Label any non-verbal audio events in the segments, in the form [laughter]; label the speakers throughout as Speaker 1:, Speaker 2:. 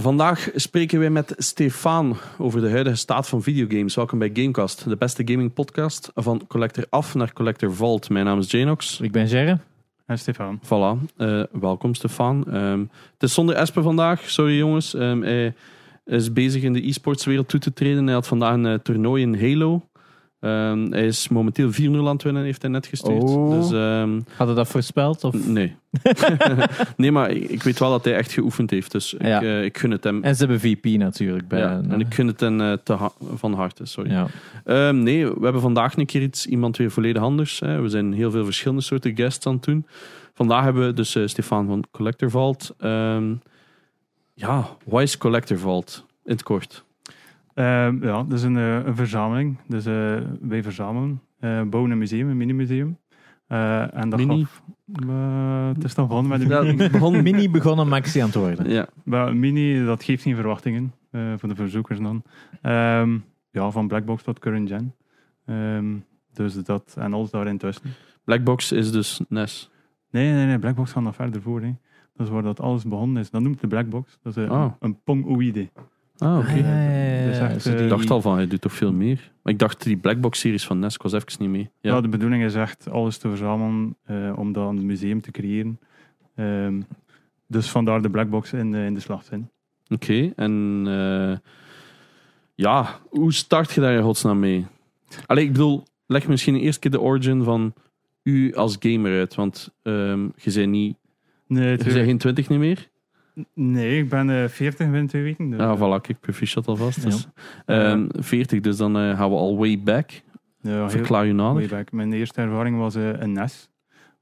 Speaker 1: Vandaag spreken we met Stefan over de huidige staat van videogames. Welkom bij Gamecast, de beste gaming podcast van Collector Af naar Collector Vault. Mijn naam is Janox.
Speaker 2: Ik ben Gerre.
Speaker 3: En Stefan.
Speaker 1: Voilà, eh, welkom Stefan. Ehm, het is zonder Espen vandaag, sorry jongens. Ehm, hij is bezig in de e-sportswereld toe te treden. Hij had vandaag een eh, toernooi in Halo. Ehm, hij is momenteel 4-0 aan het winnen, heeft hij net gestuurd.
Speaker 2: Oh.
Speaker 1: Dus ehm,
Speaker 2: Hadden dat voorspeld? Of?
Speaker 1: nee. [laughs] nee, maar ik, ik weet wel dat hij echt geoefend heeft. Dus ik,
Speaker 2: Ja.
Speaker 1: eh, ik gun het hem.
Speaker 2: En ze hebben VP natuurlijk. Bij,
Speaker 1: Ja, en ik gun het hen eh, te ha- van harte, sorry.
Speaker 2: ja.
Speaker 1: Ehm, nee, we hebben vandaag een keer iets, iemand weer volledig anders. Hè. We zijn heel veel verschillende soorten guests aan het doen. Vandaag hebben we dus eh, Stefan van Collector Vault. Ehm, ja, wat is Collector Vault? In het kort.
Speaker 3: Ehm, ja, dat is een, eh, een verzameling. Dus eh, wij verzamelen, eh, bouwen een museum, een mini-museum. Eh, en dat
Speaker 1: Mini?
Speaker 3: gaf- Eh, het is dan gewoon met een
Speaker 1: Ja,
Speaker 3: mini.
Speaker 2: Begon mini begonnen Maxi aan het worden.
Speaker 1: Ja,
Speaker 3: [laughs] Maar een mini, dat geeft geen verwachtingen eh, voor de verzoekers dan. Ehm, ja, van Blackbox tot Current Gen. Ehm, dus dat en alles daarin tussen.
Speaker 1: Blackbox is dus NES.
Speaker 3: Nee, nee, nee, Blackbox gaat nog verder voor. Hè. Dat is waar dat alles begonnen is. Dat noemt de Blackbox. Dat is eh,
Speaker 1: Oh.
Speaker 3: een pongoïde.
Speaker 1: Ah, oké.
Speaker 2: Ah, ja, ja, ja, ja.
Speaker 3: Dus echt,
Speaker 2: Zo die-
Speaker 1: Ik dacht al van, hij doet toch veel meer? Maar ik dacht, die Blackbox-series van NES, ik was even niet mee.
Speaker 3: Ja.
Speaker 1: Ja,
Speaker 3: Nou, de bedoeling is echt alles te verzamelen eh, om dat een museum te creëren. Ehm, dus vandaar de blackbox in de, in de slagzin.
Speaker 1: oké. En eh, ja, hoe start je daar in godsnaam mee? Allee, ik bedoel, leg misschien eerst keer de origin van u als gamer uit. Want ehm, je bent niet
Speaker 3: Nee,
Speaker 1: Je zijn geen 20 niet meer?
Speaker 3: nee ik ben eh 40 binnen twee weken. Dus,
Speaker 1: Ah,
Speaker 3: eh,
Speaker 1: voilà, kijk, proficiat alvast.
Speaker 2: Ja.
Speaker 1: Dus, ehm, 40, dus dan eh, gaan we al way back.
Speaker 3: ja, heel-
Speaker 1: Verklaar je nader.
Speaker 3: way back. Mijn eerste ervaring was eh, een NES.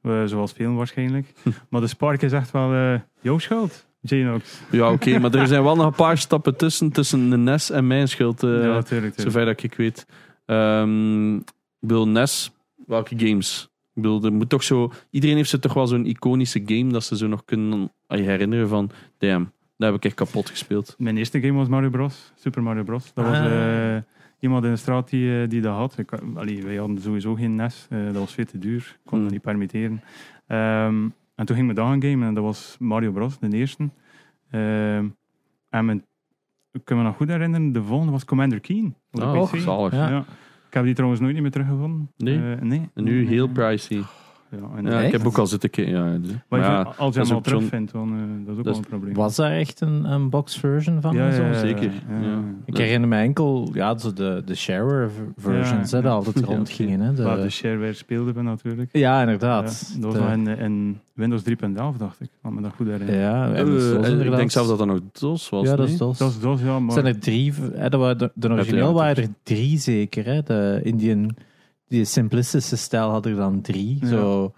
Speaker 3: Eh, zoals veel waarschijnlijk.
Speaker 1: [laughs]
Speaker 3: maar de Spark is echt wel eh, jouw schuld, Janox.
Speaker 1: Ja, oké,
Speaker 3: [laughs]
Speaker 1: maar er zijn wel nog een paar stappen tussen, tussen de NES en mijn schuld, eh,
Speaker 3: ja, tuurlijk. tuurlijk.
Speaker 1: zover dat ik weet. Ehm, ik bedoel, NES, welke games? Ik bedoel, er moet toch zo... Iedereen heeft ze toch wel zo'n iconische game dat ze zo nog kunnen aan je herinneren van... Damn, dat heb ik echt kapot gespeeld.
Speaker 3: Mijn eerste game was Mario Bros. Super Mario Bros. Dat was
Speaker 2: Ah.
Speaker 3: eh, iemand in de straat die, eh, die dat had. Ik, allee, wij hadden sowieso geen NES. eh, dat was veel te duur. Ik kon
Speaker 1: Hmm.
Speaker 3: dat niet permitteren. Ehm, en toen ging ik dat gaan gamen. En dat was Mario Bros, de eerste. Ehm, en mijn, ik kan me nog goed herinneren, de volgende was Commander Keen. op de
Speaker 1: Oh,
Speaker 3: PC.
Speaker 1: zalig.
Speaker 2: Ja.
Speaker 3: Ja. Ik heb die trouwens nooit meer teruggevonden.
Speaker 1: Nee.
Speaker 3: Eh, nee.
Speaker 1: En nu
Speaker 3: Nee.
Speaker 1: heel pricey.
Speaker 3: Ja,
Speaker 1: Ja,
Speaker 3: inderdaad.
Speaker 1: ik heb ook al zitten... ki- Ja, dus-
Speaker 3: Maar ik
Speaker 1: maar ja,
Speaker 3: vind, als je
Speaker 1: dat is
Speaker 3: hem al
Speaker 1: ook zo'n-
Speaker 3: terugvindt, dan eh, dat is
Speaker 1: dat is-
Speaker 3: ook wel een probleem.
Speaker 2: Was daar echt een, een box version van? en zo?
Speaker 1: zeker. Ja.
Speaker 2: Ik herinner me enkel ja, zo de, de shareware v- versions
Speaker 3: Ja,
Speaker 2: hè, die
Speaker 3: [laughs] ja.
Speaker 2: altijd rondgingen. Hè, de-
Speaker 3: Waar
Speaker 1: Eh.
Speaker 3: de shareware speelde we natuurlijk.
Speaker 2: ja,
Speaker 3: Ja,
Speaker 2: inderdaad.
Speaker 3: dat was
Speaker 2: De-
Speaker 3: nog in, in Windows 3.11, dacht ik. Laat me dat goed herinneren.
Speaker 2: Oh, ja, en
Speaker 1: Eh,
Speaker 2: dat was
Speaker 1: ik
Speaker 2: inderdaad-
Speaker 1: denk zelfs dat dat nog DOS was.
Speaker 2: Ja, dat
Speaker 1: nee?
Speaker 2: is DOS.
Speaker 3: Dat is DOS, ja, maar... dus.
Speaker 2: zijn er drie, hè, dat waren de, de origineel
Speaker 1: Uiteraard.
Speaker 2: waren er drie zeker. Hè? De Indian, die simplistische stijl had er dan drie.
Speaker 3: Ja.
Speaker 2: Zo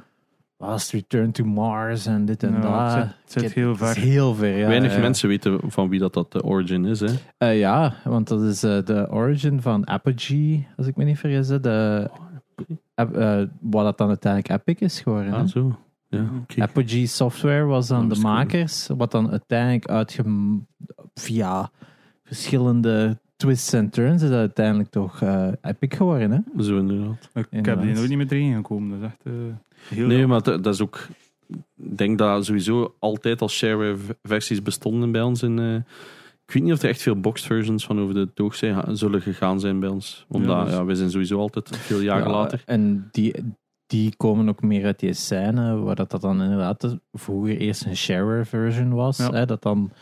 Speaker 2: Last Return to Mars en dit en
Speaker 3: ja,
Speaker 2: dat.
Speaker 3: Het zit, het zit
Speaker 2: Ik-
Speaker 3: heel
Speaker 2: het is
Speaker 3: ver.
Speaker 2: heel ver, ja.
Speaker 1: Weinig
Speaker 2: ja.
Speaker 1: mensen weten van wie dat, dat de origin is. Hè?
Speaker 2: Eh, ja, want dat is eh, de origin van Apogee, als ik me niet vergis. hè. De,
Speaker 3: Oh,
Speaker 2: Ap- eh, wat dat dan uiteindelijk Epic is geworden. hè.
Speaker 1: Ah, zo. Ja, oké.
Speaker 2: Apogee Software was
Speaker 1: Dat
Speaker 2: dan de
Speaker 1: is cool.
Speaker 2: makers, wat dan uiteindelijk uitge... via verschillende twists en turns is dat uiteindelijk toch eh, epic geworden, hè?
Speaker 1: Zo inderdaad.
Speaker 3: Ik heb die
Speaker 2: Inderdaad.
Speaker 3: nooit niet meer erin gekomen. Dat is echt eh, heel...
Speaker 1: Nee, maar dat, dat is ook... Ik denk dat sowieso altijd al shareware v- versies bestonden bij ons. In, eh, ik weet niet of er echt veel boxed versions van over de toog zijn, ha- zullen gegaan zijn bij ons. Omdat ja,
Speaker 3: Ja, dat is-
Speaker 1: wij zijn sowieso altijd veel jaren
Speaker 2: Ja,
Speaker 1: later.
Speaker 2: En die, die komen ook meer uit die scène, waar dat, dat dan inderdaad de- vroeger eerst een shareware version was,
Speaker 3: Ja.
Speaker 2: hè, dat dan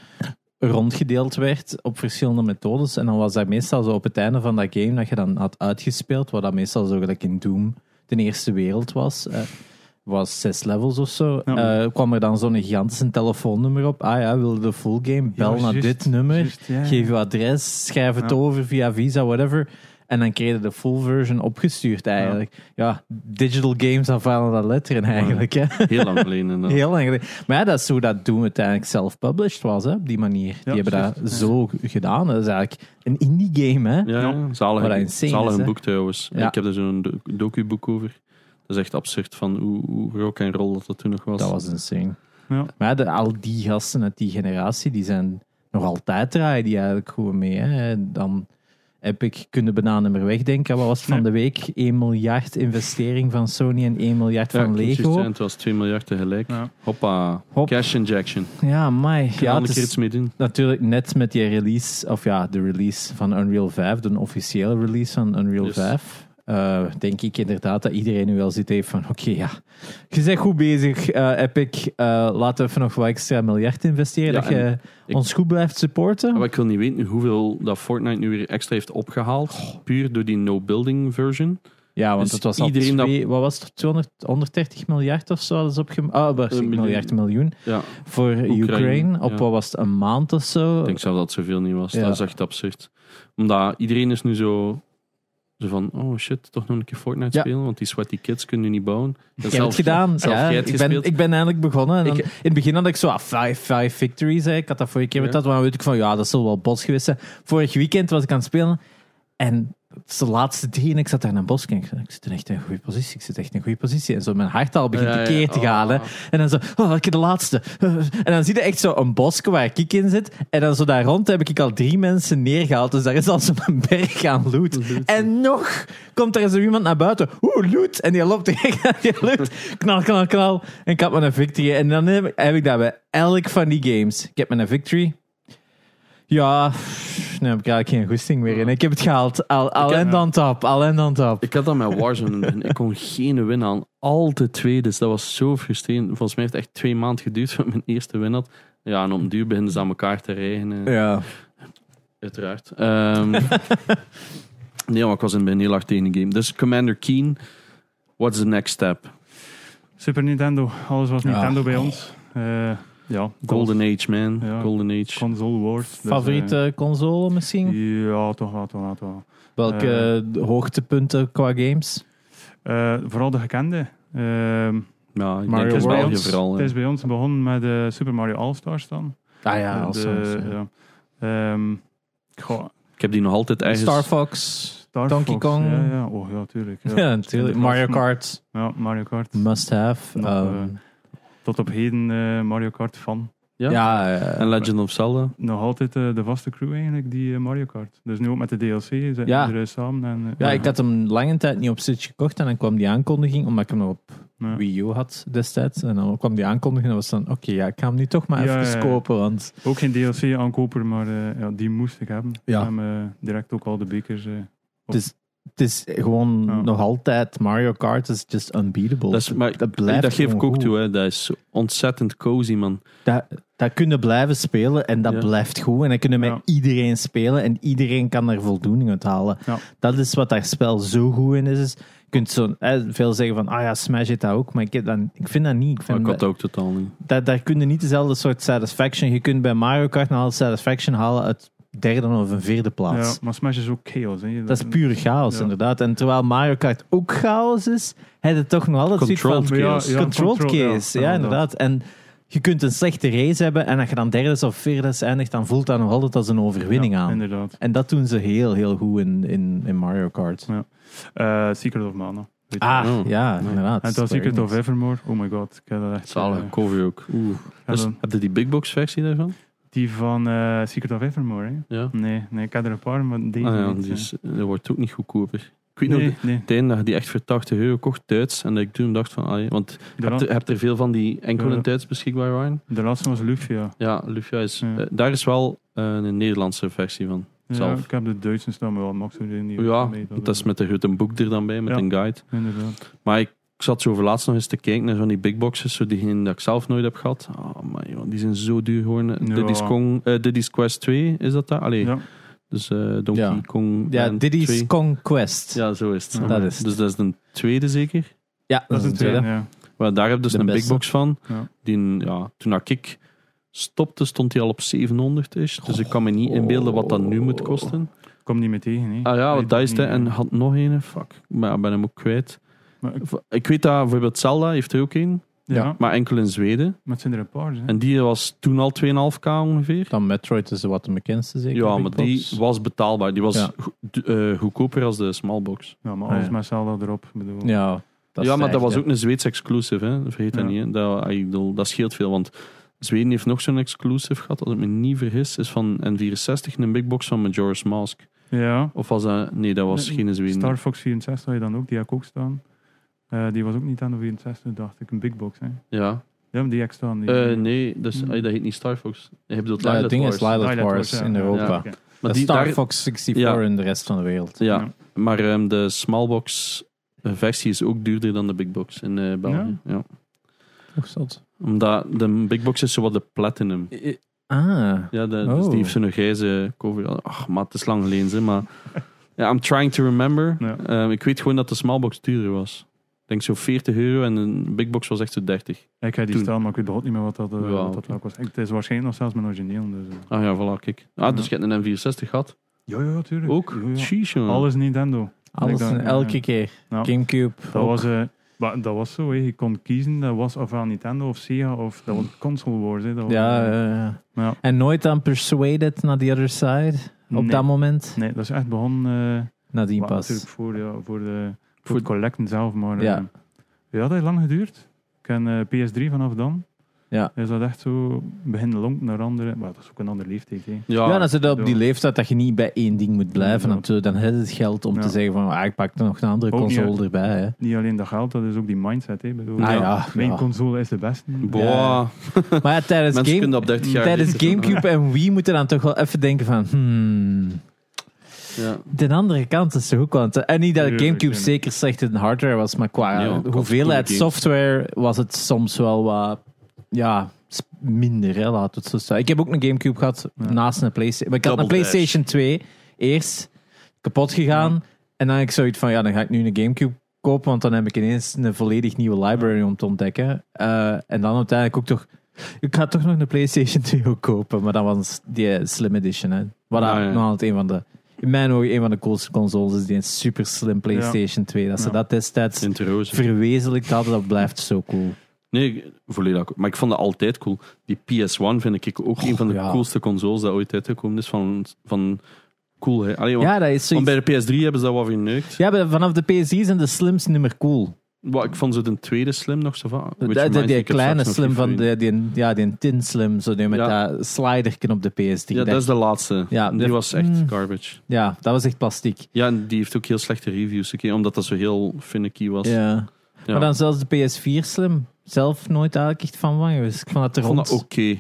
Speaker 2: rondgedeeld werd op verschillende methodes. En dan was dat meestal zo op het einde van dat game dat je dan had uitgespeeld, wat dat meestal zo gelijk in Doom de eerste wereld was. eh, was zes levels of zo.
Speaker 3: Ja.
Speaker 2: eh, kwam er dan zo'n gigantische telefoonnummer op. Ah ja, wilde de full game?
Speaker 3: Ja,
Speaker 2: Bel naar
Speaker 3: juist,
Speaker 2: dit nummer.
Speaker 3: juist, ja, ja.
Speaker 2: Geef uw adres, schrijf het
Speaker 3: Ja.
Speaker 2: over via Visa, whatever. En dan kreeg je de full version opgestuurd eigenlijk. Ja, digital games aanvallen dat letteren eigenlijk. Hè?
Speaker 1: Heel lang geleden.
Speaker 2: [laughs]
Speaker 1: eh. inderdaad.
Speaker 2: Heel lang geleden. Maar ja, dat is hoe dat Doom uiteindelijk self-published was, hè, op die manier. die hebben dat
Speaker 3: precies.
Speaker 2: zo g- gedaan. Dat is eigenlijk een indie game, hè.
Speaker 1: Ja, ja. zalig,
Speaker 2: Wat dat insane
Speaker 1: zalig
Speaker 2: is,
Speaker 1: een
Speaker 2: hè?
Speaker 1: boek trouwens.
Speaker 2: Ja.
Speaker 1: Ik heb er zo'n do- docu-boek over. Dat is echt absurd van hoe, hoe rock en roll dat, dat toen nog was.
Speaker 2: Dat was insane.
Speaker 3: Ja.
Speaker 2: Maar ja, de- al die gasten uit die generatie, die zijn nog altijd draaien die eigenlijk goed mee. Hè. En Dan Epic kunnen bananen meer wegdenken. Wat was het van
Speaker 3: Nee.
Speaker 2: de week? 1 miljard investering van Sony en 1 miljard
Speaker 1: Ja, ik
Speaker 2: van
Speaker 1: moet juist
Speaker 2: Lego.
Speaker 1: zeggen, Het was 2 miljard tegelijk.
Speaker 3: Ja.
Speaker 1: Hoppa.
Speaker 2: Hop.
Speaker 1: Cash injection.
Speaker 2: Ja, my.
Speaker 1: Gaan
Speaker 2: Ja,
Speaker 1: ja,
Speaker 2: het
Speaker 1: een
Speaker 2: is
Speaker 1: keer iets mee doen.
Speaker 2: natuurlijk net met die release, of ja, de release van Unreal 5, de officiële release van Unreal
Speaker 1: Yes.
Speaker 2: 5. eh, denk ik inderdaad dat iedereen nu wel zit heeft van oké, ja, je bent goed bezig, eh, Epic. eh laten we even nog wat extra miljard investeren,
Speaker 1: Ja,
Speaker 2: dat je
Speaker 1: ik- Ah,
Speaker 2: ons goed blijft supporten.
Speaker 1: Maar ik wil niet weten hoeveel dat Fortnite nu weer extra heeft opgehaald. Puur door die no-building version.
Speaker 2: Ja, want
Speaker 1: Dus
Speaker 2: het was al
Speaker 1: iedereen dat-
Speaker 2: twee, wat was het, 200, 130 miljard of zo hadden ze opgem... Ah, maar zeg,
Speaker 1: miljoen.
Speaker 2: miljard, een miljoen.
Speaker 1: Ja,
Speaker 2: Voor Ukraine, op
Speaker 1: ja.
Speaker 2: wat was het, een maand of zo.
Speaker 1: ik denk zelf dat het zoveel niet was.
Speaker 2: Ja.
Speaker 1: Dat is echt absurd. Omdat iedereen is nu zo, zo van, oh shit, toch nog een keer Fortnite
Speaker 2: Ja.
Speaker 1: spelen. Want die sweaty kids kunnen nu niet bouwen.
Speaker 2: Ik heb het gedaan.
Speaker 1: zelf
Speaker 2: ja.
Speaker 1: jij het
Speaker 2: ik, ben,
Speaker 1: gespeeld?
Speaker 2: ik ben eindelijk begonnen. En dan-
Speaker 1: Ik-
Speaker 2: in het begin had ik zo ah, five, five victories. Hè. Ik had dat vorige keer met
Speaker 1: Ja.
Speaker 2: dat. Maar dan weet ik van, ja, dat zal wel bos geweest zijn. Vorig weekend was ik aan het spelen. En het is de laatste drie en ik zat daar in een bos. En ik, zei, ik zit in echt een goede positie. Ik zit echt in een goede positie. En zo mijn hart al begint
Speaker 1: Ja,
Speaker 2: te
Speaker 1: ja,
Speaker 2: keer te
Speaker 1: oh.
Speaker 2: gaan. hè. En dan zo, oh, ik de laatste. En dan zie je echt zo een bosje waar ik in zit. En dan zo daar rond heb ik al drie mensen neergehaald. Dus daar is al zo'n berg aan loot. En nog komt er zo iemand naar buiten. Oeh, loot. En die loopt [laughs] tegen aan die loot. Knal, knal, knal. En ik had mijn victory. En dan heb, heb ik dat bij elk van die games. Ik heb mijn victory. Ja, nu heb ik eigenlijk geen goesting meer in. Ik heb het gehaald. Al, al
Speaker 1: heb-
Speaker 2: en dan top, al en dan top.
Speaker 1: Ik had dat met Warzone in het begin. Ik kon geen win aan. Altijd twee, dus dat was zo frustrerend. Volgens mij heeft het echt twee maanden geduurd [laughs] voordat ik mijn eerste win had. Ja, en op een duur beginnen ze aan elkaar te regenen.
Speaker 2: Ja.
Speaker 3: dus,
Speaker 1: Uiteraard. Ehm, [laughs] nee, maar ik was in het begin heel hard tegen de game. Dus Commander Keen, what's the next step?
Speaker 3: Super Nintendo, alles was
Speaker 2: Ja.
Speaker 3: Nintendo bij ons. Eh, ja,
Speaker 1: Golden Age, man.
Speaker 3: Ja.
Speaker 1: Golden Age.
Speaker 3: Console Wars. dus, eh,
Speaker 2: Favoriete console misschien?
Speaker 3: ja, toch wel, toch wel, toch wel.
Speaker 2: Welke hoogtepunten qua games?
Speaker 3: Eh, vooral de gekende. Ehm,
Speaker 1: Ja, ik
Speaker 2: Mario
Speaker 1: denk dat is België
Speaker 2: Worlds.
Speaker 1: vooral.
Speaker 3: het
Speaker 1: ja.
Speaker 3: is bij ons begonnen met eh, Super Mario All-Stars dan.
Speaker 2: Ah
Speaker 3: Eh,
Speaker 2: ja,
Speaker 3: de- ja. Ehm, goh,
Speaker 1: Ik heb die nog altijd ergens...
Speaker 2: Star Fox.
Speaker 3: Star
Speaker 2: Donkey
Speaker 3: Fox,
Speaker 2: Kong.
Speaker 3: Ja, ja. Oh ja, tuurlijk.
Speaker 2: [laughs] Ja,
Speaker 3: Ja.
Speaker 2: natuurlijk.
Speaker 3: In de
Speaker 2: Mario
Speaker 3: plaats van-
Speaker 2: Kart.
Speaker 3: Ja, Mario Kart.
Speaker 2: Must have.
Speaker 3: Nog,
Speaker 2: Ehm,
Speaker 3: Tot op heden eh, Mario Kart fan.
Speaker 1: ja.
Speaker 2: ja, eh,
Speaker 1: En Legend of Zelda.
Speaker 3: Nog altijd eh, de vaste crew eigenlijk, die eh, Mario Kart. Dus nu ook met de DLC zitten
Speaker 2: Ja.
Speaker 3: we er samen. En, eh,
Speaker 2: ja, ik had hem lange tijd niet op Switch gekocht en dan kwam die aankondiging, omdat ik hem nog op
Speaker 3: ja.
Speaker 2: Wii U had destijds. En dan kwam die aankondiging en was dan, oké, ja, ik ga hem nu toch maar
Speaker 3: Ja,
Speaker 2: even
Speaker 3: ja, ja.
Speaker 2: kopen, want...
Speaker 3: Ook geen DLC aankoper, maar eh, ja, die moest ik hebben.
Speaker 2: Ja.
Speaker 3: Ik heb eh, direct ook al de bekers. eh,
Speaker 2: Het is, het is gewoon
Speaker 3: Ja.
Speaker 2: nog altijd Mario Kart is just unbeatable.
Speaker 1: Dat, is, maar,
Speaker 2: dat
Speaker 1: dat,
Speaker 2: blijft
Speaker 1: geef ik
Speaker 2: gewoon
Speaker 1: ook
Speaker 2: goed.
Speaker 1: toe. Hè. Dat is ontzettend cozy, man.
Speaker 2: Dat, dat kunnen blijven spelen en dat
Speaker 1: Ja.
Speaker 2: blijft goed. En dat kunnen met
Speaker 3: Ja.
Speaker 2: iedereen spelen en iedereen kan er voldoening uit halen.
Speaker 3: Ja.
Speaker 2: Dat is wat dat spel zo goed in is. is je kunt zo, hè, veel zeggen van, ah ja, Smash heeft dat ook, maar ik, heb dat, ik vind dat niet. Ik
Speaker 1: Maar
Speaker 2: vind
Speaker 1: ik had
Speaker 2: dat,
Speaker 1: dat ook totaal niet.
Speaker 2: dat- daar kun je niet dezelfde soort satisfaction. Je kunt bij Mario Kart een halve satisfaction halen uit derde of een vierde plaats.
Speaker 3: ja, maar Smash is ook chaos. Hè.
Speaker 2: Dat is puur chaos,
Speaker 3: Mm. Ja.
Speaker 2: inderdaad. En terwijl Mario Kart ook chaos is, heb je toch nog altijd zoiets van...
Speaker 1: Controlled
Speaker 3: Maar ja,
Speaker 1: chaos.
Speaker 3: ja,
Speaker 2: controlled
Speaker 3: control-
Speaker 2: case, ja, inderdaad. En je kunt een slechte race hebben en als je dan derde of vierde eindigt, dan voelt dat nog altijd als een overwinning
Speaker 3: Ja,
Speaker 2: aan.
Speaker 3: Inderdaad.
Speaker 2: En dat doen ze heel, heel goed in, in, in Mario Kart.
Speaker 3: Eh, Secret of Mana. Weet je.
Speaker 2: Ah,
Speaker 1: Oh.
Speaker 2: ja,
Speaker 1: Nee.
Speaker 2: inderdaad.
Speaker 3: en dan
Speaker 2: Square
Speaker 3: Secret of
Speaker 2: Enix.
Speaker 3: Evermore. Oh my god. Ik heb dat echt, eh,
Speaker 1: Zalige cover ook. Oeh.
Speaker 3: ja,
Speaker 1: Dus,
Speaker 3: dan-
Speaker 1: heb je die big box versie daarvan?
Speaker 3: die van eh, Secret of Evermore. Hè.
Speaker 1: Ja.
Speaker 3: Nee, nee, ik heb er een paar, maar
Speaker 1: Ah
Speaker 3: deze
Speaker 1: ja,
Speaker 3: niet,
Speaker 1: die
Speaker 3: eh.
Speaker 1: is, dat wordt ook niet goedkoper. Ik weet nog,
Speaker 3: Nee, nee.
Speaker 1: het einde dat je die echt voor 80 euro kocht, Duits. En dat ik toen dacht van, ah, ja, want
Speaker 3: De,
Speaker 1: je hebt,
Speaker 3: la-
Speaker 1: er- hebt er veel van die enkel in
Speaker 3: Ja.
Speaker 1: Duits beschikbaar waren.
Speaker 3: de laatste was Lufia.
Speaker 1: Ja, Lufia is,
Speaker 3: Ja.
Speaker 1: eh, daar is wel eh, een Nederlandse versie van.
Speaker 3: Ja,
Speaker 1: Zelf.
Speaker 3: ik heb de Duitse staan, maar wel Max doet die niet.
Speaker 1: Ja,
Speaker 3: Nee,
Speaker 1: dat is met er goed een boek er dan bij, met
Speaker 3: Ja.
Speaker 1: een guide.
Speaker 3: Inderdaad.
Speaker 1: Maar ik, ik zat zo laatst nog eens te kijken naar van die big boxes, zo diegene dat ik zelf nooit heb gehad. Oh man, joh, die zijn zo duur geworden.
Speaker 3: Ja.
Speaker 1: Diddy's, Kong, eh, Diddy's Quest 2 is dat daar? Allee,
Speaker 3: Ja,
Speaker 1: dus eh, Donkey
Speaker 2: Ja.
Speaker 1: Kong
Speaker 2: Ja,
Speaker 1: en
Speaker 2: Diddy's
Speaker 1: 2.
Speaker 2: Conquest. Ja,
Speaker 1: Ja, zo is het.
Speaker 3: Ja,
Speaker 2: dat is het.
Speaker 1: Dus dat is de tweede zeker?
Speaker 3: dat is een tweede. ja.
Speaker 1: Maar daar heb je dus
Speaker 2: De
Speaker 1: een
Speaker 2: beste.
Speaker 1: big box van.
Speaker 3: Ja.
Speaker 1: Die, ja, toen dat ik stopte, stond hij al op 700 is. Dus ik kan me niet inbeelden wat dat nu moet kosten.
Speaker 3: Kom niet meer tegen. Hè.
Speaker 1: Ah ja,
Speaker 3: Weet
Speaker 1: wat dat is
Speaker 3: niet,
Speaker 1: het, hè.
Speaker 3: hè.
Speaker 1: En had nog een. Fuck, maar ik ben hem ook kwijt.
Speaker 3: Maar ik-
Speaker 1: V- Ik weet dat bijvoorbeeld Zelda heeft er ook een.
Speaker 3: ja,
Speaker 2: Ja.
Speaker 1: Maar enkel in Zweden.
Speaker 3: maar het zijn er een paar. Hè.
Speaker 1: En die was toen al 2,5k ongeveer.
Speaker 2: Dan Metroid is wat de bekendste, zeker.
Speaker 1: Ja,
Speaker 2: Big
Speaker 1: maar
Speaker 2: Box.
Speaker 1: die was betaalbaar. Die was
Speaker 2: Ja.
Speaker 1: go- d- eh, goedkoper als de smallbox.
Speaker 3: Ja, maar
Speaker 2: Ah,
Speaker 3: alles
Speaker 2: ja.
Speaker 3: met Zelda erop. ik Bedoel.
Speaker 2: Ja, dat is
Speaker 1: ja, maar dat
Speaker 2: echt,
Speaker 1: was
Speaker 2: hè.
Speaker 1: ook een Zweeds exclusive. Hè. Vergeet dat
Speaker 3: Ja.
Speaker 1: niet. Hè. Dat, ah, ik bedoel, dat scheelt veel. Want Zweden heeft nog zo'n exclusive gehad, als ik me niet vergis, is van N64 een big box van Majora's Mask.
Speaker 3: Ja, Ja.
Speaker 1: Of was dat... Nee, dat was
Speaker 3: Nee,
Speaker 1: geen in Zweden.
Speaker 3: Star Fox 64 had je dan ook, die heb ik ook staan. Eh, die was ook niet aan de 64, dacht ik. Een big box, hè.
Speaker 1: Ja.
Speaker 3: Ja, maar die heb ik staan. Die,
Speaker 1: Eh, nee, dus,
Speaker 3: Hmm.
Speaker 1: ah, dat heet niet Star Fox. Je bedoelt
Speaker 2: Ja,
Speaker 1: Lilith
Speaker 2: het ding is
Speaker 1: Wars.
Speaker 2: Lilith
Speaker 3: Twilight
Speaker 2: Wars
Speaker 3: Ah, ja.
Speaker 2: in Europa.
Speaker 3: Ja,
Speaker 2: Ja,
Speaker 3: oké.
Speaker 1: Maar die,
Speaker 2: Star
Speaker 1: daar-
Speaker 2: Fox 64
Speaker 1: Ja.
Speaker 2: in de rest van de wereld.
Speaker 1: Ja,
Speaker 3: Ja.
Speaker 1: maar ehm, de smallbox eh, versie is ook duurder dan de big box in eh, België. Ja.
Speaker 2: Hoe zat?
Speaker 1: Omdat de big box is zowat de platinum.
Speaker 2: Ah.
Speaker 1: Ja, de- dus
Speaker 2: Oh.
Speaker 1: die heeft zo'n grijze cover. Ach, maar het is lang geleden, zeg maar. Ja, I'm trying to remember.
Speaker 3: Ja.
Speaker 1: Ehm, ik weet gewoon dat de smallbox duurder was. Ik denk zo 40 euro en een big box was echt zo 30.
Speaker 3: Ik heb die
Speaker 1: Toen.
Speaker 3: staan, maar ik weet behoort niet meer wat dat, eh,
Speaker 1: Ja,
Speaker 3: wat dat
Speaker 1: oké.
Speaker 3: ook was. Ik- het is waarschijnlijk nog zelfs mijn origineel. Dus, eh.
Speaker 1: Ah ja, voilà, kijk. Ah, dus
Speaker 3: Ja.
Speaker 1: je hebt een M64 gehad.
Speaker 3: Ja, ja, tuurlijk.
Speaker 1: Ook?
Speaker 3: Ja, ja.
Speaker 1: Sheesh, jongen.
Speaker 3: Alles Nintendo.
Speaker 2: Alles
Speaker 3: Ik dacht,
Speaker 2: en
Speaker 3: ja,
Speaker 2: elke
Speaker 3: ja.
Speaker 2: keer.
Speaker 3: Ja.
Speaker 2: Gamecube.
Speaker 3: Dat was, eh, maar dat was zo, hè. je kon kiezen. Dat was ofwel Nintendo of Sega of dat
Speaker 1: Hmm.
Speaker 3: was Console Wars. Hè. Dat was-
Speaker 2: ja,
Speaker 1: eh.
Speaker 2: ja, ja.
Speaker 3: Ja.
Speaker 2: En nooit aan Persuaded naar The Other Side. Op
Speaker 3: Nee.
Speaker 2: dat moment.
Speaker 3: Nee, dat is echt begonnen eh,
Speaker 2: Nadien
Speaker 3: maar
Speaker 2: pas.
Speaker 3: natuurlijk voor, ja, voor, de, voor
Speaker 1: Voor-
Speaker 3: het collecten zelf. Maar eh,
Speaker 2: Ja.
Speaker 3: ja. dat heeft lang geduurd. Ik heb eh, PS3 vanaf dan.
Speaker 2: Ja.
Speaker 3: Is dat echt zo begin lonk naar andere. Maar dat is ook een andere leeftijd. Hè.
Speaker 1: Ja,
Speaker 2: Ja, dan zit dat op
Speaker 3: door.
Speaker 2: die leeftijd dat je niet bij één ding moet blijven.
Speaker 3: Ja.
Speaker 2: natuurlijk. Dan heb je het geld om
Speaker 3: Ja.
Speaker 2: te zeggen van ah, ik pak er nog een andere
Speaker 3: Ook niet,
Speaker 2: console erbij.
Speaker 3: [laughs]
Speaker 2: Hè.
Speaker 3: Niet alleen dat geld, dat is ook die mindset. Hè. Ik Bedoel,
Speaker 2: Ah, ja,
Speaker 3: Mijn
Speaker 2: ja.
Speaker 3: console is de beste.
Speaker 1: Boah.
Speaker 2: Ja. Maar ja, tijdens,
Speaker 1: Mensen
Speaker 2: game,
Speaker 1: kunnen op 30 jaar...
Speaker 2: tijdens
Speaker 1: dit doen.
Speaker 2: Gamecube en Wii moeten dan toch wel even denken van... Hmm,
Speaker 1: [laughs] Ja.
Speaker 2: de andere kant is toch ook wel... een te- En niet dat
Speaker 3: Tuurlijk,
Speaker 2: Gamecube
Speaker 3: tuurlijk.
Speaker 2: zeker slecht in hardware was, maar qua
Speaker 1: Ja, qua
Speaker 2: hoeveelheid
Speaker 1: goede games.
Speaker 2: software was het soms wel wat... Ja, sp- minder, hè, laten we het zo zeggen. Ik heb ook een Gamecube gehad
Speaker 3: Ja.
Speaker 2: naast een Playstation. Maar ik had een
Speaker 1: Double dash.
Speaker 2: Playstation 2 eerst kapot gegaan. En dan had ik zoiets van, ja, dan ga ik nu een Gamecube kopen, want dan heb ik ineens een volledig nieuwe library om te ontdekken. Eh, en dan uiteindelijk ook toch... Ik ga toch nog een PlayStation [laughs] 2 ook kopen, maar dat was die Slim Edition. Hè. Wat
Speaker 1: Ah,
Speaker 2: dan
Speaker 1: ja.
Speaker 2: nog altijd een van de... In mijn ogen een van de coolste consoles is die super slim PlayStation 2. Dat ze
Speaker 3: Ja.
Speaker 2: dat destijds
Speaker 1: Sint Rozen.
Speaker 2: verwezenlijkt hadden, dat blijft zo cool.
Speaker 1: Nee, ik- volledig akkoord. Maar ik vond dat altijd cool. Die PS1 vind ik ook een van de
Speaker 2: Oh, ja.
Speaker 1: coolste consoles dat ooit uitgekomen is. Van, van cool, hè. Allee, want,
Speaker 2: Ja, dat is
Speaker 1: want
Speaker 2: zoiets...
Speaker 1: bij de PS3 hebben ze dat wel verneukt.
Speaker 2: Ja, maar vanaf de PS3 zijn de slims niet meer cool.
Speaker 1: Wat, ik vond ze de tweede slim nog zo van.
Speaker 2: Dat- dat- die kleine slim van de, die, ja, die tin slim, zo die met
Speaker 1: Ja.
Speaker 2: dat sliderken op de PS3.
Speaker 1: Ja, dat is de laatste.
Speaker 2: Ja,
Speaker 1: die
Speaker 2: dat-
Speaker 1: was echt
Speaker 2: mm.
Speaker 1: garbage.
Speaker 2: ja, dat was echt plastiek.
Speaker 1: Ja, en die heeft ook heel slechte reviews gekregen, omdat dat zo heel finicky was.
Speaker 2: Ja.
Speaker 1: Ja.
Speaker 2: Maar dan zelfs de PS4 slim, zelf nooit eigenlijk echt van van geweest. Ik vond dat er
Speaker 1: ik vond
Speaker 2: rond.
Speaker 1: dat oké.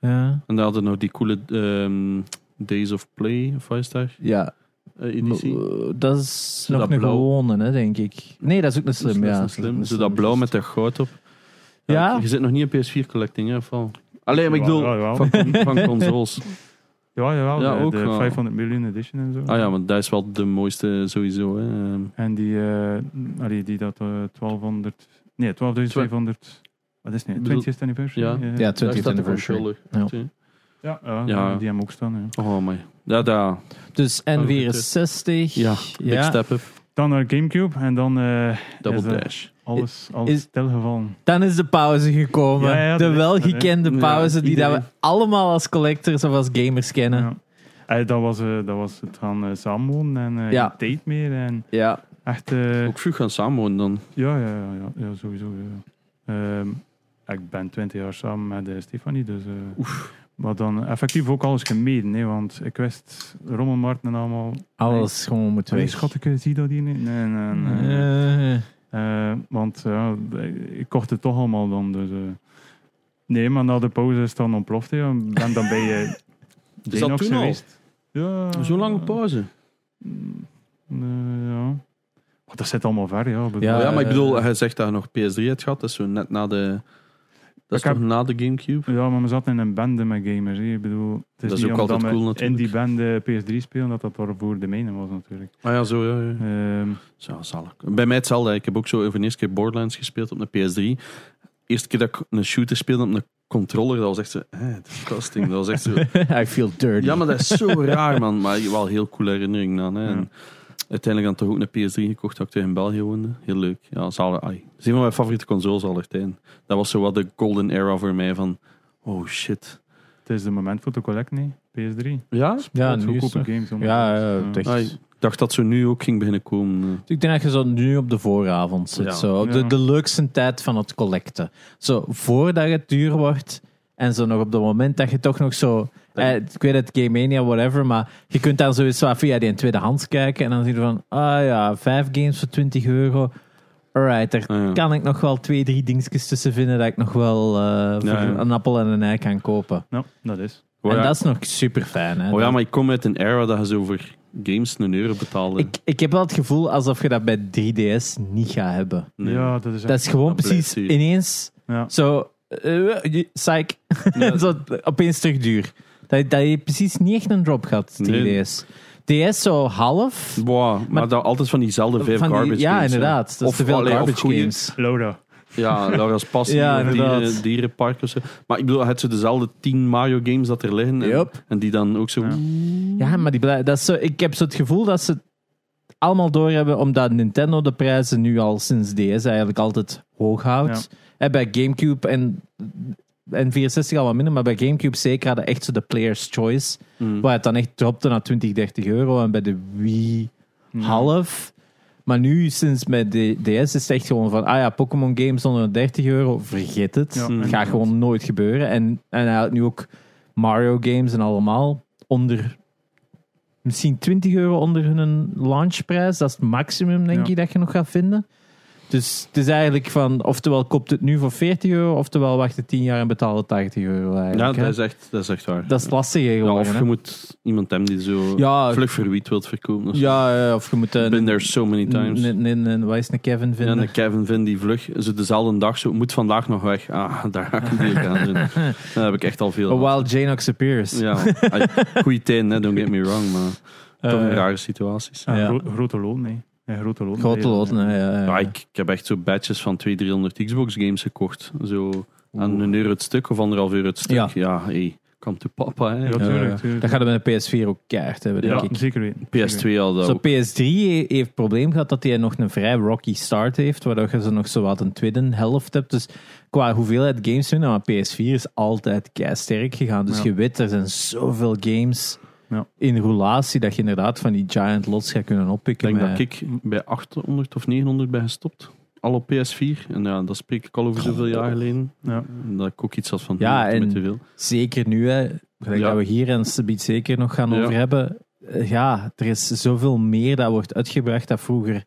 Speaker 2: Ja.
Speaker 1: En dan hadden we nog die coole ehm, Days of Play, of wat is daar,
Speaker 2: Ja,
Speaker 1: eh, editie.
Speaker 2: eh, dat is
Speaker 1: Zo
Speaker 2: nog
Speaker 1: dat
Speaker 2: een
Speaker 1: blauw.
Speaker 2: gewone, hè, denk ik. Nee, dat is ook een slim,
Speaker 1: Dat is
Speaker 2: ja.
Speaker 1: een slim. Zo dat blauw met dat goud op.
Speaker 2: Ja?
Speaker 1: Je zit nog niet in PS4 collecting, hè? of wel? Allee, maar ik
Speaker 3: Jawel,
Speaker 1: bedoel,
Speaker 3: jawel.
Speaker 1: van, van consoles. [laughs]
Speaker 3: Ja, jawel,
Speaker 1: Ja,
Speaker 3: de,
Speaker 1: ook
Speaker 3: de
Speaker 1: wel.
Speaker 3: 500 miljoen edition en zo.
Speaker 1: Ah ja, want dat is wel de mooiste sowieso. Hè. Ehm,
Speaker 3: En die, eh, allee, die dat eh, 1200... Nee, 12.500... Wat is het nu?
Speaker 1: Bedoel-
Speaker 3: 20th anniversary?
Speaker 1: Ja.
Speaker 3: eh,
Speaker 2: Ja,
Speaker 1: daar
Speaker 2: 20th
Speaker 1: staat de
Speaker 2: anniversary.
Speaker 1: controller.
Speaker 2: Ja.
Speaker 3: ja, ja,
Speaker 1: Ja.
Speaker 3: die hebben we ook staan. Ja.
Speaker 1: Oh my. Ja, daar.
Speaker 2: Dus N64.
Speaker 1: Oh, Ja, big
Speaker 2: ja.
Speaker 1: step up.
Speaker 3: Dan naar Gamecube en dan eh,
Speaker 1: Double
Speaker 3: Is dat-
Speaker 1: dash.
Speaker 3: alles, alles
Speaker 2: Is-
Speaker 3: stilgevallen.
Speaker 2: Dan is de pauze gekomen.
Speaker 3: Ja, ja,
Speaker 2: de
Speaker 3: dat is-
Speaker 2: welgekende
Speaker 1: dat is-
Speaker 2: pauze
Speaker 1: Ja,
Speaker 2: die dat we
Speaker 1: iedereen.
Speaker 2: allemaal als collectors of als gamers kennen. Ja.
Speaker 3: Ja. Eh, dat, was, eh, dat was het gaan eh, samenwonen en eh
Speaker 2: Ja.
Speaker 3: geen tijd meer. En echt... eh,
Speaker 1: Ook vroeg gaan samenwonen dan.
Speaker 3: ja, ja, ja, ja, ja, sowieso. Ja. ja. Ehm, ik ben 20 jaar samen met eh, Stefanie, dus... eh, Maar dan effectief ook alles gemeden, hè, want ik wist rommelmarkt en allemaal
Speaker 2: Alles gewoon moet
Speaker 3: Nee,
Speaker 2: weg.
Speaker 3: schat, ik eh, zie dat hier niet. Nee, nee, nee.
Speaker 2: Eh,
Speaker 3: Eh, want ja, ik kocht het toch allemaal dan. Dus, eh. Nee, maar na de pauze is het dan ontploft. hè. Ik ben dan bij eh,
Speaker 1: [laughs] Is dat
Speaker 3: Xenox
Speaker 1: toen al?
Speaker 3: geweest. Ja.
Speaker 1: Zo'n lange pauze.
Speaker 3: Eh, ja. Maar dat zit allemaal ver, ja. Ik bedoel,
Speaker 2: Ja,
Speaker 1: Ja, ja, maar ik
Speaker 2: eh,
Speaker 1: bedoel, hij zegt dat je nog PS3 hebt gehad. Dat is zo net na de... Dat is
Speaker 3: Ik
Speaker 1: toch na de Gamecube?
Speaker 3: eh, Ja, maar we zaten in een bende met gamers. hè. Ik bedoel, het is
Speaker 1: Dat is
Speaker 3: niet
Speaker 1: ook
Speaker 3: omdat
Speaker 1: altijd
Speaker 3: we
Speaker 1: cool,
Speaker 3: in
Speaker 1: natuurlijk.
Speaker 3: die bende PS3 spelen dat dat daarvoor de mijne was natuurlijk.
Speaker 1: Ah ja, zo, ja. ja.
Speaker 3: Ehm,
Speaker 1: Zo, zalig. Bij mij hetzelfde. Ik heb ook zo voor de eerste keer Borderlands gespeeld op de PS3. Eerste keer dat ik een shooter speelde op een controller, dat was echt zo... Eh, disgusting. Dat was echt zo...
Speaker 2: Eh, [laughs] I feel dirty.
Speaker 1: Ja, maar dat is zo [laughs] raar, man. Maar wel heel coole herinnering dan. Hè. En
Speaker 3: Ja.
Speaker 1: Uiteindelijk dan toch ook een PS3 gekocht, dat ik toen in België woonde. Heel leuk. Ja, zalig. Ai. Dat is een van mijn favoriete consoles aller tijden. Dat was zo wat de golden era voor mij van... Oh, shit.
Speaker 3: het is de moment voor te collecten, hè. PS3.
Speaker 1: Ja?
Speaker 2: Ja,
Speaker 3: Wat
Speaker 2: nu is
Speaker 3: goedkope
Speaker 2: het-
Speaker 3: games. allemaal.
Speaker 2: Ja, ja,
Speaker 3: Ja.
Speaker 2: echt.
Speaker 1: Ai, ik dacht dat ze nu ook ging beginnen komen.
Speaker 2: Dus Ik denk dat je zo nu op de vooravond zit.
Speaker 1: Ja.
Speaker 2: Zo. op De,
Speaker 3: Ja.
Speaker 2: de leukste tijd van het collecten. Zo, voordat het duur wordt. En zo nog op het moment dat je toch nog zo Eh, ik weet het, Game Mania, whatever. Maar je kunt dan sowieso even via die tweedehands kijken. En dan zie je van, ah ja, vijf games voor 20 euro. Alright, daar
Speaker 1: Ah, ja.
Speaker 2: kan ik nog wel twee, drie dingetjes tussen vinden dat ik nog wel eh, voor
Speaker 1: Ja, ja.
Speaker 2: een appel en een ei kan kopen.
Speaker 3: Nou, dat is.
Speaker 1: Oh
Speaker 2: En
Speaker 1: ja.
Speaker 2: dat is nog super fijn. Hè?
Speaker 1: Oh ja,
Speaker 2: Dat-
Speaker 1: maar ik kom uit een era dat je zo voor games een euro betaalde.
Speaker 2: ik, ik heb wel het gevoel alsof je dat bij 3DS niet gaat hebben.
Speaker 1: Nee.
Speaker 3: Ja, dat is
Speaker 2: Dat is gewoon
Speaker 1: Dat blijft
Speaker 2: precies
Speaker 1: duur.
Speaker 2: ineens
Speaker 3: Ja.
Speaker 2: zo... eh, je- psych. [laughs]
Speaker 1: Ja.
Speaker 2: zo, opeens terug duur. Dat, dat je precies niet echt een drop gaat, 3DS.
Speaker 1: Nee.
Speaker 2: DS zo half.
Speaker 1: Boah, maar,
Speaker 2: Maar-
Speaker 1: dat altijd van diezelfde vijf
Speaker 2: van die-
Speaker 1: garbage
Speaker 2: ja,
Speaker 1: games, hè.
Speaker 2: inderdaad. Dat is
Speaker 1: Of-
Speaker 2: te veel
Speaker 1: allee, of
Speaker 2: garbage
Speaker 1: goeie-
Speaker 2: games.
Speaker 3: Laura.
Speaker 1: Ja, Laura's Passie,
Speaker 2: [laughs] Ja,
Speaker 1: of
Speaker 2: inderdaad.
Speaker 1: dieren, dierenpark of zo. Maar ik bedoel, het zijn dezelfde tien Mario games dat er liggen. En,
Speaker 2: Yup.
Speaker 1: en die dan ook zo...
Speaker 3: Ja.
Speaker 2: Ja, maar die blij- dat is zo, ik heb zo het gevoel dat ze het allemaal doorhebben, omdat Nintendo de prijzen nu al sinds DS eigenlijk altijd hoog houdt. Hè, Bij Gamecube en, en 64 al wat minder, maar bij Gamecube zeker hadden echt zo de Player's Choice,
Speaker 1: Mm.
Speaker 2: waar het dan echt dropte naar 20, 30 euro en bij de Wii half. Maar nu, sinds met de DS, is het echt gewoon van, ah ja, Pokémon games onder 30 euro, vergeet het.
Speaker 3: Ja,
Speaker 2: Dat gaat gewoon nooit gebeuren. En, en hij houdt nu ook Mario games en allemaal onder misschien 20 euro onder hun launchprijs. Dat is het maximum, denk
Speaker 3: Ja.
Speaker 2: ik, dat je nog gaat vinden. Dus het is eigenlijk van, oftewel koopt het nu voor 40 euro, oftewel wacht het 10 jaar en betaal het 80 euro
Speaker 1: Ja,
Speaker 2: eigenlijk. hè.
Speaker 1: dat is, echt, dat is echt waar.
Speaker 2: dat is lastiger
Speaker 1: Ja,
Speaker 2: geworden.
Speaker 1: of
Speaker 2: hè.
Speaker 1: je moet iemand hebben die zo
Speaker 2: Ja.
Speaker 1: vlug verwiet wilt verkopen. Of zo.
Speaker 2: ja, ja, of je moet... eh,
Speaker 1: I've been there so many times.
Speaker 2: een- een- een- een- wat is een Kevin
Speaker 1: Ja, en
Speaker 2: vinden?
Speaker 1: de Kevin vindt die vlug, ze dezelfde dag zo, moet vandaag nog weg. Ah, daar ga ik een deal aan
Speaker 2: [laughs]
Speaker 1: doen. Daar heb ik echt al veel aan.
Speaker 2: While Janox appears. [laughs]
Speaker 1: Ja, ai, goeie teen, hè, don't get me wrong, maar toch
Speaker 2: Eh,
Speaker 1: rare situaties.
Speaker 3: Ja,
Speaker 2: Ja.
Speaker 3: gro- grote lood, nee. Ja, grote lood.
Speaker 2: Grote lot, nee, ja, ja.
Speaker 1: Ja, ik, ik heb echt zo badges van 200, 300 Xbox games gekocht. Zo aan een euro het stuk of anderhalf euro het stuk.
Speaker 2: Ja.
Speaker 1: Ja, hey, come to papa. Hè.
Speaker 3: Ja,
Speaker 2: Ja,
Speaker 3: tuurlijk,
Speaker 2: ja.
Speaker 3: tuurlijk.
Speaker 2: Dat gaat er met de PS4 ook keihard hebben, denk
Speaker 3: Ja,
Speaker 2: ik.
Speaker 3: zeker weten. Zeker
Speaker 1: PS2 al dat
Speaker 2: Zo,
Speaker 1: ook.
Speaker 2: PS3 he- heeft het probleem gehad dat hij nog een vrij rocky start heeft, waardoor je ze nog zo wat een tweede helft hebt. Dus qua hoeveelheid games winnen, maar PS4 is altijd sterk gegaan. Dus
Speaker 3: Ja.
Speaker 2: je weet, er zijn zoveel games
Speaker 3: Ja.
Speaker 2: in roulatie dat je inderdaad van die giant lots gaat kunnen
Speaker 1: Ik
Speaker 2: oppikken.
Speaker 1: denk
Speaker 2: maar-
Speaker 1: dat ik bij 800 of 900 ben gestopt. Al op PS4. En ja, dat spreek ik al over zoveel jaar geleden.
Speaker 3: Ja.
Speaker 1: Dat ik ook iets had van,
Speaker 2: Ja,
Speaker 1: ja, en...
Speaker 2: en-
Speaker 1: te veel.
Speaker 2: Zeker nu, hè, gelijk
Speaker 1: Ja.
Speaker 2: dat we hier en Sabiet zeker nog gaan
Speaker 1: Ja.
Speaker 2: over hebben. Eh, Ja, er is zoveel meer dat wordt uitgebracht dat vroeger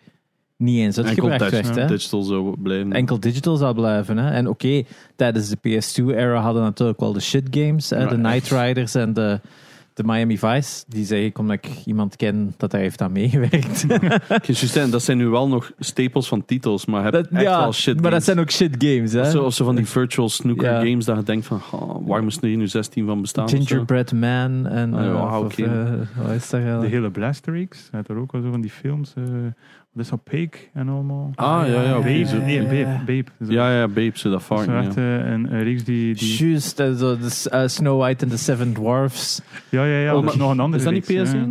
Speaker 2: niet eens
Speaker 1: Enkel
Speaker 2: uitgebracht
Speaker 1: touch-
Speaker 2: werd. hè.
Speaker 1: digital zou blijven. [laughs]
Speaker 2: enkel digital zou blijven. Hè? En oké, tijdens de PS2-era hadden we natuurlijk wel de shit games. Hè?
Speaker 1: Ja,
Speaker 2: de Night
Speaker 1: echt.
Speaker 2: Riders en de, de Miami Vice. Die zeg ik omdat ik iemand ken dat daar heeft aan
Speaker 1: [laughs]
Speaker 2: meegewerkt.
Speaker 1: Ik wou juist zeggen, dat zijn nu wel nog stapels van titels, maar heb
Speaker 2: Dat-
Speaker 1: echt wel shit
Speaker 2: maar dat
Speaker 1: games.
Speaker 2: zijn ook shit games. Hè?
Speaker 1: Of zo, of zo van die virtual snooker
Speaker 2: Ja.
Speaker 1: games, dat je denkt van, "Ah, waar moest er hier nu 16 van bestaan? of zo?"
Speaker 2: Gingerbread Man en
Speaker 1: Ah, ja,
Speaker 2: eh,
Speaker 1: ah,
Speaker 2: of,
Speaker 1: oké.
Speaker 2: eh, wat is daar
Speaker 3: weten.
Speaker 2: al?
Speaker 3: De hele Blasterix, uit er ook wel zo van die films. eh, Wat is dat, Peek en allemaal.
Speaker 1: Ah, ja, ja, oké.
Speaker 3: Babe,
Speaker 1: zo.
Speaker 3: nee, Babe. Babe. Zo.
Speaker 1: Ja, ja, babe, zo dat
Speaker 3: Dat is
Speaker 1: varken,
Speaker 3: zo
Speaker 1: ja.
Speaker 3: echt eh, een, een reeks die... die
Speaker 2: Juist, eh, zo de S- eh, Snow White and the Seven Dwarfs.
Speaker 3: ja, ja, ja,
Speaker 1: Oh,
Speaker 3: dat is
Speaker 1: maar-
Speaker 3: nog een andere
Speaker 1: Is dat niet
Speaker 3: reeks,
Speaker 1: PS1?
Speaker 3: ja.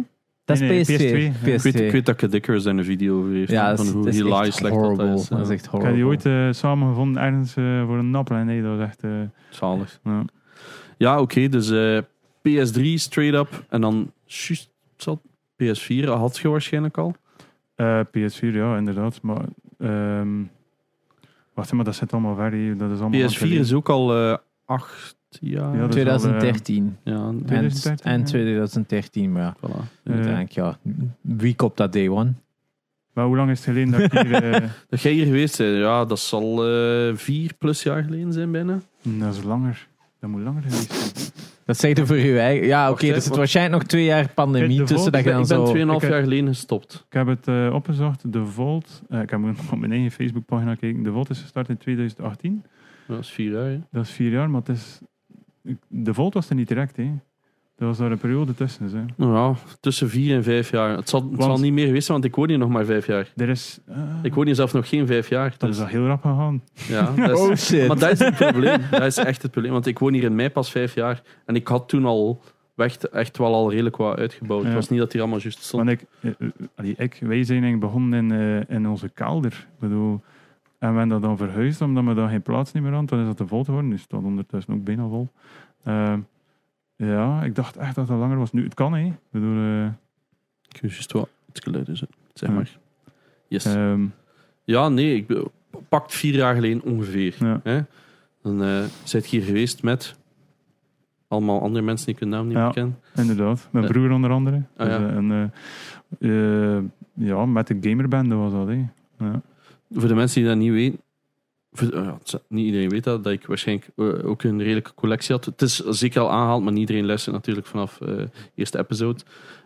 Speaker 2: Dat is
Speaker 3: Nee, nee,
Speaker 2: PS2.
Speaker 3: PS2, ja.
Speaker 1: Ik weet, ik weet dat Kadikker zijn een video over heeft,
Speaker 2: Ja,
Speaker 1: hè,
Speaker 2: dat
Speaker 1: van
Speaker 2: is,
Speaker 1: hoe
Speaker 2: dat is
Speaker 1: hilarisch
Speaker 2: echt
Speaker 1: slecht dat
Speaker 2: horrible.
Speaker 1: is. ja.
Speaker 2: Dat is echt
Speaker 3: Ik heb die
Speaker 1: oh.
Speaker 2: horrible.
Speaker 3: ooit eh, samengevonden ergens eh, voor een nappel. En nee, dat was echt... eh, nou,
Speaker 1: Zalig.
Speaker 3: ja.
Speaker 1: Ja, oké, dus eh, PS3 straight up, en dan juist zat PS4, had je waarschijnlijk al.
Speaker 3: Eh, PS4, ja, inderdaad. Maar... ehm, wacht, maar dat zit allemaal ver hier. Dat is allemaal lang
Speaker 1: PS4 is ook al eh, acht jaar.
Speaker 3: Ja, dat- is wel, eh,
Speaker 2: 2013.
Speaker 1: ja,
Speaker 2: En-
Speaker 3: 2013,
Speaker 2: en
Speaker 3: ja.
Speaker 2: 2013, maar ja.
Speaker 1: voilà.
Speaker 3: Eh,
Speaker 2: Dan denk ik,
Speaker 1: Eh.
Speaker 2: ja, wie koopt dat day one?
Speaker 3: Maar hoe lang is het geleden dat ik hier... eh,
Speaker 1: Dat jij hier geweest bent, ja, dat zal eh, vier plus jaar geleden zijn bijna.
Speaker 3: Hmm, dat is langer. Dat moet langer geweest zijn.
Speaker 2: Dat zegt er voor je eigen... Ja, oké,
Speaker 1: Wacht, hè,
Speaker 2: dus het
Speaker 1: wat-
Speaker 2: waarschijnlijk nog twee jaar
Speaker 3: Kijk,
Speaker 2: pandemie
Speaker 3: de
Speaker 2: tussen dat
Speaker 1: Ik
Speaker 2: je
Speaker 1: ben,
Speaker 2: dan
Speaker 1: ik ben
Speaker 2: zo...
Speaker 1: 2,5
Speaker 3: ik heb-
Speaker 1: jaar geleden gestopt.
Speaker 3: Ik heb het eh, opgezocht. De Volt. eh, ik heb op [laughs] mijn eigen Facebookpagina gekeken. De Volt is gestart in 2018.
Speaker 1: Dat is vier jaar. hè.
Speaker 3: Dat is vier jaar, maar het is... ik- De Volt was er niet direct, hè. Er was daar een periode tussen, dus, hè.
Speaker 1: Nou ja, tussen vier en vijf jaar. Het zal, het
Speaker 3: Want-
Speaker 1: zal niet meer geweest zijn, want ik woon hier nog maar vijf jaar.
Speaker 3: Er is... eh,
Speaker 1: Ik woon hier zelf nog geen vijf jaar.
Speaker 3: dat
Speaker 1: dus-
Speaker 3: is al heel rap gegaan. [laughs]
Speaker 1: ja, dat is-
Speaker 3: Oh,
Speaker 2: Oh, shit.
Speaker 1: Maar dat is [laughs] het probleem. Dat is echt het probleem. Want ik woon hier in mei pas vijf jaar. En ik had toen al echt, echt wel al redelijk wat uitgebouwd.
Speaker 3: Ja.
Speaker 1: Het was niet dat hier allemaal juist stond.
Speaker 3: Want ik, eh, eh, allee, ik, wij zijn eigenlijk begonnen in, eh, in onze kelder. Ik bedoel, en we hebben dat dan verhuisd, omdat we dan geen plaats niet meer hadden. Toen is dat te vol geworden. Nu staat ondertussen ook bijna vol. Ehm, ja, ik dacht echt dat dat langer was. Nu, het kan, hè. Ik bedoel... eh,
Speaker 1: Ik wist juist wat het geluid is. hè. Zeg maar. Yes.
Speaker 3: ehm,
Speaker 1: Ja, nee. Ik, be- pakt vier jaar geleden ongeveer.
Speaker 3: ja.
Speaker 1: Hè? Dan eh zijt je hier geweest met allemaal andere mensen die ik hun naam niet
Speaker 3: Ja.
Speaker 1: meer ken.
Speaker 3: Inderdaad, mijn
Speaker 1: Ja.
Speaker 3: broer onder andere.
Speaker 1: Ah, ja.
Speaker 3: Dus, eh, en, eh, eh, ja, met de gamerbende was dat. hè. Ja.
Speaker 1: Voor de mensen die dat niet weten, voor- eh, ja, het is- niet iedereen weet dat, dat ik waarschijnlijk eh, ook een redelijke collectie had. Het is zeker al aangehaald, maar niet iedereen luistert natuurlijk vanaf eh, de eerste episode.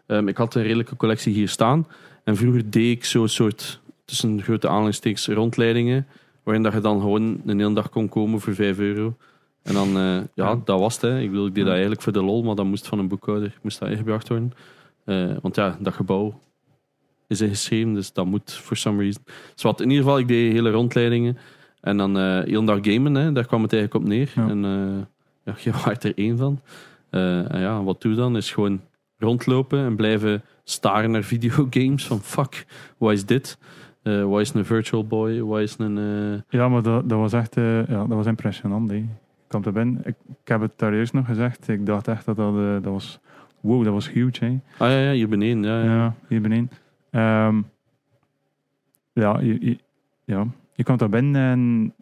Speaker 1: Ehm, ik had een redelijke collectie hier staan. En vroeger deed ik zo'n soort, tussen grote aanhalingstekens, rondleidingen. Waarin dat je dan gewoon een hele dag kon komen voor 5 euro. En dan, eh, ja,
Speaker 3: Ja.
Speaker 1: dat was het. Hè. Ik, bedoel, ik deed dat
Speaker 3: Ja.
Speaker 1: eigenlijk voor de lol, maar dat moest van een boekhouder moest dat ingebracht worden. Eh, want ja, dat gebouw is ingeschreven, dus dat moet for some reason. Dus wat, in ieder geval, ik deed hele rondleidingen. En dan eh heel dag gamen, hè. daar kwam het eigenlijk op neer.
Speaker 3: Ja.
Speaker 1: En eh, ja, [laughs] je waart er één van. Eh, en ja, wat doe je dan? Is gewoon rondlopen en blijven staren naar [laughs] videogames. Van fuck, wat is dit? Eh wat is een Virtual Boy? Wat is een... eh,
Speaker 3: Ja, maar dat, dat was echt eh, ja, dat was impressionant. hè. Ik kwam er binnen. Ik, ik heb het daar eerst nog gezegd. Ik dacht echt dat dat, eh, dat was... Wow, dat was huge, hè.
Speaker 1: Ah ja, ja, hier beneden. Ja, ja.
Speaker 3: Ja, hier beneden. Ehm, ja, je, je- ja, je komt daar binnen en...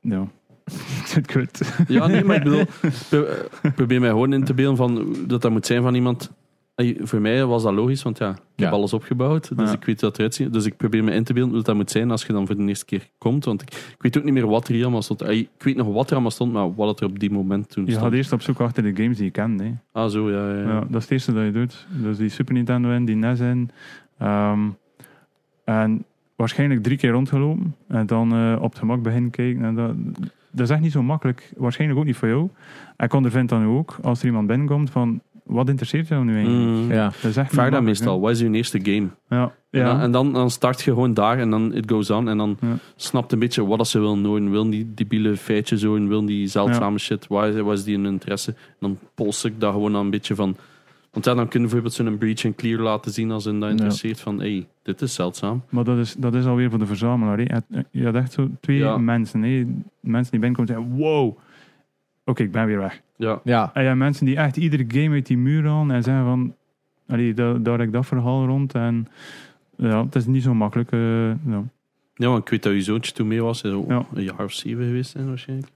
Speaker 3: Ja. [laughs] Ik weet het.
Speaker 1: Ja, nee, maar ik
Speaker 3: [laughs]
Speaker 1: bedoel, pro- eh, probeer mij gewoon in te beelden van dat dat moet zijn van iemand. Eh, Voor mij was dat logisch, want ja, ik heb
Speaker 2: Ja.
Speaker 1: alles opgebouwd, dus
Speaker 3: Ja.
Speaker 1: ik weet hoe dat eruit ziet. Dus ik probeer me in te beelden hoe dat moet zijn als je dan voor de eerste keer komt. Want ik, ik weet ook niet meer wat er hier allemaal stond. Eh, Ik weet nog wat er allemaal stond, maar wat er op die moment toen
Speaker 3: Je gaat
Speaker 1: stond.
Speaker 3: eerst op zoek achter de games die je kent, hè.
Speaker 1: Ah, zo, ja. ja, ja.
Speaker 3: Ja, dat is het eerste dat je doet. Dus die Super Nintendo in, die NES in. Ehm, en waarschijnlijk drie keer rondgelopen. En dan eh, op het gemak beginnen kijken. En dat, dat is echt niet zo makkelijk. Waarschijnlijk ook niet voor jou. En ondervindt dan ook, als er iemand binnenkomt, van... Wat interesseert jou nu eigenlijk?
Speaker 1: Mm.
Speaker 2: Ja.
Speaker 3: Dat
Speaker 1: Ik vraag
Speaker 3: is echt niet
Speaker 1: dat
Speaker 3: makkelijk, hè.
Speaker 1: meestal, wat is je eerste game?
Speaker 3: Ja, ja.
Speaker 1: En, dan, en dan, dan start je gewoon daar en dan it goes on. En dan
Speaker 3: Ja.
Speaker 1: snapt een beetje wat dat ze willen horen. Wil die debiele feitjes horen? Wil die zeldzame shit? Waar is, waar is die een interesse? En dan pols ik dat gewoon aan een beetje van... Want ja, dan kunnen we bijvoorbeeld zo'n breach en clear laten zien als hen dat
Speaker 2: Ja.
Speaker 1: interesseert. Van, hey, dit is zeldzaam.
Speaker 3: Maar dat is, dat is alweer voor de verzamelaar. hè. Het- Je had echt zo twee
Speaker 1: Ja.
Speaker 3: mensen. hè. Mensen die binnenkomen en zeggen... Wow, oké, ik ben weer weg.
Speaker 1: Ja,
Speaker 2: Ja.
Speaker 3: En ja, mensen die echt iedere game uit die muur halen en zeggen van... Allee, da- daar heb ik dat verhaal rond en... Ja, het is niet zo makkelijk. eh, ja.
Speaker 1: ja want ik weet dat je zoontje toen mee was. Zo
Speaker 3: Ja.
Speaker 1: Een jaar of zeven geweest zijn waarschijnlijk.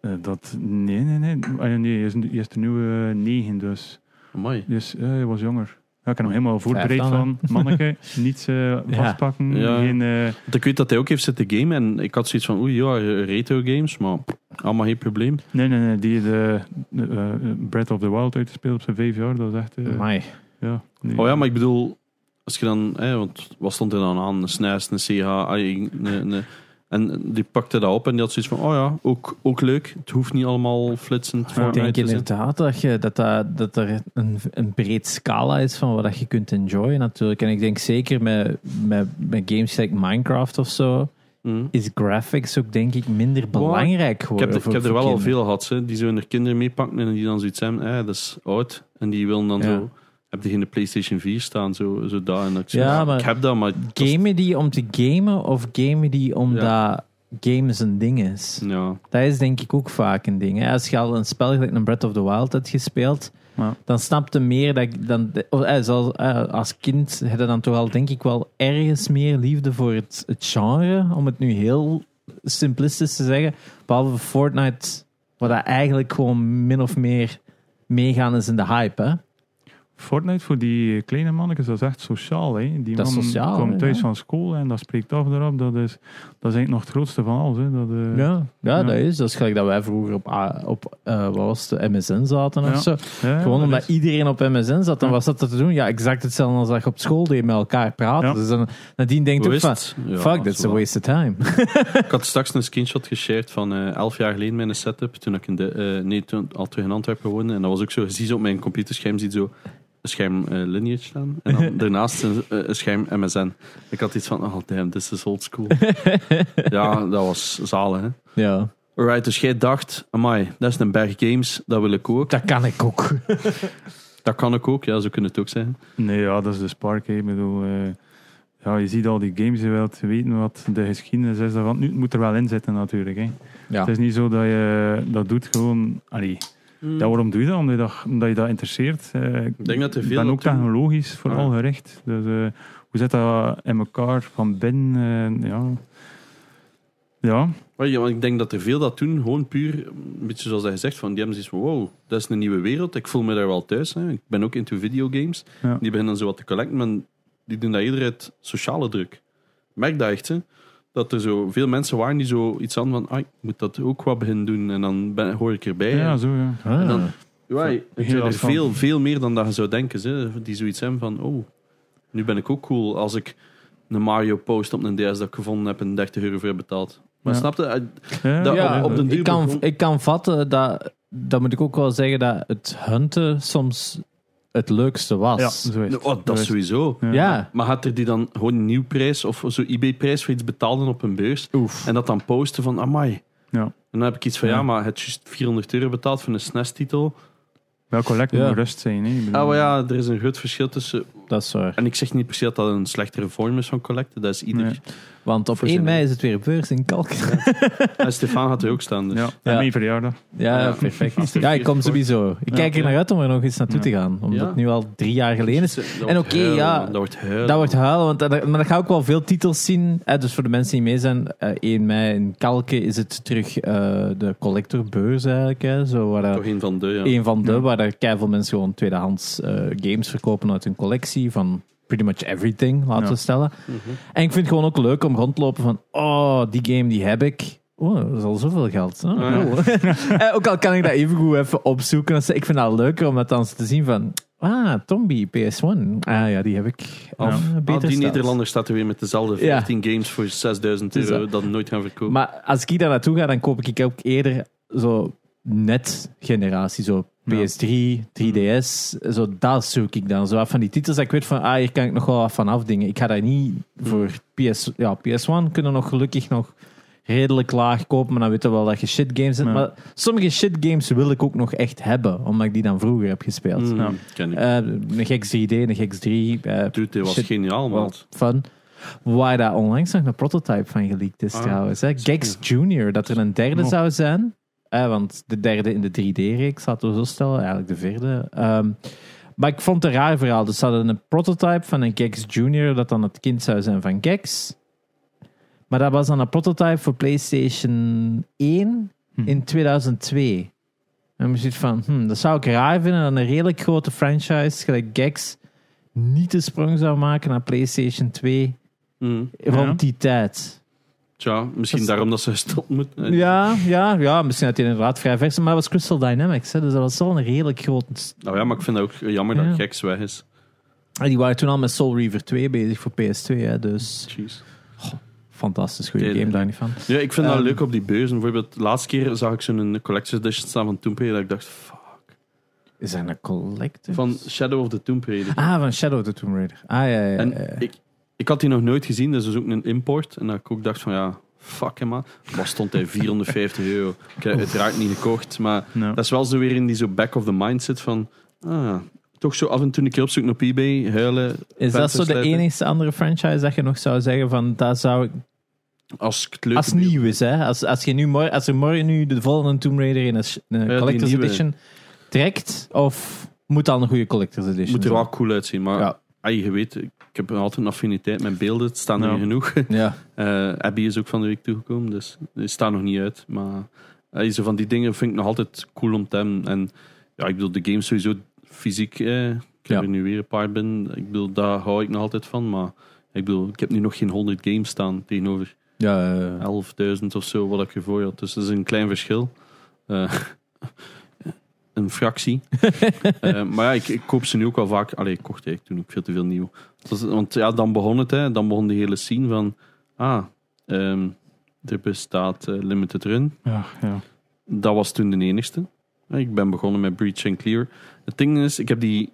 Speaker 3: Eh, dat... Nee, nee, nee. Ah, ja, nee, je is, je is de nieuwe eh, negen, dus...
Speaker 1: Amai.
Speaker 3: Dus eh, je was jonger. Ja, ik heb nog helemaal voorbereid
Speaker 2: Vijf dan,
Speaker 3: van... Manneke, niets eh, vastpakken,
Speaker 1: Ja.
Speaker 3: geen... eh,
Speaker 1: Want ik weet dat hij ook heeft zitten gamen. En ik had zoiets van, oei, ja, retro games. Maar allemaal geen probleem.
Speaker 3: nee, nee, nee. Die de, de, eh, Breath of the Wild uitgespeeld op zijn vijf jaar, dat is echt... eh,
Speaker 2: Amai.
Speaker 3: ja, nee.
Speaker 1: Oh ja, maar ik bedoel, als je dan, hè, want wat stond er dan aan? Een SNES, een CH, ai, een- een- en die pakte dat op en die had zoiets van, oh ja, ook, ook leuk. Het hoeft niet allemaal flitsend
Speaker 2: Ik
Speaker 1: Fortnite
Speaker 2: denk
Speaker 1: te zijn.
Speaker 2: inderdaad dat, je, dat, dat, dat er een, een breed scala is van wat dat je kunt enjoyen natuurlijk. En ik denk zeker met, met, met games like Minecraft of zo,
Speaker 1: Mm.
Speaker 2: is graphics ook denk ik minder
Speaker 1: Wow.
Speaker 2: belangrijk
Speaker 1: Ik
Speaker 2: geworden.
Speaker 1: heb, er- ik
Speaker 2: voor-
Speaker 1: heb er
Speaker 2: voor
Speaker 1: wel al
Speaker 2: kinderen.
Speaker 1: veel gehad, hè, die zo hun kinderen meepakken en die dan zoiets hebben, eh, dat is oud. En die willen dan
Speaker 2: Ja.
Speaker 1: zo, heb die geen PlayStation 4 staan, zo, zo daar. En dat ik, zo,
Speaker 2: Ja, maar-
Speaker 1: ik heb dat, maar... dat is-
Speaker 2: Gamen die om te gamen of gamen die omdat games een ding is?
Speaker 1: ja.
Speaker 2: Dat is denk ik ook vaak een ding. Hè? Als je al een spel gelijk een Breath of the Wild hebt gespeeld,
Speaker 3: Ja.
Speaker 2: dan snapte meer dat ik dan. of, eh, zoals, eh, als kind heb je dan toch al denk ik wel ergens meer liefde voor het, het genre, om het nu heel simplistisch te zeggen. Behalve Fortnite, wat dat eigenlijk gewoon min of meer meegaan is in de hype. Hè?
Speaker 3: Fortnite voor die kleine mannetjes, dat is echt sociaal. Hè. Die
Speaker 2: Dat is
Speaker 3: man
Speaker 2: sociaal,
Speaker 3: komt
Speaker 2: hè,
Speaker 3: thuis
Speaker 2: ja.
Speaker 3: van school en dat spreekt af erop. Dat is, dat is eigenlijk nog het grootste van alles. Hè. Dat, eh,
Speaker 2: Ja, ja,
Speaker 3: Ja.
Speaker 2: dat is. Dat is gelijk dat wij vroeger op, A- op eh, wat was het, de MSN zaten
Speaker 3: Ja.
Speaker 2: of zo.
Speaker 3: ja,
Speaker 2: eh, Gewoon
Speaker 3: dat
Speaker 2: omdat
Speaker 3: is-
Speaker 2: iedereen op MSN zat, dan
Speaker 3: Ja.
Speaker 2: was dat te doen. Ja, exact hetzelfde als dat je op school deed met elkaar praten.
Speaker 3: Ja.
Speaker 2: Dus dan, nadien denkt
Speaker 1: Hoe
Speaker 2: ook
Speaker 1: is
Speaker 2: van,
Speaker 1: het? Ja,
Speaker 2: fuck, that's a
Speaker 1: zo.
Speaker 2: waste of
Speaker 1: [laughs]
Speaker 2: time.
Speaker 1: Ik had straks een screenshot geshared van eh elf jaar geleden mijn setup. Toen ik in de, eh, nee, toen al terug in Antwerpen woonde. En dat was ook zo. Je ziet zo op mijn computerscherm ziet zo een scherm eh, Lineage staan. En dan daarnaast een, eh, een scherm MSN. Ik had iets van, oh damn, this is old school. ja, dat was zalen. Hè?
Speaker 2: ja,
Speaker 1: Alright, dus jij dacht, amai, dat is een berg games. Dat wil ik ook.
Speaker 2: dat kan ik ook.
Speaker 1: Dat kan ik ook. Ja, zo kunnen het ook zijn.
Speaker 3: Nee, ja, dat is de spark. Hè. Ik bedoel, eh, ja, je ziet al die games, je wilt weten wat de geschiedenis is daarvan. Nu het moet er wel in zitten natuurlijk. Hè.
Speaker 2: Ja.
Speaker 3: [laughs] Het is niet zo dat je dat doet gewoon... Allee,
Speaker 1: Hmm.
Speaker 3: ja, waarom doe je dat? Omdat je dat, omdat je dat interesseert. Eh,
Speaker 1: Ik denk dat er veel
Speaker 3: ben ook
Speaker 1: op toe-
Speaker 3: technologisch vooral
Speaker 1: Ah.
Speaker 3: gericht. Dus eh, hoe zit dat in elkaar van binnen? eh, ja. ja,
Speaker 1: Maar ja, want ik denk dat er veel dat doen, gewoon puur, een beetje zoals hij zegt, van die hebben zoiets van, wow, dat is een nieuwe wereld, ik voel me daar wel thuis. Hè. Ik ben ook into videogames.
Speaker 3: Ja.
Speaker 1: Die beginnen zo wat te collecten, maar die doen dat eerder uit sociale druk. Ik merk dat echt, hè. Dat er zo veel mensen waren die zo iets hadden van, ah, ik moet dat ook wat beginnen doen, en dan ben, hoor ik erbij.
Speaker 3: Ja,
Speaker 1: En-
Speaker 3: zo ja.
Speaker 2: Ah.
Speaker 1: dan- ja,
Speaker 3: Zo,
Speaker 1: het
Speaker 3: heel
Speaker 1: zijn er
Speaker 3: last van.
Speaker 1: veel, veel meer dan dat je zou denken. Hè, die zoiets hebben van, oh, nu ben ik ook cool als ik een Mario post op een DS dat ik gevonden heb en 30 euro voor heb betaald. Maar
Speaker 3: Ja.
Speaker 1: snap je? Eh,
Speaker 3: Ja,
Speaker 1: Dat-
Speaker 2: ja,
Speaker 1: op- op de duur
Speaker 2: ik, kan,
Speaker 1: begon-
Speaker 2: ik kan vatten dat, dat moet ik ook wel zeggen, dat het hunten soms het leukste was.
Speaker 3: Ja, zo is het.
Speaker 1: Oh, dat
Speaker 3: Zo is het.
Speaker 1: sowieso.
Speaker 2: Ja.
Speaker 1: Maar had er die dan gewoon een nieuw prijs of zo'n eBay-prijs voor iets betaalden op een beurs
Speaker 2: Oef.
Speaker 1: en dat dan posten van, amai.
Speaker 3: Ja.
Speaker 1: En dan heb ik iets van, ja,
Speaker 3: Ja.
Speaker 1: maar het is juist 400 euro betaald voor een SNES-titel.
Speaker 3: Wel collect moet
Speaker 2: Ja.
Speaker 3: rust zijn. Hè. Ik
Speaker 2: Mm.
Speaker 3: bedoel,
Speaker 1: Ah, maar ja, er is een groot verschil tussen...
Speaker 2: Dat is waar.
Speaker 1: En ik zeg niet per se dat dat een slechtere vorm is van collecten. Dat is ieder...
Speaker 3: Nee.
Speaker 2: Want op
Speaker 1: Voor
Speaker 2: 1
Speaker 1: zin
Speaker 2: mei
Speaker 1: in.
Speaker 2: is het weer beurs in Kalk.
Speaker 1: En Stefan gaat er ook staan, dus...
Speaker 3: Ja, en
Speaker 2: Ja.
Speaker 3: mijn verjaardag.
Speaker 2: [laughs] Ja,
Speaker 1: Ja.
Speaker 2: perfect. Ja, ik kom sowieso. Ik kijk er naar uit om er nog eens naartoe
Speaker 3: Ja.
Speaker 2: te gaan. Omdat
Speaker 1: Ja.
Speaker 2: het nu al drie jaar geleden is.
Speaker 1: Dat
Speaker 2: En
Speaker 1: wordt
Speaker 2: oké,
Speaker 1: huilen,
Speaker 2: ja,
Speaker 1: man. Dat wordt huilen.
Speaker 2: Dat wordt huilen, want dat- maar dan ga ik ook wel veel titels zien. Hè, dus voor de mensen die mee zijn, eh, 1 mei in Kalken is het terug eh, de collectorbeurs eigenlijk. Hè, zo, waar, eh,
Speaker 1: toch een van de, ja.
Speaker 2: een van de,
Speaker 3: Ja.
Speaker 2: waar er keiveel mensen gewoon tweedehands eh, games verkopen uit hun collectie van pretty much everything, laten
Speaker 3: Ja.
Speaker 2: we stellen.
Speaker 1: Mhm.
Speaker 2: En ik vind het gewoon ook leuk om rond te lopen van, oh, die game die heb ik. Oh, dat is al zoveel geld. Oh,
Speaker 1: Ah,
Speaker 2: [laughs]
Speaker 1: Ja.
Speaker 2: cool. Eh, ook al kan ik dat even goed even opzoeken. Dus ik vind dat leuker om dat dan te zien van, ah, Tombi, PS1. Ah ja, die heb ik. Of
Speaker 3: Ja.
Speaker 2: eh,
Speaker 1: Ah,
Speaker 2: beter
Speaker 1: die
Speaker 2: staat.
Speaker 1: Nederlander staat er weer met dezelfde
Speaker 2: Ja.
Speaker 1: 15 games voor 6000
Speaker 2: Dus,
Speaker 1: euro dat nooit gaan verkopen.
Speaker 2: Maar als ik daar naartoe ga, dan koop ik ook eerder zo net generatie, zo
Speaker 3: Ja. Mm.
Speaker 2: PS3, 3DS, zo dat zoek ik dan. Zo wat van die titels dat ik weet van, ah, hier kan ik nog wel wat van afdingen. Ik ga daar niet
Speaker 3: Mm.
Speaker 2: voor PS, ja, PS1 kunnen nog gelukkig nog redelijk laag kopen, maar dan weten we wel dat je shit games hebt.
Speaker 3: Ja.
Speaker 2: Maar sommige shit games wil ik ook nog echt hebben, omdat ik die dan vroeger heb gespeeld.
Speaker 1: Mm,
Speaker 3: ja.
Speaker 1: ken ik.
Speaker 2: Eh, een Gex 3D, een Gex 3, eh,
Speaker 1: Dude, dit was
Speaker 2: shit.
Speaker 1: geniaal, man.
Speaker 2: wat fun. Waar daar onlangs nog een prototype van geleakt is
Speaker 1: Ah,
Speaker 2: trouwens. Hè? Gex Junior, dat er een derde
Speaker 3: Oh.
Speaker 2: zou zijn. Eh, want de derde in de 3D-reeks, laten we zo stellen. Eigenlijk de vierde. Ehm, maar ik vond het een raar verhaal. Dus ze hadden een prototype van een Gex Junior, dat dan het kind zou zijn van Gex. Maar dat was dan een prototype voor PlayStation 1
Speaker 3: Hm.
Speaker 2: in 2002. En je ziet van, hm, dat zou ik raar vinden dat een redelijk grote franchise, gelijk Gex, niet de sprong zou maken naar PlayStation 2
Speaker 1: Mm.
Speaker 2: rond die tijd.
Speaker 1: Tja, misschien
Speaker 2: Dat is-
Speaker 1: daarom dat ze gestopt moeten. Eh,
Speaker 2: Ja, ja, ja, misschien had hij inderdaad vrij vers, maar dat was Crystal Dynamics, hè, dus dat was wel een redelijk groot...
Speaker 1: Nou ja, maar ik vind het ook jammer
Speaker 2: Ja.
Speaker 1: dat Geks weg is.
Speaker 2: En Die waren toen al met Soul Reaver 2 bezig voor PS2, hè, dus
Speaker 1: Jeez.
Speaker 2: fantastisch goede
Speaker 1: Nee,
Speaker 2: game,
Speaker 1: nee.
Speaker 2: daar niet van.
Speaker 1: Ja, ik vind dat
Speaker 2: Ehm.
Speaker 1: leuk op die beurzen. Bijvoorbeeld, de laatste keer zag ik zo'n Collector's Edition staan van Tomb Raider. Dat ik dacht, fuck.
Speaker 2: Is dat een collector?
Speaker 1: Van Shadow of the Tomb Raider.
Speaker 2: Ah, van Shadow of the Tomb Raider. Ah, ja, ja, ja.
Speaker 1: En
Speaker 2: ja.
Speaker 1: ik, ik had die nog nooit gezien, dus dat is ook een import. En dat ik ook dacht van, ja, fuck hem, man. Maar stond hij 450 euro. Ik heb het uiteraard niet gekocht, maar...
Speaker 3: Ja.
Speaker 1: Dat is wel zo weer in die zo back of the mind zit van... Ah, toch zo af en toe een keer op zoek naar eBay, huilen.
Speaker 2: Is dat
Speaker 1: venten
Speaker 2: zo de
Speaker 1: slijpen.
Speaker 2: enige andere franchise dat je nog zou zeggen van dat zou ik.
Speaker 1: Als ik het leuk
Speaker 2: Als
Speaker 1: vind.
Speaker 2: nieuw is, hè? Als, als, je nu morgen, als er morgen nu de volgende Tomb Raider in een, sh- een
Speaker 1: die
Speaker 2: Collector's
Speaker 1: nieuwe.
Speaker 2: Edition trekt, of moet dan een goede Collector's Edition
Speaker 1: Moet er
Speaker 2: zijn?
Speaker 1: wel cool uitzien, maar...
Speaker 2: Ja.
Speaker 1: ai, je weet, ik heb altijd een affiniteit met beelden. Het staan er
Speaker 3: Ja.
Speaker 1: genoeg. [laughs]
Speaker 2: Ja.
Speaker 1: Eh, Abby is ook van de week toegekomen, dus het staat nog niet uit. Maar eh, zo van die dingen vind ik nog altijd cool om te hebben. En ja, ik bedoel, de game sowieso fysiek. eh, ik heb
Speaker 2: Ja.
Speaker 1: er nu weer een paar binnen. Ik bedoel, daar hou ik nog altijd van. Maar ik bedoel, ik heb nu nog geen 100 games staan tegenover
Speaker 2: ja, ja, ja.
Speaker 1: 11.000 eh, of zo, wat ik ervoor had. Dus dat is een klein verschil. Eh, [laughs] een fractie. Eh, maar ja, ik, ik koop ze nu ook wel vaak. Allee, ik kocht eigenlijk toen ook veel te veel nieuw. Dus- want ja, dan begon het, hè. Dan begon de hele scene van... Ah, ehm, er bestaat eh, Limited Run.
Speaker 3: Ja, ja.
Speaker 1: Dat was toen de enigste. Ik ben begonnen met Breach and Clear. Het ding is, ik heb die...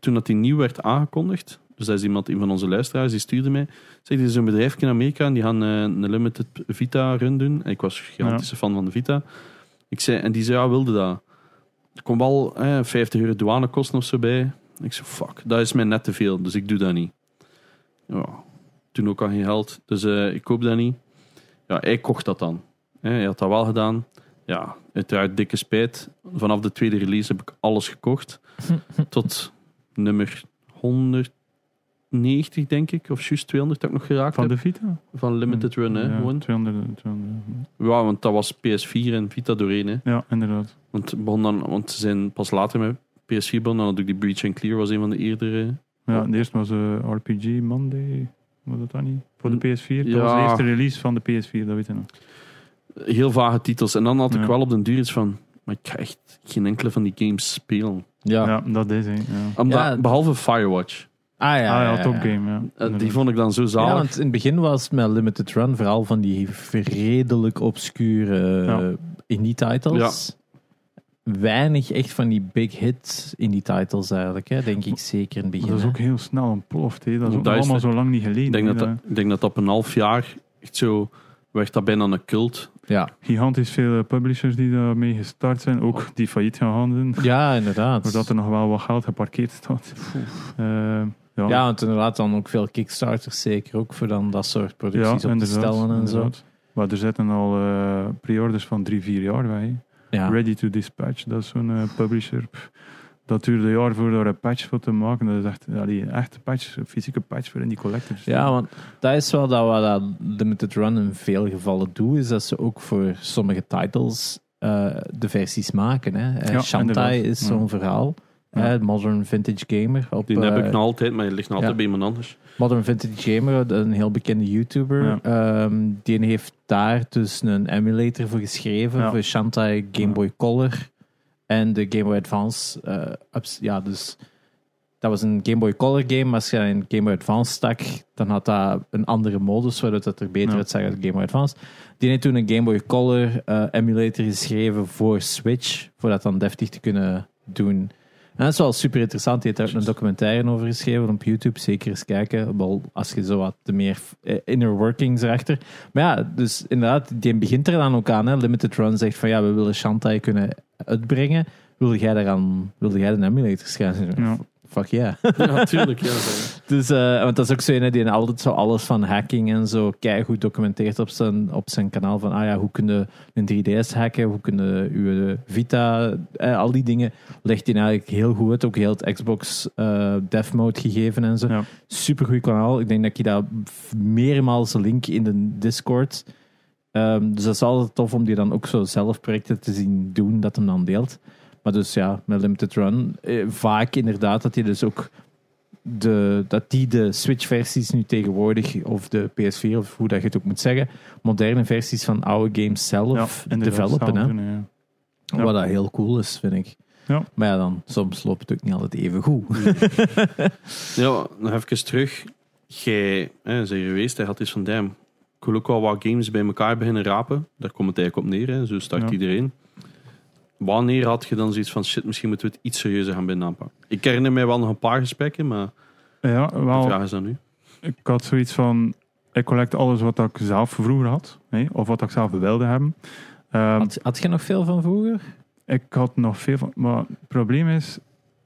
Speaker 1: Toen dat die nieuw werd aangekondigd... Dus dat is iemand, een van onze luisteraars, die stuurde mij... Zeg, dit is een bedrijf in Amerika en die gaan eh, een limited Vita-run doen. En ik was een gigantische fan van de Vita. Ik zei, en die zei, ja, wilde dat. Er komt wel eh, 50 euro douanekosten of zo bij. Ik zei, fuck, dat is mij net te veel, dus ik doe dat niet. Ja, toen ook al geen geld, dus eh, ik koop dat niet. Ja, hij kocht dat dan. Eh, hij had dat wel gedaan. Ja, uiteraard dikke spijt. Vanaf de
Speaker 3: [laughs]
Speaker 1: tweede release heb ik alles gekocht. tot nummer 100 290, denk ik, of juist 200 dat ik nog geraakt
Speaker 3: Van
Speaker 1: heb.
Speaker 3: de Vita?
Speaker 1: Van Limited Run, hè,
Speaker 3: ja,
Speaker 1: gewoon.
Speaker 3: 200, 200.
Speaker 1: Ja, want dat was PS4 en Vita doorheen, hè.
Speaker 3: Ja, inderdaad.
Speaker 1: Want, het begon dan, want ze zijn pas later met PS4 begonnen. Dan natuurlijk die Breach and Clear was een van de eerdere.
Speaker 3: Ja, de eerste was eh, RPG Monday. Was dat dan niet? Voor de
Speaker 1: Hm,
Speaker 3: PS4. Dat
Speaker 1: ja.
Speaker 3: was de eerste release van de PS4, dat weet je nog.
Speaker 1: eh, Heel vage titels. En dan had ik
Speaker 3: Ja.
Speaker 1: wel op den duur iets van... Maar ik ga echt geen enkele van die games spelen.
Speaker 2: Ja.
Speaker 3: Ja, dat is hij. Ja.
Speaker 1: Omdat-
Speaker 2: Ja.
Speaker 1: Behalve Firewatch.
Speaker 2: Ah ja,
Speaker 3: ah
Speaker 2: ja,
Speaker 3: ja,
Speaker 2: ja,
Speaker 3: top
Speaker 2: ja.
Speaker 3: game, ja.
Speaker 1: Eh, die
Speaker 3: Inderdaad.
Speaker 1: vond ik dan zo
Speaker 2: Ja,
Speaker 1: zalig.
Speaker 2: want in het begin was het met Limited Run vooral van die vredelijk obscure
Speaker 3: Ja.
Speaker 2: indie-titles. Weinig echt van die big hits indie-titles eigenlijk, hè, denk ik zeker in het
Speaker 3: Maar
Speaker 2: begin.
Speaker 3: dat is
Speaker 2: hè.
Speaker 3: ook heel snel ontploft, hè. Dat is
Speaker 1: Want
Speaker 3: ook
Speaker 1: dat
Speaker 3: nog
Speaker 1: is
Speaker 3: allemaal
Speaker 1: de-
Speaker 3: zo lang niet
Speaker 1: ik,
Speaker 3: geleden.
Speaker 1: denk
Speaker 3: hè.
Speaker 1: dat dat, ik denk dat dat op een half jaar echt zo... Werd dat bijna een cult.
Speaker 2: Ja.
Speaker 3: Gigantisch veel eh, publishers die daarmee gestart zijn, ook die failliet gaan zijn.
Speaker 2: ja, inderdaad.
Speaker 3: Doordat er nog wel wat geld geparkeerd staat. Eh, ja,
Speaker 2: Ja, want inderdaad dan ook veel kickstarters zeker ook voor dan dat soort producties op te stellen en zo.
Speaker 3: inderdaad. Maar er zitten al eh, pre-orders van drie, vier jaar bij. hè.
Speaker 2: Ja.
Speaker 3: Ready to Dispatch, dat is zo'n eh, publisher. Pff, Dat duurde jaar voor daar een patch voor te maken. Dat is echt allee, een echte patch, een fysieke patch voor in die collectors.
Speaker 2: Ja, want dat is wel dat wat dat Limited Run in veel gevallen doet, is dat ze ook voor sommige titles eh, de versies maken. Hè. Eh,
Speaker 3: Ja,
Speaker 2: Shantai
Speaker 3: inderdaad.
Speaker 2: is zo'n
Speaker 3: Ja.
Speaker 2: verhaal.
Speaker 3: Ja.
Speaker 2: hè, Modern Vintage Gamer. Op,
Speaker 1: Die heb
Speaker 2: eh,
Speaker 1: ik nog altijd, maar die ligt nog
Speaker 2: ja.
Speaker 1: altijd bij iemand anders.
Speaker 2: [laughs] Modern Vintage Gamer, een heel bekende YouTuber,
Speaker 3: Ja.
Speaker 2: ehm, die heeft daar dus een emulator voor geschreven,
Speaker 3: Ja.
Speaker 2: voor Shantai Game Boy Color en de Game Boy Advance. eh, ups- ja, dus dat was een Game Boy Color game, maar als je een Game Boy Advance stak, dan had dat een andere modus, waardoor dat er beter
Speaker 3: Ja.
Speaker 2: uitzag dan Game Boy Advance. Die heeft toen een Game Boy Color eh, emulator geschreven voor Switch, voor dat dan deftig te kunnen doen. En dat is wel super interessant. Die heeft daar ook een documentaire over geschreven op YouTube. Zeker eens kijken. Wel, als je zo wat de meer eh, inner workings erachter. Maar ja, dus inderdaad, die begint er dan ook aan. Hè. Limited Run zegt van ja, we willen Shantai kunnen uitbrengen. Wil jij daaraan, wilde jij de emulator schrijven?
Speaker 3: Ja.
Speaker 2: Fuck yeah.
Speaker 1: Ja, natuurlijk. Ja, dat-
Speaker 2: Dus, eh, want dat is ook zo een die altijd zo alles van hacking en zo goed documenteert op zijn, op zijn kanaal. Van, ah ja, hoe kunnen een 3DS hacken? Hoe kunnen uw Vita, eh, al die dingen. Legt hij eigenlijk heel goed uit. Ook heel het Xbox eh dev mode gegeven en zo.
Speaker 3: Ja.
Speaker 2: Supergoed kanaal. Ik denk dat ik je daar f- meermaals link in de Discord. Ehm, dus dat is altijd tof om die dan ook zo zelf projecten te zien doen, dat hem dan deelt. Maar dus ja, met Limited Run, eh, vaak inderdaad dat hij dus ook de, dat die de Switch-versies nu tegenwoordig, of de PS4, of hoe dat je het ook moet zeggen, moderne versies van oude games zelf
Speaker 3: Ja, inderdaad,
Speaker 2: developen. Hè?
Speaker 3: samen doen, ja. Ja.
Speaker 2: Wat dat heel cool is, vind ik.
Speaker 3: Ja.
Speaker 2: Maar ja, dan, soms loopt het ook niet altijd even goed.
Speaker 1: ja, nog even terug. Jij, hè, zijn geweest, hij had iets van, damn, ik wil ook wel wat games bij elkaar beginnen rapen. Daar komt het eigenlijk op neer, hè. zo start
Speaker 3: Ja.
Speaker 1: iedereen. Wanneer had je dan zoiets van, shit, misschien moeten we het iets serieuzer gaan binnen aanpakken? Ik herinner mij wel nog een paar gesprekken, maar
Speaker 3: Ja,
Speaker 1: de
Speaker 3: wel,
Speaker 1: vraag is dan nu.
Speaker 3: ik had zoiets van... Ik collect alles wat ik zelf vroeger had. Hè, of wat ik zelf wilde hebben. Ehm,
Speaker 2: Had, had je nog veel van vroeger?
Speaker 3: Ik had nog veel van... Maar het probleem is...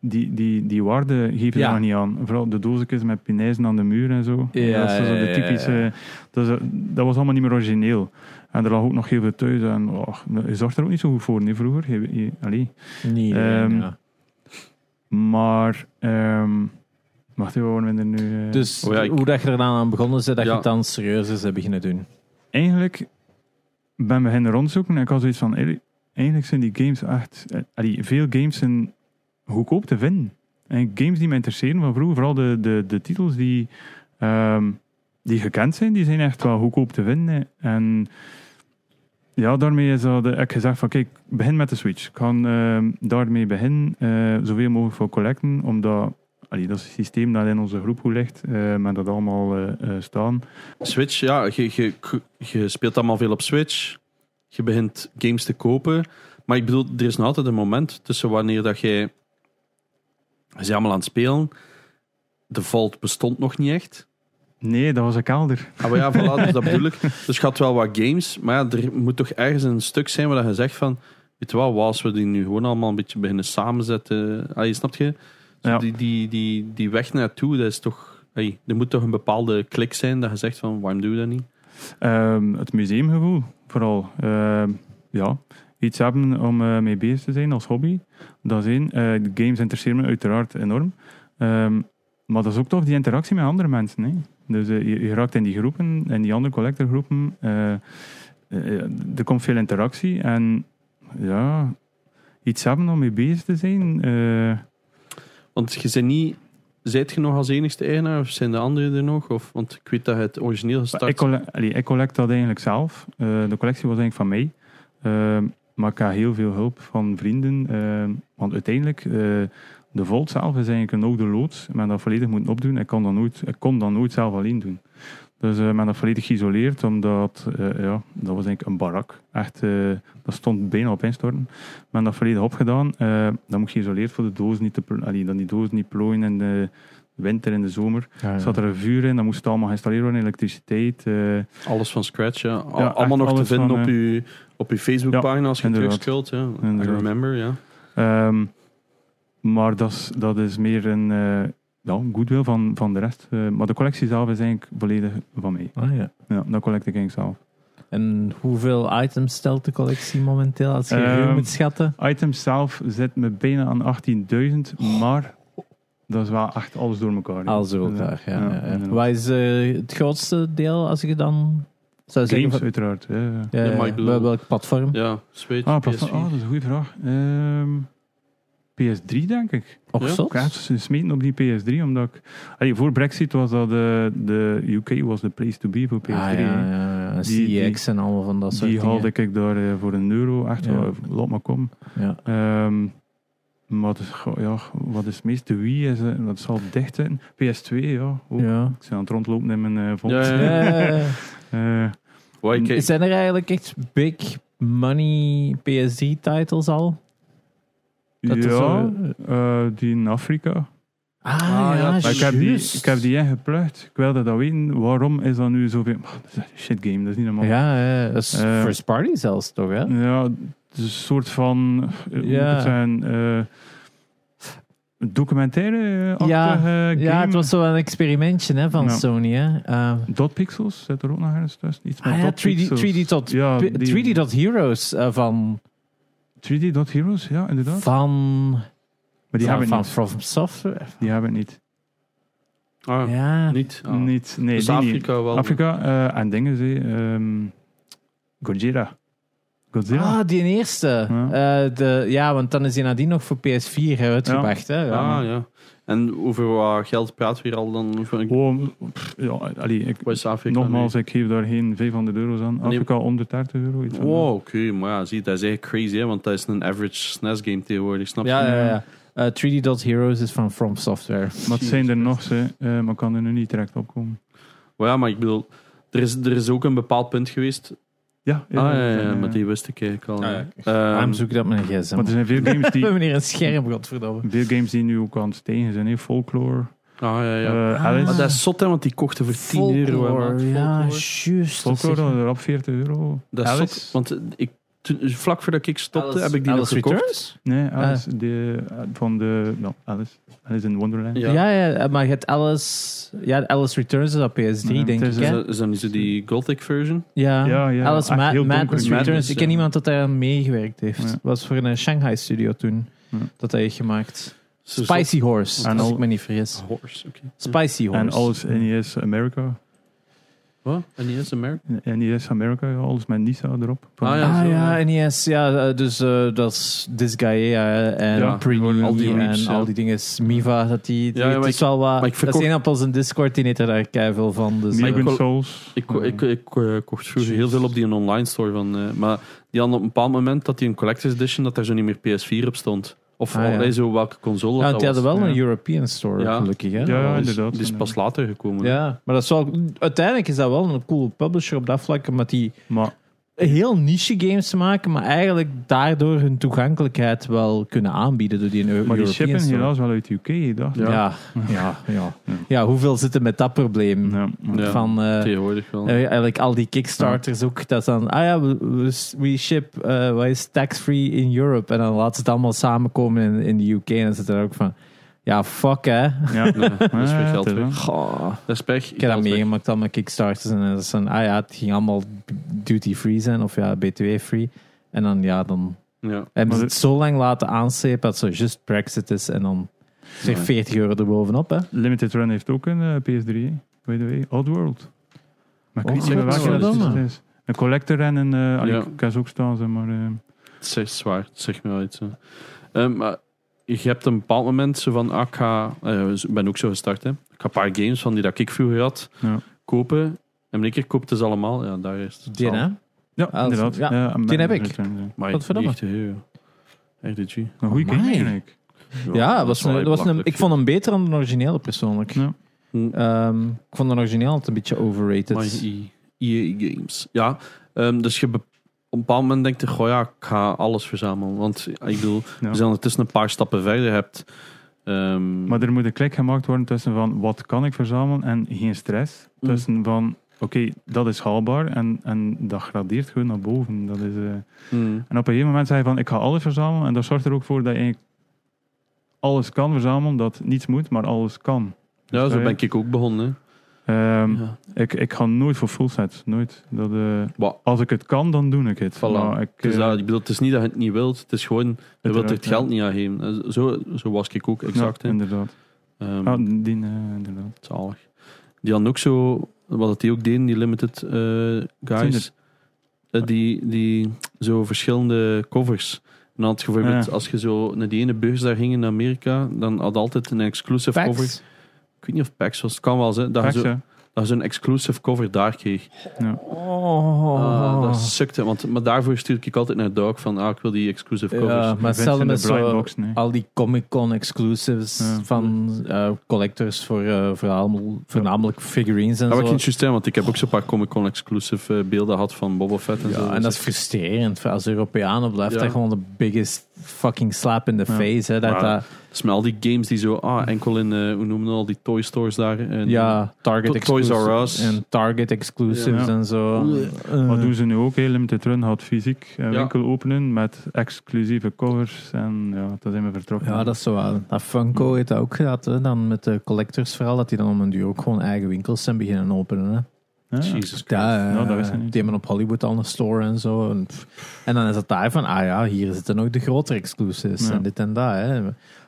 Speaker 3: Die, die, die waarde geef je
Speaker 2: Ja.
Speaker 3: daar niet aan. Vooral de doosjes met pinijzen aan de muur en zo.
Speaker 2: Ja,
Speaker 3: dat is zo
Speaker 2: ja,
Speaker 3: de
Speaker 2: ja,
Speaker 3: typische...
Speaker 2: ja.
Speaker 3: Dat, is- dat was allemaal niet meer origineel. En er lag ook nog heel veel thuis. En oh, je zorgt er ook niet zo goed voor, nee, vroeger. Je, je- allee.
Speaker 2: Nee.
Speaker 3: Ehm,
Speaker 2: ja.
Speaker 3: Maar... ehm wacht even, waar waren we er nu... eh?
Speaker 2: Dus
Speaker 1: oh ja, ik-
Speaker 2: hoe dat je er dan aan begonnen is, dat je
Speaker 1: Ja.
Speaker 2: het dan serieus is hebt beginnen doen.
Speaker 3: eigenlijk ben beginnen rondzoeken en ik had zoiets van, eigenlijk- eigenlijk zijn die games echt, eh, allee, veel games zijn goedkoop te vinden. En games die me interesseren van vroeger, vooral de, de, de titels die, ehm, die gekend zijn, die zijn echt wel goedkoop te vinden. En ja, daarmee is dat, ik gezegd van, kijk, begin met de Switch. Ik ga ehm, daarmee beginnen, eh, zoveel mogelijk voor collecten, omdat... allee, dat is het systeem dat in onze groep goed ligt, eh met dat allemaal eh, eh, staan.
Speaker 1: Switch, ja, je, je, je speelt allemaal veel op Switch. Je begint games te kopen. Maar ik bedoel, er is nog altijd een moment tussen wanneer dat jij... Ze zijn allemaal aan het spelen. De Vault bestond nog niet echt.
Speaker 3: Nee, dat was een kelder.
Speaker 1: Ah, maar ja, voilà, dus dat bedoel ik. Dus je had wel wat games. Maar ja, er moet toch ergens een stuk zijn waar je zegt van... Weet je wel, wat als we die nu gewoon allemaal een beetje beginnen samenzetten... Allee, snap je? Zo
Speaker 3: Ja.
Speaker 1: Die, die, die, die weg naartoe, dat is toch... allee, er moet toch een bepaalde klik zijn dat je zegt van... Waarom doen we dat niet?
Speaker 3: Ehm, het museumgevoel, vooral. Ehm, ja, iets hebben om eh, mee bezig te zijn als hobby. Dat is één. Eh, de games interesseren me uiteraard enorm. Ehm, Maar dat is ook tof, die interactie met andere mensen. Hè. Dus eh, je, je raakt in die groepen, in die andere collectorgroepen. eh, eh, er komt veel interactie. En ja, iets hebben om mee bezig te zijn. eh,
Speaker 1: Want je bent niet... Zijt je nog als enigste eigenaar of zijn de anderen er nog? Of, want ik weet dat je het origineel
Speaker 3: Maar Ik,
Speaker 1: gestart
Speaker 3: colle- allee, ik collect dat eigenlijk zelf. Eh, de collectie was eigenlijk van mij. Ehm, maar ik krijg heel veel hulp van vrienden. Ehm, want uiteindelijk, eh, de Volt zelf is eigenlijk een oude loods. Men dat volledig moeten opdoen. Ik kon dat nooit, ik kon dat nooit zelf alleen doen. Dus eh men dat volledig geïsoleerd, omdat eh, ja, dat was eigenlijk een barak. Echt, eh, dat stond bijna op instorten. Men dat volledig opgedaan. Eh dat moet geïsoleerd voor de doos niet te plo- allee, dat die doos niet plooien in de winter en de zomer.
Speaker 2: Ja, ja.
Speaker 3: Er zat er een vuur in, dan moest het allemaal geïnstalleerd worden, elektriciteit. eh,
Speaker 1: alles van scratch. Ja. Al-
Speaker 3: Ja, echt
Speaker 1: allemaal nog te
Speaker 3: alles
Speaker 1: vinden
Speaker 3: van,
Speaker 1: op,
Speaker 3: eh,
Speaker 1: je, op je Facebookpagina als je
Speaker 3: inderdaad.
Speaker 1: terugscrollt. Ja. I
Speaker 3: Inderdaad.
Speaker 1: remember, ja.
Speaker 3: ehm, maar dat is, dat is meer een eh ja, een goodwill van, van de rest. Eh, maar de collectie zelf is eigenlijk volledig van mij.
Speaker 2: Ah, ja.
Speaker 3: Ja, dat collect ik eigenlijk zelf.
Speaker 2: En hoeveel items stelt de collectie momenteel als je ruim
Speaker 3: Ehm,
Speaker 2: moet schatten?
Speaker 3: Items zelf zit me bijna aan 18.000, maar dat is wel echt alles door elkaar. Eh,
Speaker 2: Alles door elkaar, ja. ja, ja.
Speaker 3: inderdaad.
Speaker 2: Wat is eh, het grootste deel als je dan zou zeggen?
Speaker 3: Games
Speaker 2: van-
Speaker 3: uiteraard. ja, ja.
Speaker 2: Ja,
Speaker 1: Ja, maar
Speaker 2: ja,
Speaker 1: ik bedoel-
Speaker 2: wel- welk platform?
Speaker 1: Ja, Switch,
Speaker 3: Ah,
Speaker 1: PS4.
Speaker 3: platform- ah, dat is een goede vraag. Ehm, PS3 denk ik.
Speaker 2: Och,
Speaker 1: Ja.
Speaker 2: zot.
Speaker 3: Ik heb ze smeten op die PS3, omdat ik... Allee, voor Brexit was dat de, de UK was the place to be voor PS3.
Speaker 2: Ah, ja,
Speaker 3: hè.
Speaker 2: ja, ja. CX
Speaker 3: Die- die-
Speaker 2: en allemaal van dat soort
Speaker 3: Die
Speaker 2: dingen.
Speaker 3: haalde ik daar eh, voor een euro. Echt,
Speaker 2: Ja.
Speaker 3: ja. laat maar komen.
Speaker 2: Ja.
Speaker 3: Ehm, maar het is gewoon, ja, wat is het meeste? Wie is het? Dat zal dicht zijn. PS2, ja. Oh,
Speaker 2: Ja.
Speaker 3: Ik ben aan het rondlopen in mijn eh
Speaker 1: Ja,
Speaker 3: volks.
Speaker 1: ja,
Speaker 2: Eh,
Speaker 3: Eh,
Speaker 1: Waar [laughs] ik-
Speaker 2: zijn er eigenlijk echt big money PSG-titles al? Dat is
Speaker 3: ja,
Speaker 2: zo-
Speaker 3: eh, die in Afrika.
Speaker 2: Ah,
Speaker 1: ja,
Speaker 2: ja,
Speaker 3: Maar ik heb, die,
Speaker 2: juist.
Speaker 3: ik heb die ingeplukt. Ik wilde dat weten. Waarom is dat nu zoveel... Oh, dat is echt een shit game, dat is niet normaal.
Speaker 2: Ja, ja, dat is
Speaker 3: Eh,
Speaker 2: first party zelfs, toch? Hè?
Speaker 3: Ja, het is een soort van.
Speaker 2: Ja.
Speaker 3: Ja. Het zijn. eh, documentaire. eh,
Speaker 2: Ja.
Speaker 3: achtige game.
Speaker 2: Ja, het was zo'n experimentje hè, van
Speaker 3: Ja.
Speaker 2: Sony. Hè? Eh,
Speaker 3: Dot Pixels zit er ook nog ergens tussen. Iets met
Speaker 2: ah, ja,
Speaker 3: Dot
Speaker 2: 3D,
Speaker 3: Pixels.
Speaker 2: 3D, tot,
Speaker 3: Ja,
Speaker 2: p- 3D dot Heroes eh, van,
Speaker 3: 3D Dot Heroes, ja, inderdaad.
Speaker 2: van,
Speaker 3: Maar die
Speaker 2: van,
Speaker 3: hebben het
Speaker 2: van
Speaker 3: niet.
Speaker 2: From Software.
Speaker 3: Die hebben het niet.
Speaker 1: ah,
Speaker 2: Ja.
Speaker 1: niet. Ah.
Speaker 3: niet nee,
Speaker 1: dus
Speaker 3: die niet.
Speaker 1: Afrika wel.
Speaker 3: Afrika eh, en dingen, ze. ehm Godzilla. Godzilla?
Speaker 2: Ah, die eerste.
Speaker 3: Ja.
Speaker 2: Ja. de, ja, want dan is die nadien nog voor PS4 uitgebracht. Hè? Ja.
Speaker 1: Ah, ja. En over wat geld praten we hier al dan? Over,
Speaker 3: Oh, pff, ja, allee, ik,
Speaker 1: wat is Afrika
Speaker 3: nogmaals, ik geef daar geen 500 euro's aan. Afrika om de 30 euro. Iets
Speaker 1: nu?
Speaker 3: van
Speaker 1: Wow, oké. maar ja, zie, dat is eigenlijk crazy, hè, want dat is een average SNES game tegenwoordig, snap je?
Speaker 2: Ja, ja, ja. Eh, 3D Dot Heroes is van From Software.
Speaker 3: Maar het zijn er nog, ze, eh, maar ik kan er nu niet direct op komen.
Speaker 1: Maar ja, maar ik bedoel, er is, er is ook een bepaald punt geweest.
Speaker 3: Ja,
Speaker 1: Ah, ja, ja, maar die wist ik eigenlijk al.
Speaker 2: Ah,
Speaker 1: ja.
Speaker 2: Waarom
Speaker 1: Ehm,
Speaker 2: zoek ik dat met een gsm?
Speaker 3: Want er zijn veel games, die,
Speaker 1: [laughs]
Speaker 2: We hebben hier een scherm, godverdomme.
Speaker 3: veel games die nu ook aan het stijgen zijn. hè. Folklore,
Speaker 1: ah, ja, ja.
Speaker 3: eh, Alice.
Speaker 1: maar dat is zot, hè, want die kochten voor 10 euro. hè,
Speaker 2: Folklore,
Speaker 1: maat.
Speaker 2: Ja,
Speaker 1: Folklore.
Speaker 2: juist. Dat
Speaker 3: Folklore
Speaker 2: zeg
Speaker 3: dat
Speaker 2: je.
Speaker 3: is er op 40 euro.
Speaker 1: Dat is
Speaker 3: Alice?
Speaker 1: zot, want eh, ik, toen- vlak voordat ik stopte,
Speaker 2: Alice-
Speaker 1: eh, heb ik die
Speaker 2: Alice
Speaker 1: nog gekocht.
Speaker 2: Returns?
Speaker 3: Nee,
Speaker 1: Ah.
Speaker 3: Alice, de, eh, van de... Nou, Alice. Alice in Wonderland.
Speaker 1: Ja.
Speaker 2: Ja. Ja, maar je hebt Alice... Ja, Alice Returns is op PS3,
Speaker 3: Ja,
Speaker 2: denk
Speaker 3: het
Speaker 2: ik,
Speaker 3: is
Speaker 1: Is
Speaker 2: hè?
Speaker 1: dat, is dat niet zo die Gothic version?
Speaker 2: Ja.
Speaker 3: Ja, ja,
Speaker 2: Alice
Speaker 3: echt
Speaker 2: Ma-
Speaker 3: heel donker.
Speaker 2: Madness Returns.
Speaker 1: Madness,
Speaker 2: ik ken
Speaker 1: ja.
Speaker 2: iemand dat daar aan meegewerkt heeft.
Speaker 3: Ja.
Speaker 2: was voor een Shanghai-studio toen.
Speaker 3: Ja.
Speaker 2: Dat hij heeft gemaakt.
Speaker 1: Zo zot.
Speaker 2: Spicy Horse,
Speaker 3: En
Speaker 2: als
Speaker 3: al-
Speaker 2: ik me niet vergis.
Speaker 1: Ah, Horse, oké.
Speaker 2: Spicy Horse.
Speaker 3: En alles NES America.
Speaker 1: Wat? En die is Amerika?
Speaker 3: NES America, ja, alles met Nisa erop. Van-
Speaker 1: Ah,
Speaker 2: Ah
Speaker 1: zo,
Speaker 2: ja,
Speaker 1: ja.
Speaker 2: en yes, ja, eh, dus eh, dat is This Guy eh, en
Speaker 1: Ja,
Speaker 2: Prenew
Speaker 1: al die
Speaker 2: en
Speaker 1: reaps, ja.
Speaker 2: al die dingen. Miva, dat die,
Speaker 1: Ja, ja,
Speaker 2: het
Speaker 1: maar
Speaker 2: is
Speaker 1: ik-
Speaker 2: wel wat...
Speaker 1: maar ik
Speaker 2: Dat
Speaker 1: verkocht-
Speaker 2: is één appels en Discord, die neemt er daar keiveel van. Dus, eh,
Speaker 1: ik
Speaker 3: Migrant
Speaker 1: wil-
Speaker 3: Souls.
Speaker 1: Ik, ko- ik, ik eh, kocht vroeger heel veel op die online store van. eh, maar die hadden op een bepaald moment dat die een Collector's Edition, dat daar zo niet meer PS4 op stond. Of
Speaker 2: Ah, ja.
Speaker 1: allee, zo welke console
Speaker 2: ja,
Speaker 1: dat
Speaker 2: want die
Speaker 1: was.
Speaker 2: hadden wel
Speaker 3: ja.
Speaker 2: een European store,
Speaker 1: Ja.
Speaker 2: gelukkig. Hè?
Speaker 3: Ja,
Speaker 1: Dat is-
Speaker 3: inderdaad.
Speaker 1: Die is pas later gekomen.
Speaker 2: Ja, maar dat is wel, uiteindelijk is dat wel een coole publisher op dat vlak, omdat die
Speaker 3: Maar
Speaker 2: heel niche games maken, maar eigenlijk daardoor hun toegankelijkheid wel kunnen aanbieden door die Eu-
Speaker 3: maar die
Speaker 2: European
Speaker 3: shippen
Speaker 2: store.
Speaker 3: helaas wel uit de UK, dacht ik.
Speaker 2: Ja. Ja, ja, ja. hoeveel zitten met dat probleem?
Speaker 3: Ja.
Speaker 1: Ja,
Speaker 2: Van, eh,
Speaker 1: Tegenwoordig wel.
Speaker 2: Eh, eigenlijk al die kickstarters ook, dat is dan, ah ja, we, we- we ship, eh wat is tax-free in Europe? En dan laten ze het allemaal samenkomen in, in de UK en dan zit er ook van, ja, fuck hè.
Speaker 3: Ja.
Speaker 1: Nee, [laughs] dat is weer
Speaker 3: Ja,
Speaker 1: geld
Speaker 3: het is
Speaker 1: weg.
Speaker 3: wel.
Speaker 2: Goh.
Speaker 1: Dat is pech.
Speaker 2: Ik heb dat
Speaker 1: Geld weg.
Speaker 2: meegemaakt al met kickstarters en dat is dan, ah ja, het ging allemaal duty-free zijn of ja, btw-free. En dan, ja, dan
Speaker 1: Ja.
Speaker 2: hebben
Speaker 3: Maar
Speaker 2: ze
Speaker 3: de-
Speaker 2: het zo lang laten aanslepen dat zo just Brexit is en dan Zeg 40 euro erbovenop, hè?
Speaker 3: Limited Run heeft ook een eh, PS3, hè, by the way. Oddworld. Maar ik weet niet
Speaker 2: Oddworld,
Speaker 3: meer welke dat
Speaker 2: verdomme.
Speaker 3: het is. Een collector en een... eh allee,
Speaker 1: Ja.
Speaker 3: Ik kan ze ook staan, zeg maar... eh,
Speaker 1: Het is echt zwaar, het zegt me wel iets. hè. Ehm, maar je hebt een bepaald moment zo van, ah, ik ga, eh, ik ben ook zo gestart, hè. ik ga een paar games van die dat ik vroeger had
Speaker 3: Ja.
Speaker 1: kopen. En in één keer koopt het ze allemaal. Ja, daar is het.
Speaker 2: Die, hè?
Speaker 3: ja,
Speaker 2: Ah,
Speaker 3: inderdaad.
Speaker 2: ja,
Speaker 3: Ja,
Speaker 2: die heb
Speaker 3: Limited
Speaker 2: ik.
Speaker 3: Run, ja.
Speaker 1: Maar
Speaker 2: Wat verdomme.
Speaker 1: echt heel, ja. Echt een G.
Speaker 3: Een goede game,
Speaker 2: Amai.
Speaker 3: eigenlijk.
Speaker 2: Ja, dat
Speaker 1: dat
Speaker 2: was
Speaker 1: is
Speaker 2: een,
Speaker 1: wel
Speaker 2: dat was een,
Speaker 1: belachelijk
Speaker 2: ik vond hem beter dan de originele, persoonlijk.
Speaker 3: Ja.
Speaker 1: Hm.
Speaker 2: Ehm, ik vond de origineel altijd een beetje overrated.
Speaker 1: My EA Games. Ja, ehm, dus je be- op een bepaald moment denkt je, goh ja, ik ga alles verzamelen. Want ik bedoel,
Speaker 3: Ja.
Speaker 1: we zijn ondertussen een paar stappen verder. Je hebt, ehm,
Speaker 3: Maar er moet een klik gemaakt worden tussen van wat kan ik verzamelen en geen stress.
Speaker 1: Mm.
Speaker 3: Tussen van oké, dat is haalbaar en, en dat gradeert gewoon naar boven. Dat is, eh,
Speaker 1: hm,
Speaker 3: En op een gegeven moment zei je van ik ga alles verzamelen en dat zorgt er ook voor dat je eigenlijk alles kan verzamelen, dat niets moet, maar alles kan.
Speaker 1: ja, zo
Speaker 3: dat
Speaker 1: ben
Speaker 3: je-
Speaker 1: ik ook begonnen. hè.
Speaker 3: Ehm,
Speaker 1: Ja.
Speaker 3: ik, ik ga nooit voor full sets, nooit. Dat, eh,
Speaker 1: Wa-
Speaker 3: als ik het kan, dan doe ik het.
Speaker 1: Voilà.
Speaker 3: Maar ik,
Speaker 1: Dus
Speaker 3: eh,
Speaker 1: dat, ik bedoel, het is niet dat je het niet wilt, het is gewoon, je wilt er
Speaker 3: uiteraard,
Speaker 1: het geld niet aan geven. Eh, Zo, zo was ik ook,
Speaker 3: ja.
Speaker 1: exact.
Speaker 3: Ja,
Speaker 1: hè.
Speaker 3: inderdaad.
Speaker 1: Ehm,
Speaker 3: Ah, die, eh, inderdaad.
Speaker 1: Zalig. Die hadden ook zo, wat het die ook deden, die limited eh, guys.
Speaker 3: Tinder.
Speaker 1: Eh, die, die zo verschillende covers. En dan had je bijvoorbeeld,
Speaker 3: Ja.
Speaker 1: als je zo naar die ene beurs daar ging in Amerika, dan had je altijd een exclusive
Speaker 2: Facts.
Speaker 1: cover. Ik weet niet of PAX was, het kan wel zijn. Dat je
Speaker 3: Facts,
Speaker 1: zo-
Speaker 3: hè.
Speaker 1: dat je zo'n exclusive cover daar kreeg.
Speaker 2: Oh.
Speaker 1: Ah, dat sukte, want maar daarvoor stuurde ik altijd naar Doug van, ah, ik wil die exclusive covers. Nou,
Speaker 2: Ja, maar
Speaker 3: Mensen
Speaker 2: hetzelfde
Speaker 3: in de
Speaker 2: met
Speaker 3: blind
Speaker 2: zo Ah,
Speaker 3: box, nee.
Speaker 2: al die Comic Con exclusives
Speaker 3: Ja.
Speaker 2: van eh, collectors voor eh, voornamel- voornamelijk figurines en
Speaker 1: Dat was
Speaker 2: zo.
Speaker 1: ik niet juist zijn, want ik heb ook zo'n paar Comic Con exclusive eh, beelden gehad van Boba Fett en zo. Dus
Speaker 2: Ja, en dat is frustrerend. Als Europeanen blijft
Speaker 1: Ja.
Speaker 2: dat gewoon de biggest fucking slap in the
Speaker 3: Ja.
Speaker 2: face. Hè, dat
Speaker 1: Maar-
Speaker 2: dat,
Speaker 1: Dus met al die games die zo, ah, enkel in, eh, hoe noemen we al die toy stores daar. eh, En,
Speaker 2: ja, Target
Speaker 1: To- Toys
Speaker 2: exclusives
Speaker 1: R Us.
Speaker 2: en Target exclusives
Speaker 3: Ja.
Speaker 2: en zo.
Speaker 1: Ja.
Speaker 2: Eh,
Speaker 3: Wat doen ze nu ook? hè? Limited Run had fysiek een
Speaker 1: Ja.
Speaker 3: winkel openen met exclusieve covers. En ja, dat zijn we vertrokken.
Speaker 2: Ja, dat is zo wel. Dat Funko heeft dat ook gehad, hè, dan met de collectors vooral, dat die dan om een duur ook gewoon eigen winkels zijn beginnen openen. Hè.
Speaker 3: Ja.
Speaker 1: Jesus Christ.
Speaker 2: Ja,
Speaker 3: Nou,
Speaker 2: eh,
Speaker 3: dat wist ik niet.
Speaker 2: Demon op Hollywood al een store en zo. En, pff. En dan is het daar van, ah ja, hier zitten ook de grotere exclusives
Speaker 3: Ja.
Speaker 2: en dit en dat. Hè.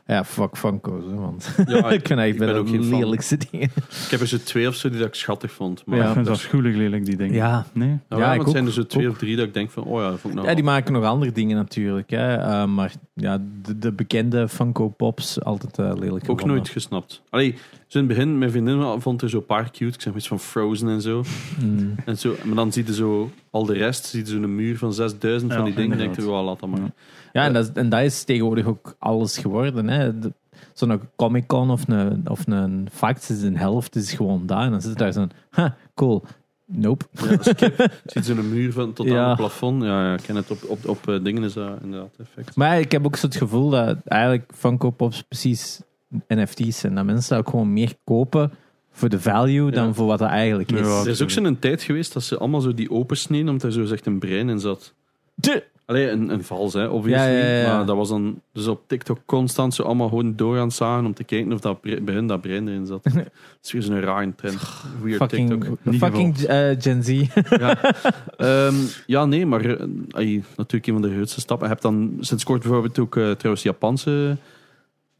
Speaker 2: Ja, fuck Funko's, hè, want
Speaker 1: [laughs] Ja,
Speaker 2: ik vind
Speaker 1: ik ben
Speaker 2: eigenlijk
Speaker 1: ook geen fan. [laughs]
Speaker 2: lelijkste dingen.
Speaker 1: Ik heb er zo twee of zo die dat ik schattig vond. Maar
Speaker 3: Maar
Speaker 2: Ja.
Speaker 3: ik vind ze afschuwelijk lelijk, die dingen.
Speaker 2: Ja.
Speaker 3: Nee?
Speaker 1: Nou, ja,
Speaker 2: Ja, ik
Speaker 1: want het zijn
Speaker 2: ook.
Speaker 1: er zo twee
Speaker 2: Ook.
Speaker 1: of drie dat ik denk van, oh ja, dat vond ik nou
Speaker 2: ja, die
Speaker 1: wel.
Speaker 2: maken nog andere dingen natuurlijk. Hè. Eh, maar ja, de, de bekende Funko Pops, altijd eh, lelijk
Speaker 1: ook
Speaker 2: gevonden.
Speaker 1: nooit gesnapt. Allee, zo in het begin, mijn vriendin vond er zo een paar cute. Ik zeg maar iets van Frozen en zo.
Speaker 2: Mm.
Speaker 1: En zo. Maar dan ziet je zo al de rest, ziet je zo'n muur van 6000 van
Speaker 3: Ja,
Speaker 1: die dingen. Dan denk je,
Speaker 3: inderdaad.
Speaker 1: wel, laat dat maar.
Speaker 3: Ja.
Speaker 2: Ja, en dat, is- en dat is tegenwoordig ook alles geworden. hè. De- Zo'n Comic-Con of een, of een Facts is een helft, is gewoon daar. En dan zit daar zo'n, ha, cool, nope.
Speaker 1: Ja,
Speaker 2: [laughs]
Speaker 1: skip. Ziet zo'n muur van tot
Speaker 2: Ja.
Speaker 1: aan het plafond. Ja, ja, ik ken het. Op, op, op eh, dingen is dat inderdaad effect.
Speaker 2: Maar ik heb ook zo het gevoel dat eigenlijk Funko Pops precies NFT's zijn. Dat mensen dat ook gewoon meer kopen voor de value
Speaker 1: Ja.
Speaker 2: dan voor wat dat eigenlijk is.
Speaker 3: Ja.
Speaker 1: Er is ook zo'n tijd geweest dat ze allemaal zo die opensneden, omdat er zo echt een brein in zat.
Speaker 2: De-
Speaker 1: Allee, een, een vals, hè, obviously.
Speaker 2: Ja, ja, ja, ja.
Speaker 1: Maar dat was dan dus op TikTok constant zo allemaal gewoon door aan het zagen om te kijken of dat bre- bij hun dat brein erin
Speaker 2: [laughs]
Speaker 1: zat. Het is weer zo'n rare trend. Weird TikTok.
Speaker 2: Fucking,
Speaker 3: Niet
Speaker 2: fucking eh, Gen Z.
Speaker 1: Ehm, ja, nee, maar eh, ai, natuurlijk een van de grootste stappen. Je hebt dan sinds kort bijvoorbeeld ook eh, trouwens Japanse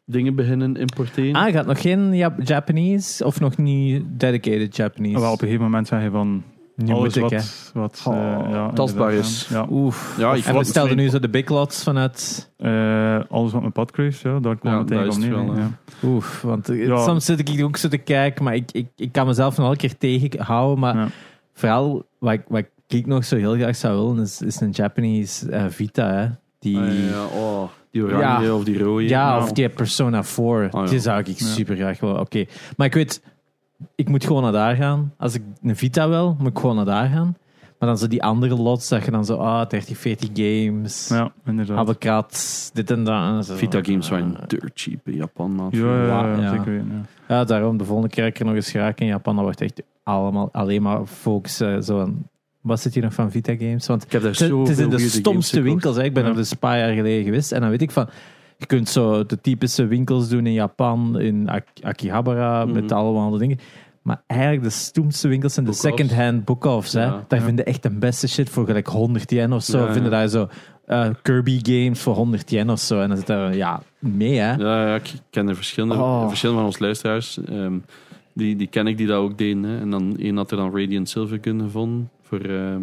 Speaker 1: dingen beginnen importeren.
Speaker 2: ah, gaat nog geen Jap- Japanese of nog niet dedicated Japanese?
Speaker 3: Wel, op een gegeven moment zei je van
Speaker 2: nu
Speaker 3: alles
Speaker 2: moet ik, hè.
Speaker 3: wat, wat
Speaker 2: Oh,
Speaker 3: eh, ja,
Speaker 1: tastbaar
Speaker 3: inderdaad,
Speaker 1: is.
Speaker 3: Ja.
Speaker 2: Oef.
Speaker 1: Ja, ik
Speaker 2: en
Speaker 1: vond-
Speaker 2: we stelden nu zo de big lots vanuit...
Speaker 3: Ja. Eh, alles wat mijn pad kruist, ja, daar kwam
Speaker 1: Ja,
Speaker 3: het
Speaker 1: daar
Speaker 3: eigenlijk
Speaker 1: is
Speaker 3: om
Speaker 1: het
Speaker 3: neer.
Speaker 1: wel,
Speaker 3: hè.
Speaker 1: hè.
Speaker 3: Ja.
Speaker 2: Oef, want eh,
Speaker 3: Ja.
Speaker 2: soms zit ik hier ook zo te kijken, maar ik, ik, ik kan mezelf nog elke keer tegenhouden. Maar
Speaker 3: Ja.
Speaker 2: vooral wat ik, wat ik nog zo heel graag zou willen, is, is een Japanese eh, Vita. Hè? Die,
Speaker 1: Ah,
Speaker 2: ja,
Speaker 1: ja, oh, die oranje
Speaker 2: Ja.
Speaker 1: of die rode. Nou,
Speaker 2: of die Persona 4.
Speaker 1: ja.
Speaker 2: Die zou ik super graag willen. Oké, maar ik weet, ik moet gewoon naar daar gaan. Als ik een Vita wil, moet ik gewoon naar daar gaan. Maar dan zo die andere lots, dat je dan zo, ah, 30, 40 games,
Speaker 3: ja, inderdaad.
Speaker 2: Ah, abacats, dit en dat. en zo.
Speaker 1: Vita games waren dirt cheap in Japan, man.
Speaker 3: ja, ja, ja,
Speaker 2: Ja.
Speaker 3: zeker weten. Ja.
Speaker 2: Ja, daarom de volgende keer dat ik er nog eens raak in Japan, dan wordt echt allemaal, alleen maar focus eh, zo aan- Wat zit hier nog van Vita Games? Want
Speaker 1: Ik heb daar
Speaker 2: het,
Speaker 1: zo
Speaker 2: het is in de stomste winkels. Hè. Ik ben
Speaker 3: Ja.
Speaker 2: er dus een paar jaar geleden geweest en dan weet ik van... Je kunt zo de typische winkels doen in Japan, in Ak-
Speaker 1: Mhm.
Speaker 2: Akihabara, met allemaal dingen. Maar eigenlijk de stoemste winkels zijn de
Speaker 1: Book-offs.
Speaker 2: second-hand book-offs. hè.
Speaker 1: Ja.
Speaker 2: Daar
Speaker 3: Ja.
Speaker 2: vinden echt de beste shit voor, gelijk 100 yen of zo.
Speaker 1: Ja, ja.
Speaker 2: Vinden daar zo eh, Kirby games voor 100 yen of zo. En dan zit daar, ja, mee hè.
Speaker 1: Ja, ja, ik ken de verschillende,
Speaker 2: Oh.
Speaker 1: de verschillende van ons luisteraars. Ehm, die, die ken ik die dat ook deden. Hè. En dan één had er dan Radiant Silvergun gevonden voor ehm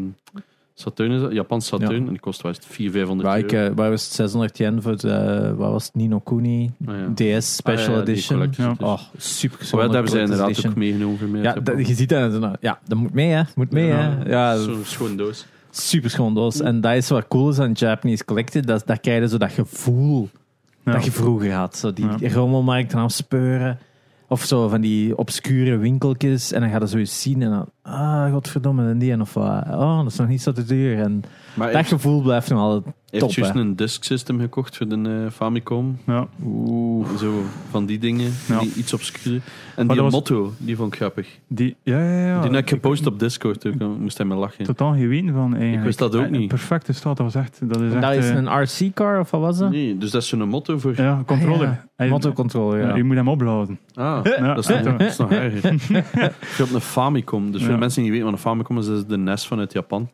Speaker 1: Saturn, is dat? Japanse Saturn.
Speaker 2: Ja.
Speaker 1: En die kost wel eens 400, 500
Speaker 2: Waar, ik,
Speaker 1: euro.
Speaker 2: eh, waar was het 600 yen voor de, waar was het, Nino Kuni
Speaker 1: Ah, ja.
Speaker 2: DS eh, Special
Speaker 1: Ah, ja, die
Speaker 2: Edition?
Speaker 1: collector's
Speaker 3: Ja.
Speaker 1: edition.
Speaker 2: Oh, super
Speaker 1: Maar
Speaker 2: gezond.
Speaker 1: dat hebben ze inderdaad
Speaker 2: edition.
Speaker 1: ook meegenomen voor mij.
Speaker 2: Ja, dat- je ziet dat. en zo, nou, Ja, dat moet mee, hè? Moet mee, hè? Ja,
Speaker 1: Zo'n schoon doos.
Speaker 2: super schoon doos. En dat is wat cool is aan Japanese Collected. Dat, dat krijg je zo dat gevoel
Speaker 3: Ja.
Speaker 2: dat je vroeger had. Zo die
Speaker 3: Ja.
Speaker 2: rommelmarkt gaan speuren. Of zo van die obscure winkeltjes. En dan ga je dat zoiets zien. En dan, ah, godverdomme, en die en of wat. Oh, dat is nog niet zo te duur. En
Speaker 1: Maar
Speaker 2: dat
Speaker 1: ik
Speaker 2: gevoel blijft nog altijd
Speaker 1: heb
Speaker 2: top,
Speaker 1: juist
Speaker 2: hè.
Speaker 1: een disk system gekocht voor de eh, Famicom.
Speaker 3: Ja.
Speaker 1: Oeh. Zo, van die dingen.
Speaker 3: Ja.
Speaker 1: Die iets obscuur. En
Speaker 3: dat
Speaker 1: die
Speaker 3: was-
Speaker 1: motto, die vond ik grappig.
Speaker 3: Die, ja, ja, ja.
Speaker 1: Die heb ik gepost op Discord. ook, dan moest hij me lachen.
Speaker 3: Totaal geen win van eigenlijk.
Speaker 1: wist dat ook
Speaker 3: Eh,
Speaker 1: niet.
Speaker 3: Perfecte staat, dat was echt... Dat is
Speaker 2: En
Speaker 3: echt
Speaker 2: dat is
Speaker 3: eh,
Speaker 2: een RC-car, of wat was dat?
Speaker 1: Nee, dus dat is zo'n motto voor...
Speaker 3: Ja, controller.
Speaker 2: Ah, ja.
Speaker 3: Hij-
Speaker 2: Motorcontroller, ja.
Speaker 3: Ja, Je moet hem opblazen.
Speaker 1: Ah,
Speaker 3: Ja.
Speaker 1: dat, is nog, dat is nog
Speaker 3: [laughs]
Speaker 1: erger. Ik heb een Famicom. Dus voor
Speaker 3: Ja.
Speaker 1: de mensen die niet weten wat een Famicom is, dat is de NES vanuit Japan.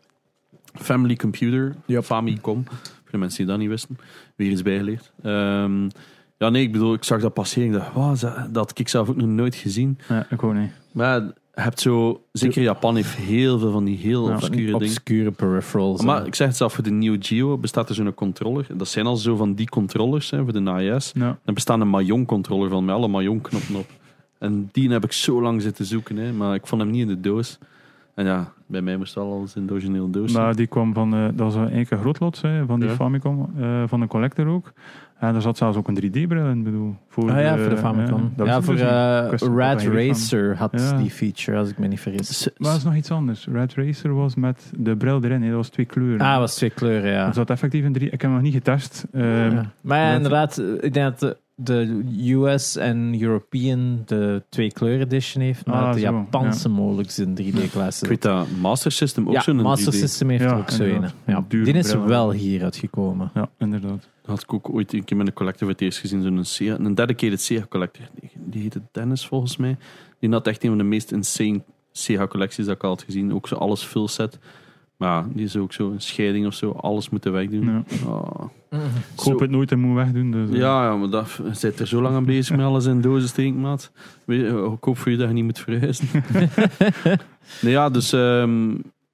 Speaker 1: Family Computer, Famicom. Voor de mensen die dat niet wisten. Weer eens bijgeleerd. Ehm, ja, nee, ik bedoel, ik zag dat passeren. Ik dacht, wauw, is dat, dat had ik zelf ook nog nooit gezien.
Speaker 3: Ja, ik ook niet.
Speaker 1: Maar je hebt zo... Zeker Japan heeft heel veel van die heel
Speaker 3: Ja, van die
Speaker 1: obscure dingen.
Speaker 2: Obscure peripherals.
Speaker 1: Maar
Speaker 2: hè.
Speaker 1: ik zeg het zelf, voor de Neo Geo bestaat er zo'n controller. Dat zijn al zo van die controllers hè, voor de NAS.
Speaker 3: Ja.
Speaker 1: Er bestaat een Mayon-controller van met alle Mayon-knoppen op. En die heb ik zo lang zitten zoeken, hè, maar ik vond hem niet in de doos. En ja, bij mij moest al alles in de originele doos zijn.
Speaker 3: Maar die kwam van, eh, dat was eigenlijk een grootlots hè, van die
Speaker 1: Ja.
Speaker 3: Famicom, eh, van de collector ook. En er zat zelfs ook een 3D-bril in, bedoel. Voor
Speaker 2: Ah ja, voor de Famicom.
Speaker 3: dat
Speaker 2: ja,
Speaker 3: was
Speaker 2: voor
Speaker 3: dus niet.
Speaker 2: eh,
Speaker 3: Ik wist niet dat
Speaker 2: Rad
Speaker 3: dat hier
Speaker 2: Racer had
Speaker 3: Ja.
Speaker 2: die feature, als ik me niet vergis.
Speaker 1: S-
Speaker 3: Maar dat is nog iets anders. Red Racer was met de bril erin, hè, dat was twee kleuren.
Speaker 2: Ah, was twee kleuren, ja.
Speaker 3: Er zat effectief een 3D. Ik heb hem nog niet getest. Ehm,
Speaker 2: Ja. Maar ja,
Speaker 3: dat-
Speaker 2: inderdaad, eh, ik denk dat de, de US en European de twee kleur edition heeft, maar
Speaker 3: Ah,
Speaker 2: dat de
Speaker 3: zo,
Speaker 2: Japanse mogelijk zijn 3D-klasse.
Speaker 1: Ik weet dat Master System ook
Speaker 2: Ja,
Speaker 1: zo'n
Speaker 2: Master
Speaker 1: 3D.
Speaker 2: System heeft
Speaker 3: Ja,
Speaker 2: er ook zo een.
Speaker 3: inderdaad.
Speaker 2: Ja.
Speaker 3: Duur
Speaker 2: Die is
Speaker 3: bril.
Speaker 2: wel hier uitgekomen.
Speaker 3: Ja, inderdaad.
Speaker 1: had ik ook ooit een keer met een collector voor het eerst gezien. Zo'n Sega, een dedicated Sega-collector. Die- Die heette Dennis volgens mij. Die had echt een van de meest insane Sega-collecties dat ik al had gezien. Ook zo alles full set. Maar ja, die is ook zo een scheiding of zo. Alles moeten wegdoen.
Speaker 3: Ja.
Speaker 1: Ah.
Speaker 3: Ik hoop
Speaker 1: Zo-
Speaker 3: het nooit en moet wegdoen. Dus, eh,
Speaker 1: Ja, ja, maar dat, je bent er zo lang aan bezig met alles in dozen steken, maat. Weet je, oh, Ik hoop voor je dat je niet moet verhuizen. nee, ja, dus ehm,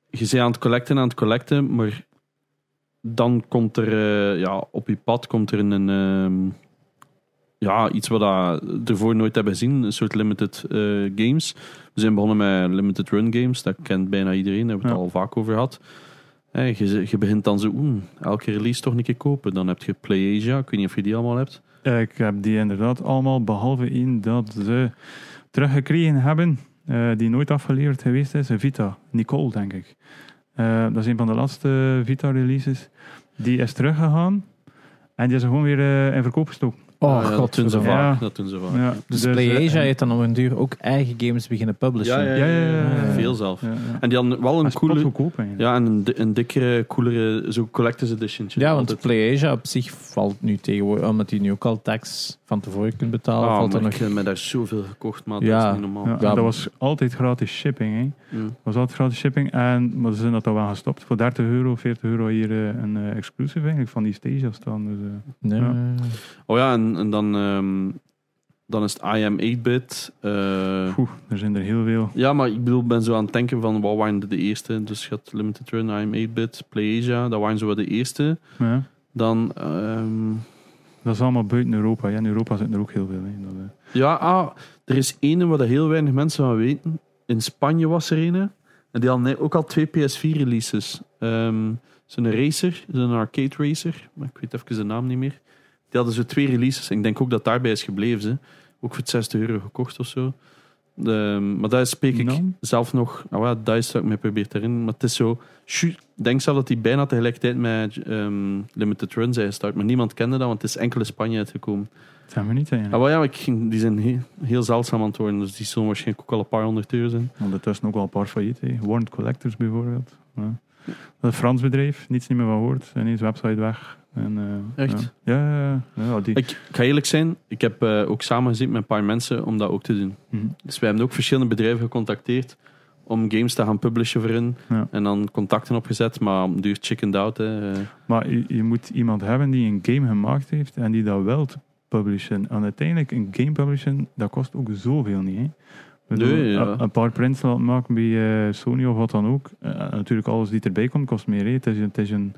Speaker 1: je bent aan het collecten, aan het collecten, maar dan komt er eh, ja, op je pad komt er een, ehm, ja, iets wat we ervoor nooit hebben gezien, een soort limited eh, games. We zijn begonnen met limited run games, dat kent bijna iedereen, daar hebben we het al vaak over gehad. Hey, je, je begint dan zo, oeh, elke release toch een keer kopen. Dan heb je PlayAsia, ik weet niet of je die allemaal hebt.
Speaker 3: Eh, Ik heb die inderdaad allemaal, behalve één dat ze teruggekregen hebben, eh, die nooit afgeleverd geweest is, een Vita. Nicole, denk ik. Eh, dat is een van de laatste eh, Vita-releases. Die is teruggegaan en die is er gewoon weer eh, in verkoop gestoken.
Speaker 2: Oh,
Speaker 1: Ah, ja,
Speaker 2: god.
Speaker 1: dat doen ze
Speaker 3: verdomme.
Speaker 1: vaak.
Speaker 3: Ja.
Speaker 1: Dat doen ze vaak.
Speaker 3: Ja,
Speaker 2: Dus,
Speaker 3: eh,
Speaker 2: PlayAsia
Speaker 3: en-
Speaker 2: heeft dan op een duur ook eigen games beginnen publishen.
Speaker 1: Ja,
Speaker 3: ja, ja, ja, ja.
Speaker 1: Veel zelf.
Speaker 3: ja, ja.
Speaker 1: En die hadden wel
Speaker 3: Dat
Speaker 1: een
Speaker 3: is coole...
Speaker 1: coole...
Speaker 3: goedkoop eigenlijk.
Speaker 1: Ja, en een, di- een dikkere, coolere, zo collectors edition.
Speaker 2: Ja, want PlayAsia op zich valt nu tegenwoordig, omdat je nu ook al tax van tevoren kunt betalen,
Speaker 1: Ah,
Speaker 2: valt
Speaker 1: maar
Speaker 2: er nog
Speaker 1: ik heb me daar zoveel gekocht, maar dat
Speaker 2: Ja.
Speaker 1: is niet normaal.
Speaker 3: Ja, en
Speaker 2: Ja.
Speaker 3: dat was altijd gratis shipping. Hè.
Speaker 1: Mm.
Speaker 3: was altijd gratis shipping. En, maar ze zijn dat al wel gestopt. Voor 30 euro, 40 euro hier eh, een eh, exclusive eigenlijk van die stage af staan. Dus, eh,
Speaker 2: Nee.
Speaker 3: Ja.
Speaker 1: Oh ja, en, en dan, ehm, dan is het IM 8-bit. eh,
Speaker 3: poeh, er zijn er heel veel.
Speaker 1: ja, maar ik bedoel, ik ben zo aan het denken van wat waren de, de eerste? Dus je had Limited Run, IM 8-bit, PlayAsia, dat waren zo wel de eerste.
Speaker 3: Ja.
Speaker 1: Dan, ehm,
Speaker 3: Dat is allemaal buiten Europa. Ja, in Europa zitten er ook heel veel. Hè. Dat, eh,
Speaker 1: ja, ah, er is ene waar dat heel weinig mensen van weten. In Spanje was er ene. En die had net ook al twee PS4-releases. Ehm zo'n racer, zo'n arcade racer. Maar ik weet even de naam niet meer. Die hadden zo twee releases. En ik denk ook dat daarbij is gebleven. Ze. Ook voor 60 euro gekocht of zo. De, maar daar spreek ik
Speaker 3: Nou.
Speaker 1: zelf nog. Nou ja, dat is wat ik me probeer te herinneren. Maar het is zo. ju- Ik denk zelf dat die bijna tegelijkertijd met ehm, Limited Run zijn gestart. Maar niemand kende dat, want het is enkel in Spanje uitgekomen.
Speaker 3: dat zijn we niet
Speaker 1: Ah,
Speaker 3: eigenlijk.
Speaker 1: wel ja, maar ik ging- die zijn heel, heel zeldzaam aan het worden. Dus die zullen waarschijnlijk ook al een paar honderd euro zijn.
Speaker 3: Ondertussen ook al een paar failliet. Hè. Warrant Collectors bijvoorbeeld. Ja. Dat is een Frans bedrijf, niets niet meer van hoort. Ineens website weg. En, eh,
Speaker 1: Echt?
Speaker 3: Ja, ja, ja, ja. ja, die,
Speaker 1: Ik, ik ga eerlijk zijn, ik heb eh, ook samengezeten met een paar mensen om dat ook te doen.
Speaker 3: Mhm.
Speaker 1: Dus wij hebben ook verschillende bedrijven gecontacteerd om games te gaan publishen voor hun.
Speaker 3: Ja.
Speaker 1: En dan contacten opgezet, maar duur chickened out. Hè. Eh,
Speaker 3: Maar je, je moet iemand hebben die een game gemaakt heeft en die dat wilt publishen. En uiteindelijk, een game publishen, dat kost ook zoveel niet. Hè? Ik bedoel,
Speaker 1: Nee, ja.
Speaker 3: een- Een paar prints laten maken bij eh, Sony of wat dan ook. Eh, natuurlijk, alles die erbij komt, kost meer. Hè? Het, is, het is een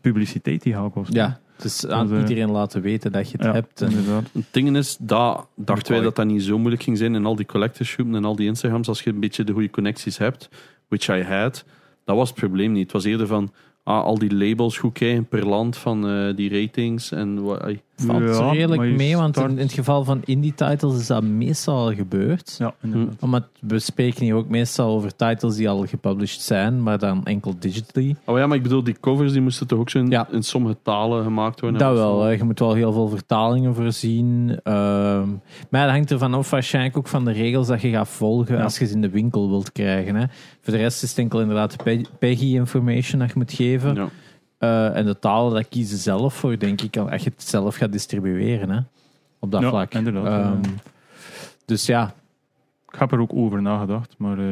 Speaker 3: publiciteit die gaat kosten.
Speaker 2: Ja, dus aan
Speaker 3: Dat, eh,
Speaker 2: iedereen laten weten dat je het
Speaker 3: Ja,
Speaker 2: hebt. En,
Speaker 3: inderdaad.
Speaker 1: Het ding is, dat dachten wij
Speaker 2: Mooi.
Speaker 1: dat dat niet zo moeilijk ging zijn in al die collectorsgroepen en al die Instagrams. Als je een beetje de goede connecties hebt, which I had, dat was het probleem niet. Het was eerder van ah, al die labels goed kijken per land van eh, die ratings. En wa- ai.
Speaker 2: valt
Speaker 3: Ja,
Speaker 2: zo redelijk
Speaker 3: maar je
Speaker 2: mee, want
Speaker 3: start-
Speaker 2: in, in het geval van indie-titles is dat meestal al gebeurd.
Speaker 3: Ja, inderdaad.
Speaker 2: Omdat we spreken hier ook meestal over titles die al gepublished zijn, maar dan enkel digitally.
Speaker 1: oh ja, maar ik bedoel, die covers die moesten toch ook zo in,
Speaker 2: Ja.
Speaker 1: in sommige talen gemaakt worden?
Speaker 2: Dat wel, hè. je moet wel heel veel vertalingen voorzien. Ehm, maar dat hangt ervan af, waarschijnlijk ook van de regels dat je gaat volgen
Speaker 3: Ja.
Speaker 2: als je ze in de winkel wilt krijgen. Hè. Voor de rest is het enkel inderdaad PEGI information dat je moet geven.
Speaker 1: Ja.
Speaker 2: Eh, en de talen, dat kiezen ze zelf voor, denk ik, als je het zelf gaat distribueren. Hè. Op dat
Speaker 3: Ja,
Speaker 2: vlak.
Speaker 3: inderdaad,
Speaker 2: Ehm,
Speaker 3: ja.
Speaker 2: dus ja,
Speaker 3: Ik heb er ook over nagedacht, maar eh,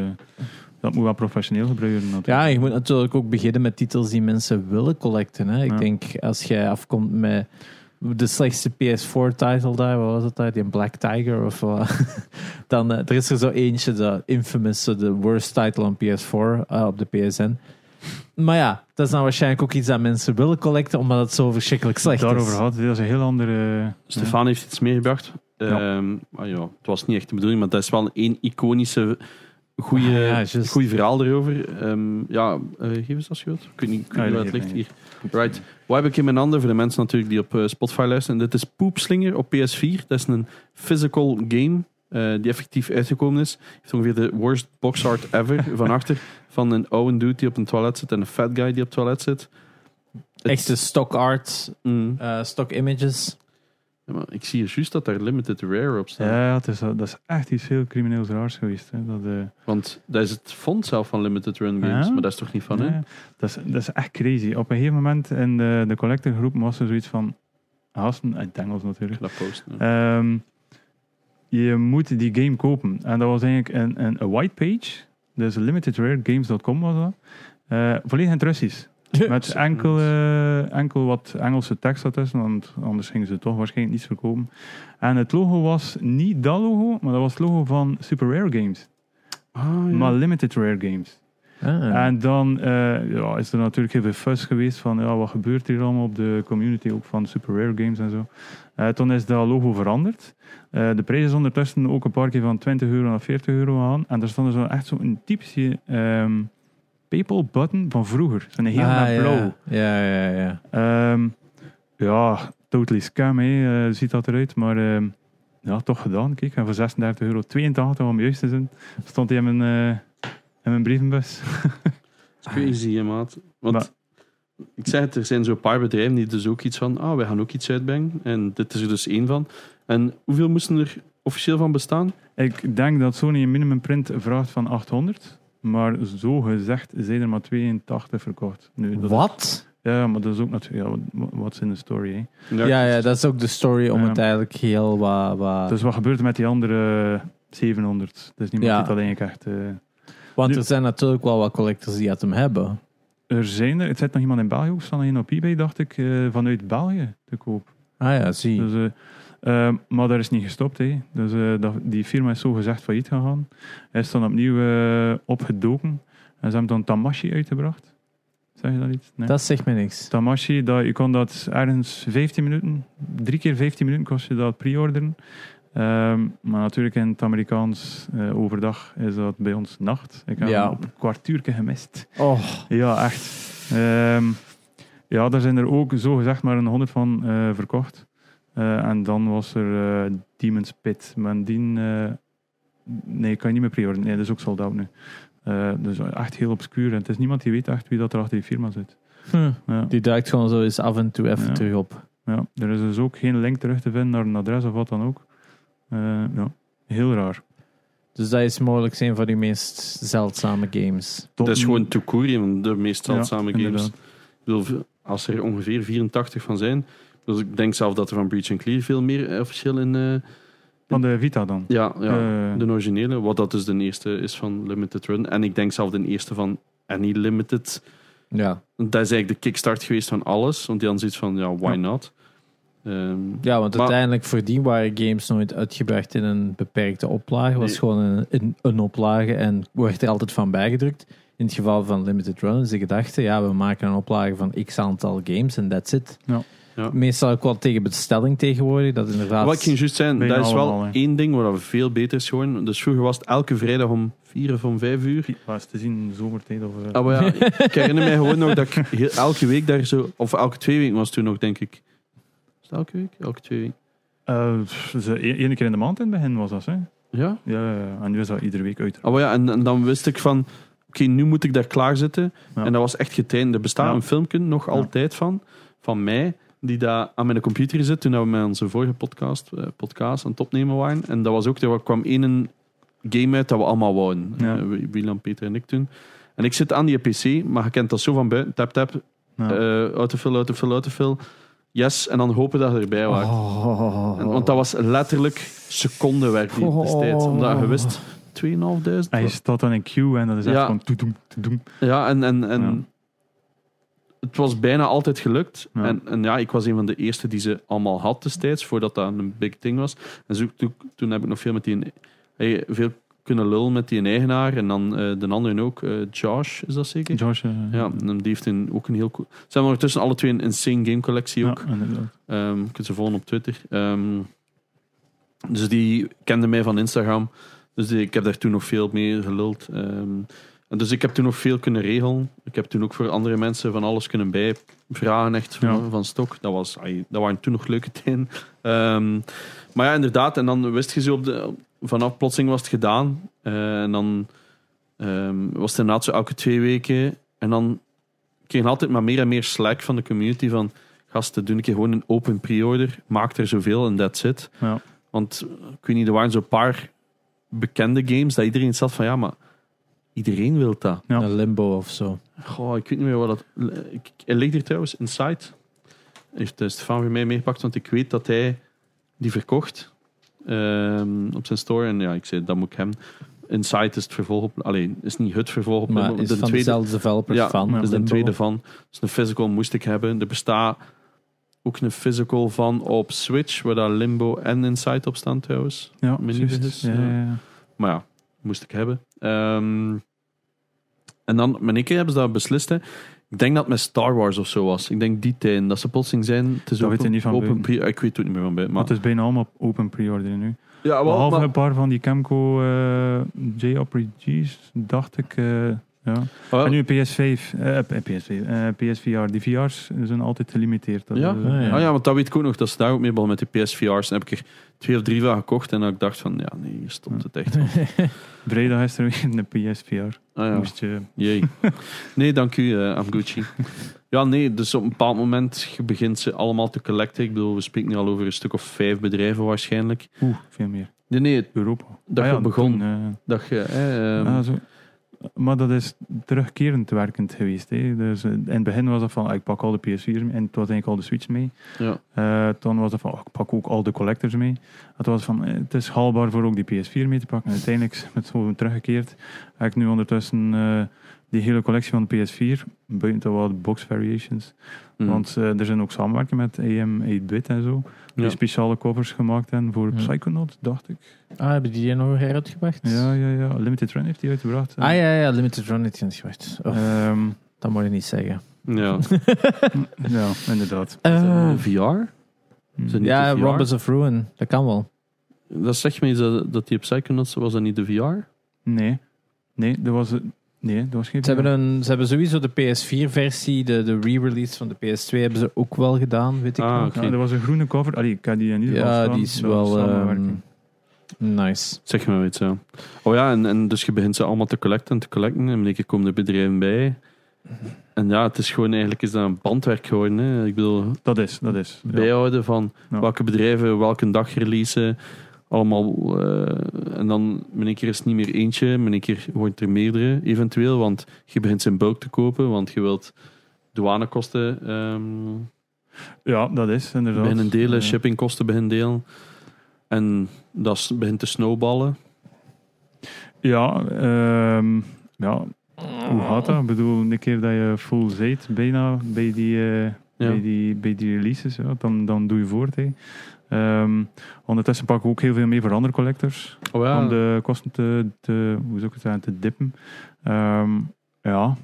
Speaker 3: dat moet wel professioneel gebruiken. Natuurlijk.
Speaker 2: Ja, je moet natuurlijk ook beginnen met titels die mensen willen collecten. Hè. Ik
Speaker 3: Ja.
Speaker 2: denk, als jij afkomt met de slechtste PS4-title daar, wat was het daar? Die Black Tiger of wat? [laughs] Dan, eh, er is er zo eentje, de infamous, zo de worst title on PS4 eh, op de PSN. Maar ja, dat is dan waarschijnlijk ook iets dat mensen willen collecten, omdat het zo verschrikkelijk slecht
Speaker 3: Daarover
Speaker 2: is.
Speaker 3: had, dat is een heel andere... eh,
Speaker 1: Stefan heeft iets meegebracht.
Speaker 3: Ja.
Speaker 1: Ehm, ah ja, het was niet echt de bedoeling, maar dat is wel één iconische goede
Speaker 2: Ah, ja, juist.
Speaker 1: goed verhaal erover. Ehm, ja, eh, geef eens als je wilt. Ik weet niet ik weet
Speaker 3: Ah,
Speaker 1: niet
Speaker 3: dat
Speaker 1: waar het
Speaker 3: geeft
Speaker 1: ligt
Speaker 3: niet.
Speaker 1: hier. Right. Wat heb ik in mijn handen voor de mensen natuurlijk die op eh, Spotify luisteren? Dit is Poepslinger op PS4. Dat is een physical game eh, die effectief uitgekomen is. Heeft ongeveer de worst box art ever
Speaker 3: [laughs]
Speaker 1: van achter. Van een oude dude die op een toilet zit en een fat guy die op het toilet zit. Het-
Speaker 3: dus-
Speaker 2: Echte stock art,
Speaker 1: Mm.
Speaker 2: eh, stock images.
Speaker 1: Ja, maar ik zie hier juist dat daar limited rare op staat.
Speaker 3: Ja, het is, dat is echt iets heel crimineels raars geweest. Hè. Dat, eh,
Speaker 1: Want dat is het fond zelf van Limited Run Games,
Speaker 3: Ja?
Speaker 1: maar dat is toch niet van, hè?
Speaker 3: Nee, dat, is, dat is echt crazy. Op een gegeven moment in de, de collectorgroep was er zoiets van... Hasten, uit het Engels natuurlijk.
Speaker 1: Dat posten.
Speaker 3: Ehm, je moet die game kopen. En dat was eigenlijk een, een, een white page. Dus limitedRareGames.com was dat. Eh, volledig in het Russisch. Met enkel, eh, enkel wat Engelse tekst ertussen, want anders gingen ze toch waarschijnlijk niets verkopen. En het logo was niet dat logo, maar dat was het logo van Super Rare Games.
Speaker 1: Ah, ja.
Speaker 3: Maar Limited Rare Games.
Speaker 2: [laughs] Ah.
Speaker 3: En dan eh, ja, is er natuurlijk heel veel fuss geweest van ja, wat gebeurt hier allemaal op de community ook van Super Rare Games en zo. Eh, toen is dat logo veranderd. Eh, de prijs is ondertussen ook een paar keer van 20 euro naar 40 euro aan. En daar stond dus wel echt zo'n typische ehm PayPal button van vroeger. Zo'n heel
Speaker 2: Ah,
Speaker 3: met blauw.
Speaker 2: Ja, ja, ja. ja.
Speaker 3: Ehm, ja, totally scam, hè. eh, ziet dat eruit. Maar ehm, ja, toch gedaan. Kijk, en voor 36 euro 82 om juist te zijn, stond hij in mijn, eh, in mijn brievenbus.
Speaker 1: Crazy, hè, maat. Want
Speaker 3: Maar-
Speaker 1: ik zeg het, er zijn zo'n paar bedrijven die dus ook iets van, ah, wij gaan ook iets uitbrengen. En dit is er dus één van. En hoeveel moesten er officieel van bestaan?
Speaker 3: Ik denk dat Sony een minimumprint vraagt van 800. Maar zo gezegd zijn er maar 82 verkocht. Nu, dat,
Speaker 2: Wat?
Speaker 3: ja, maar dat is ook natuurlijk... Ja, wat- wat is in de story, hè.
Speaker 2: Ja, ja, dat is ook de story om
Speaker 3: Ja.
Speaker 2: het eigenlijk heel wat... wat-
Speaker 3: Dus wat gebeurt er met die andere 700? Dus niemand
Speaker 2: Ja.
Speaker 3: die dat eigenlijk echt... eh,
Speaker 2: want
Speaker 3: nu-
Speaker 2: er zijn natuurlijk wel wat collectors die het hem hebben.
Speaker 3: er zijn er... Het zit nog iemand in België ook. Er staat nog één op eBay, dacht ik, eh, vanuit België te koop.
Speaker 2: Ah ja, zie.
Speaker 3: Dus, eh, eh, maar daar is niet gestopt. Hè. Dus, eh, dat, die firma is zo gezegd failliet gegaan. Hij is dan opnieuw eh, opgedoken. En ze hebben dan Tamashi uitgebracht. Zeg je dat iets? Nee.
Speaker 2: dat zegt me niks.
Speaker 3: Tamashi, dat, je kon dat ergens 15 minuten, drie keer 15 minuten kost je dat pre-orderen. Ehm, maar natuurlijk in het Amerikaans eh, overdag is dat bij ons nacht. Ik heb
Speaker 2: Ja.
Speaker 3: hem op een kwartiertje gemist.
Speaker 2: Oh,
Speaker 3: Ja, echt. Ehm, ja, daar zijn er ook zo gezegd maar een honderd van eh, verkocht. Eh, en dan was er eh, Demon's Pit. Maar die... eh, nee, kan je niet meer pre-orderen. Nee, dat is ook sold out nu. Eh, dus echt heel obscuur. En het is niemand die weet echt wie dat er achter die firma zit.
Speaker 2: hm.
Speaker 3: Ja.
Speaker 2: die duikt gewoon zo eens af en toe even
Speaker 3: Ja.
Speaker 2: terug op.
Speaker 3: Ja, er is dus ook geen link terug te vinden naar een adres of wat dan ook. Eh, ja, heel raar.
Speaker 2: Dus dat is mogelijk een van die meest zeldzame games.
Speaker 1: Dat is gewoon Tukurium, de meest zeldzame
Speaker 3: Ja,
Speaker 1: games.
Speaker 3: inderdaad.
Speaker 1: Ik bedoel, als er ongeveer 84 van zijn. Dus ik denk zelf dat er van Breach and Clear veel meer eh, officieel in, eh,
Speaker 3: Van de Vita dan.
Speaker 1: Ja, ja.
Speaker 3: Eh,
Speaker 1: de originele, wat dat dus de eerste is van Limited Run. En ik denk zelf de eerste van Any Limited.
Speaker 2: Ja.
Speaker 1: Dat is eigenlijk de kickstart geweest van alles. Want die hadden zoiets van, ja, why
Speaker 3: Ja.
Speaker 1: not? Ehm,
Speaker 2: ja, want
Speaker 1: Maar-
Speaker 2: uiteindelijk voordien waren games nooit uitgebracht in een beperkte oplage. Het was
Speaker 1: Nee.
Speaker 2: gewoon een, een, een oplage en werd er altijd van bijgedrukt. In het geval van Limited Run is de gedachte, ja, we maken een oplage van x aantal games en that's it.
Speaker 3: Ja.
Speaker 1: Ja.
Speaker 2: Meestal ook wel tegen bestelling tegenwoordig, dat inderdaad...
Speaker 1: Wat ik ging juist zijn,
Speaker 3: Bijna
Speaker 1: dat is wel
Speaker 3: allemaal, hè.
Speaker 1: één ding waar we veel beter is geworden. Dus vroeger was het elke vrijdag om vier of om vijf uur.
Speaker 3: Was te zien in de zomertijd of... eh,
Speaker 1: Ah, maar ja, ik herinner mij gewoon nog dat ik heel- elke week daar zo... Of elke twee weken was het toen nog, denk ik. Is het elke week? Elke twee weken.
Speaker 3: eh, pff, ze- e- ene keer in de maand in het begin was dat, hè?
Speaker 1: Ja?
Speaker 3: Ja, ja, ja. en nu is dat iedere week uit.
Speaker 1: Ah, maar ja, en, en dan wist ik van... Oké, nu moet ik daar klaarzitten.
Speaker 3: Ja.
Speaker 1: En dat was echt getraind. Er bestaat
Speaker 3: Ja.
Speaker 1: een filmpje nog altijd van, van mij, die daar aan mijn computer zit, toen we met onze vorige podcast, eh, podcast aan het opnemen waren. En dat was ook, er kwam één game uit dat we allemaal wouden.
Speaker 3: Ja.
Speaker 1: William, Peter en ik toen. En ik zit aan die PC, maar je kent dat zo van buiten. Tap, tap,
Speaker 3: Ja.
Speaker 1: eh autofill, autofill, autofill. Yes, en dan hopen dat je erbij was.
Speaker 2: Oh.
Speaker 1: En- want dat was letterlijk secondenwerk die
Speaker 2: Oh.
Speaker 1: destijds. Omdat je wist, 2.500.
Speaker 3: Hij staat dan in queue en dat is echt
Speaker 1: Ja.
Speaker 3: gewoon toedoem, toedoem.
Speaker 1: Ja, en, en, en
Speaker 3: Ja.
Speaker 1: het was bijna altijd gelukt.
Speaker 3: Ja.
Speaker 1: En, en ja, ik was een van de eerste die ze allemaal had destijds, voordat dat een big thing was. En zo, toen, toen heb ik nog veel met die... hey, veel kunnen lullen met die eigenaar. En dan eh, de anderen ook. eh, Josh, is dat zeker?
Speaker 3: Josh, eh,
Speaker 1: Ja, en die heeft een, ook een heel cool... Ze hebben ondertussen alle twee een insane game collectie
Speaker 3: ja,
Speaker 1: ook.
Speaker 3: inderdaad.
Speaker 1: Ehm, je kunt ze volgen op Twitter. Ehm, dus die kende mij van Instagram. Dus die- ik heb daar toen nog veel mee geluld. Ehm, en dus ik heb toen nog veel kunnen regelen. Ik heb toen ook voor andere mensen van alles kunnen bijvragen, echt van,
Speaker 3: Ja.
Speaker 1: van stok. Dat, was, ai, dat waren toen nog leuke tijden. Ehm, maar ja, inderdaad. En dan wist je zo op de, vanaf plotseling was het gedaan. Eh, en dan ehm, was het inderdaad zo elke twee weken. En dan kreeg je altijd maar meer en meer slack van de community van... Gasten, doe een keer gewoon een open pre-order. Maak er zoveel en that's it.
Speaker 3: Ja.
Speaker 1: Want eh, ik weet niet, er waren zo'n paar bekende games dat iedereen zat van... Ja, maar iedereen wil dat.
Speaker 3: Ja.
Speaker 2: Een limbo of zo.
Speaker 1: Goh, ik weet niet meer wat dat... Ik, er ligt hier trouwens, Inside. Heeft eh, Stefan voor mij meegepakt, want ik weet dat hij die verkocht ehm, op zijn store. En ja, ik zei, dat moet ik hem... Inside is het vervolg op... Alleen, is niet het vervolg op...
Speaker 2: Maar
Speaker 1: Limbo,
Speaker 2: is
Speaker 1: de
Speaker 2: van
Speaker 1: tweede-
Speaker 2: dezelfde developer
Speaker 1: Ja,
Speaker 2: van
Speaker 3: ja,
Speaker 1: dat is de
Speaker 2: Limbo.
Speaker 1: tweede van. Dus een physical moest ik hebben. Er bestaat ook een physical van op Switch, waar daar Limbo en Inside op staan trouwens.
Speaker 3: Ja,
Speaker 1: Mini
Speaker 3: juist.
Speaker 1: dus,
Speaker 3: Ja,
Speaker 1: ja.
Speaker 3: ja, ja.
Speaker 1: Maar ja, moest ik hebben. Ehm, en dan, met een keer hebben ze dat beslist. Hè. Ik denk dat het met Star Wars of zo was. Ik denk die tijden, dat ze plotseling zijn. Het is
Speaker 3: Dat
Speaker 1: open-
Speaker 3: weet je niet van
Speaker 1: open
Speaker 3: buiten.
Speaker 1: pre- Ik weet het ook niet meer van bij.
Speaker 3: Maar
Speaker 1: Maar,
Speaker 3: het is bijna allemaal open pre-order nu.
Speaker 1: ja, Ah, wel,
Speaker 3: Behalve
Speaker 1: maar-
Speaker 3: een paar van die Camco eh, JRPG's, dacht ik. eh, ja.
Speaker 1: wel,
Speaker 3: En nu PS5, eh, eh, PS5 eh, PSVR. Die VR's zijn altijd gelimiteerd. Dat,
Speaker 1: Ja?
Speaker 3: eh,
Speaker 2: Ja, ja.
Speaker 1: Ah ja, want dat weet ik ook nog, dat ze daar ook mee begonnen met die PSVR's. En heb ik er twee of drie van gekocht. En dan ik dacht van, ja, nee, hier stopt het echt.
Speaker 3: [laughs] Vrijdag is er weer een PSVR.
Speaker 1: Ah ja.
Speaker 3: Moest je...
Speaker 1: Jee. [laughs] Nee, dank u, eh, I'm Gucci. Ja, nee, dus op een bepaald moment je begint ze allemaal te collecten. Ik bedoel, we spreken nu al over een stuk of vijf bedrijven waarschijnlijk.
Speaker 3: Oeh, veel meer.
Speaker 1: Nee, nee,
Speaker 3: Europa.
Speaker 1: dat je begon.
Speaker 3: toen, eh,
Speaker 1: dat je... eh, ehm,
Speaker 3: ah, zo. Maar dat is terugkerend werkend geweest. Hè. Dus eh, in het begin was dat van, ah, ik pak al de PS4's mee. En het was eigenlijk al de Switch mee.
Speaker 1: ja.
Speaker 3: Eh, toen was het van, oh, ik pak ook al de collectors mee. Het was van, eh, het is haalbaar voor ook die PS4 mee te pakken. En uiteindelijk, met zo teruggekeerd, heb ik nu ondertussen eh, die hele collectie van de PS4, buiten dat wat box variations.
Speaker 1: Mm.
Speaker 3: Want eh, er zijn ook samenwerken met AM 8-bit en zo. Die
Speaker 1: Ja.
Speaker 3: speciale covers gemaakt hebben voor
Speaker 2: Ja.
Speaker 3: Psychonaut, dacht ik.
Speaker 2: Ah, hebben die die nog heruitgebracht?
Speaker 3: Ja, ja, ja. Limited Run heeft die uitgebracht.
Speaker 2: Ah ja, ja, Limited Run heeft die uitgebracht. Oh,
Speaker 3: Ehm,
Speaker 2: Dat moet je niet zeggen. [laughs]
Speaker 1: ja. [laughs]
Speaker 3: ja, inderdaad.
Speaker 2: Eh,
Speaker 1: VR?
Speaker 3: Hm.
Speaker 1: Zijn- niet
Speaker 2: ja,
Speaker 1: de VR?
Speaker 2: Robbers of Ruin. Dat kan wel.
Speaker 1: Dat zegt me iets dat, dat die op Psychonauts, was dat niet de VR?
Speaker 3: Hmm. Nee. Nee, dat was, nee, dat was geen...
Speaker 2: Ze hebben, een, ze hebben sowieso de PS4-versie, de, de re-release van de PS2 hebben ze ook wel gedaan, weet ik
Speaker 1: Ah,
Speaker 2: nog.
Speaker 1: oké.
Speaker 3: Ja, dat was een groene cover. Allee, ik had die in ieder geval
Speaker 2: Ja,
Speaker 3: staan.
Speaker 2: die is
Speaker 3: Dat was
Speaker 2: wel
Speaker 3: een
Speaker 2: ehm,
Speaker 3: samenwerking.
Speaker 2: nice.
Speaker 1: Zeg maar iets, ja. Oh ja, en, en dus je begint ze allemaal te collecten en te collecten. En in één keer komen er bedrijven bij. En ja, het is gewoon eigenlijk is dat een bandwerk geworden. Hè. Ik bedoel,
Speaker 3: Dat is, dat is. Ja.
Speaker 1: bijhouden van
Speaker 3: Ja.
Speaker 1: welke bedrijven welke dag releasen. Allemaal, eh, en dan in één keer is het niet meer eentje, in één keer wordt er meerdere eventueel, want je begint zijn bulk te kopen, want je wilt douanekosten ehm
Speaker 3: Ja, dat is inderdaad.
Speaker 1: beginnen delen,
Speaker 3: Ja.
Speaker 1: shippingkosten beginnen delen. En dat s- begint te snowballen.
Speaker 3: Eh, Ja, ehm, ja, hoe gaat dat? Ik bedoel, een keer dat je full zit, bijna bij die, eh,
Speaker 1: Ja.
Speaker 3: bij die, bij die releases, ja, dan, dan doe je voort. hè. Ehm, ondertussen pak ik ook heel veel mee voor andere collectors.
Speaker 1: Oh
Speaker 3: Om de kosten te, te, hoe zou ik het zeggen, te dippen. Ehm, ja.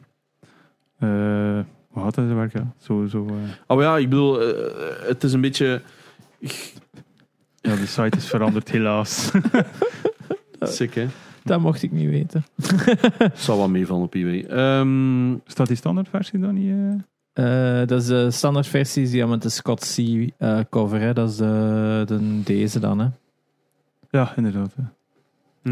Speaker 3: Eh, hoe gaat dat in zijn werk? Ja, zo, zo, eh,
Speaker 1: Oh ja, ik bedoel, eh, het is een beetje...
Speaker 3: ja de site is veranderd, helaas.
Speaker 1: Sick, hè?
Speaker 2: Dat mocht ik niet weten.
Speaker 1: Zal wel meevallen op eBay. Ehm,
Speaker 3: [laughs] Staat die standaardversie dan niet? eh?
Speaker 2: Eh, dat is de standaardversie die met de Scott Sea eh, cover. Hè. Dat is de, de- deze dan. Hè.
Speaker 3: Ja, inderdaad. hè.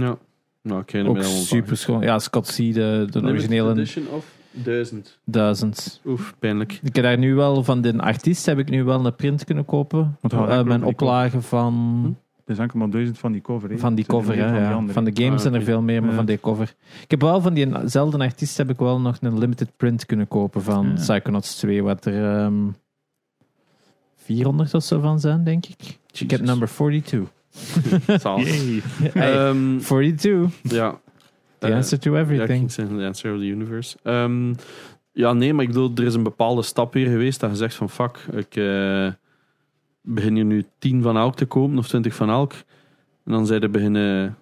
Speaker 1: ja. Nou, ik ga
Speaker 2: Ook super schoon. Ja, Scott Sea, de, de originele
Speaker 1: edition of 1000.
Speaker 2: 1000.
Speaker 1: Oef, pijnlijk.
Speaker 2: Ik heb daar nu wel van de artiest heb ik nu wel een print kunnen kopen.
Speaker 3: Want hou
Speaker 2: Eh,
Speaker 3: eigenlijk
Speaker 2: mijn
Speaker 3: ook die cover.
Speaker 2: oplage van.
Speaker 1: Hm?
Speaker 3: Er zijn ook maar duizend van die cover. hè.
Speaker 2: Van die
Speaker 3: Er zijn er
Speaker 2: cover, hè,
Speaker 3: meer van die
Speaker 2: ja.
Speaker 3: andere.
Speaker 2: Van de games
Speaker 1: Ah,
Speaker 2: zijn er
Speaker 1: oké.
Speaker 2: veel meer, maar
Speaker 3: Ja.
Speaker 2: van die cover. Ik heb wel van diezelfde artiest heb ik wel nog een limited print kunnen kopen van
Speaker 3: Ja.
Speaker 2: Psychonauts 2, wat er ehm, 400 of zo van zijn, denk ik. Ik heb number
Speaker 3: [laughs]
Speaker 2: 42.
Speaker 1: Zalig.
Speaker 2: [laughs]
Speaker 3: Yay. Eh,
Speaker 2: Hey,
Speaker 1: Ehm,
Speaker 2: 42,
Speaker 1: ja. Eh,
Speaker 2: the answer to
Speaker 1: Ja, ik
Speaker 2: everything.
Speaker 1: ging zeggen, the answer of the universe. Ehm, ja, nee, maar ik bedoel, er is een bepaalde stap hier geweest dat je zegt van, fuck, ik eh, begin hier nu 10 van elk te kopen, of 20 van elk. En dan zeiden beginnen...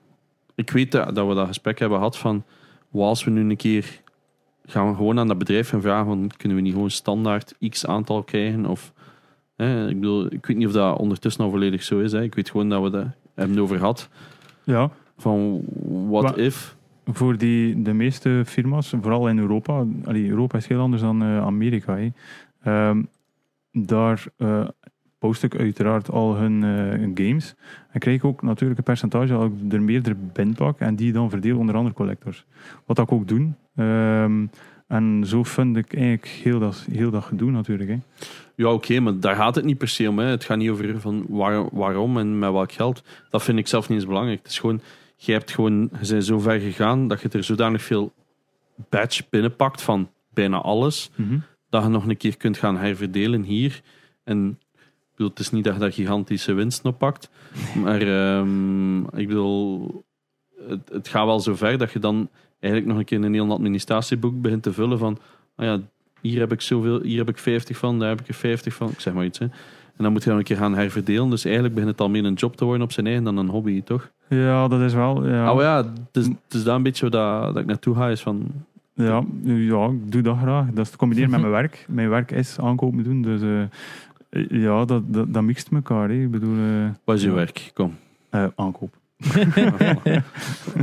Speaker 1: Ik weet dat, dat we dat gesprek hebben gehad van, wat als we nu een keer gaan we gewoon aan dat bedrijf gaan vragen van, kunnen we niet gewoon standaard x aantal krijgen? Of, hè, ik bedoel, ik weet niet of dat ondertussen al volledig zo is. Hè. Ik weet gewoon dat we dat hebben over gehad.
Speaker 3: Ja,
Speaker 1: Van, what
Speaker 3: Wa-
Speaker 1: if?
Speaker 3: voor die, de meeste firma's, vooral in Europa, allee, Europa is heel anders dan eh, Amerika. hè. Ehm, daar eh, post ik uiteraard al hun eh, hun games. En krijg ik ook natuurlijk een percentage als ik er meerdere binpak en die dan verdeel onder andere collectors. Wat dat ik ook doe. Ehm, en zo vind ik eigenlijk heel dat, heel dat gedoe natuurlijk. Hè.
Speaker 1: Ja, oké, maar daar gaat het niet per se om. Hè. Het gaat niet over van waar- waarom en met welk geld. Dat vind ik zelf niet eens belangrijk. Het is gewoon, je hebt gewoon, je bent zo ver gegaan dat je er zodanig veel badge binnenpakt van bijna alles, dat je nog een keer kunt gaan herverdelen hier. En ik bedoel, het is niet dat je daar gigantische winst op pakt, maar ehm, ik bedoel, het, het gaat wel zo ver dat je dan eigenlijk nog een keer een heel administratieboek begint te vullen van, ah ja, hier heb ik zoveel, hier heb ik 50 van, daar heb ik er 50 van, ik zeg maar iets. Hè. En dan moet je dan een keer gaan herverdelen. Dus eigenlijk begint het al meer een job te worden op zijn eigen dan een hobby, toch?
Speaker 3: Ja, dat is wel. Ja.
Speaker 1: Oh ja, het is, het is daar een beetje waar dat, dat ik naartoe ga, is van...
Speaker 3: Ja, ja, ik doe dat graag. Dat is te combineren met mijn werk. Mijn werk is aankopen doen, dus eh, eh, ja, dat, dat, dat mixt elkaar. Hè. Ik bedoel, eh,
Speaker 1: Wat is je werk? [laughs] Kom.
Speaker 3: eh,
Speaker 1: [laughs]
Speaker 3: aankoop.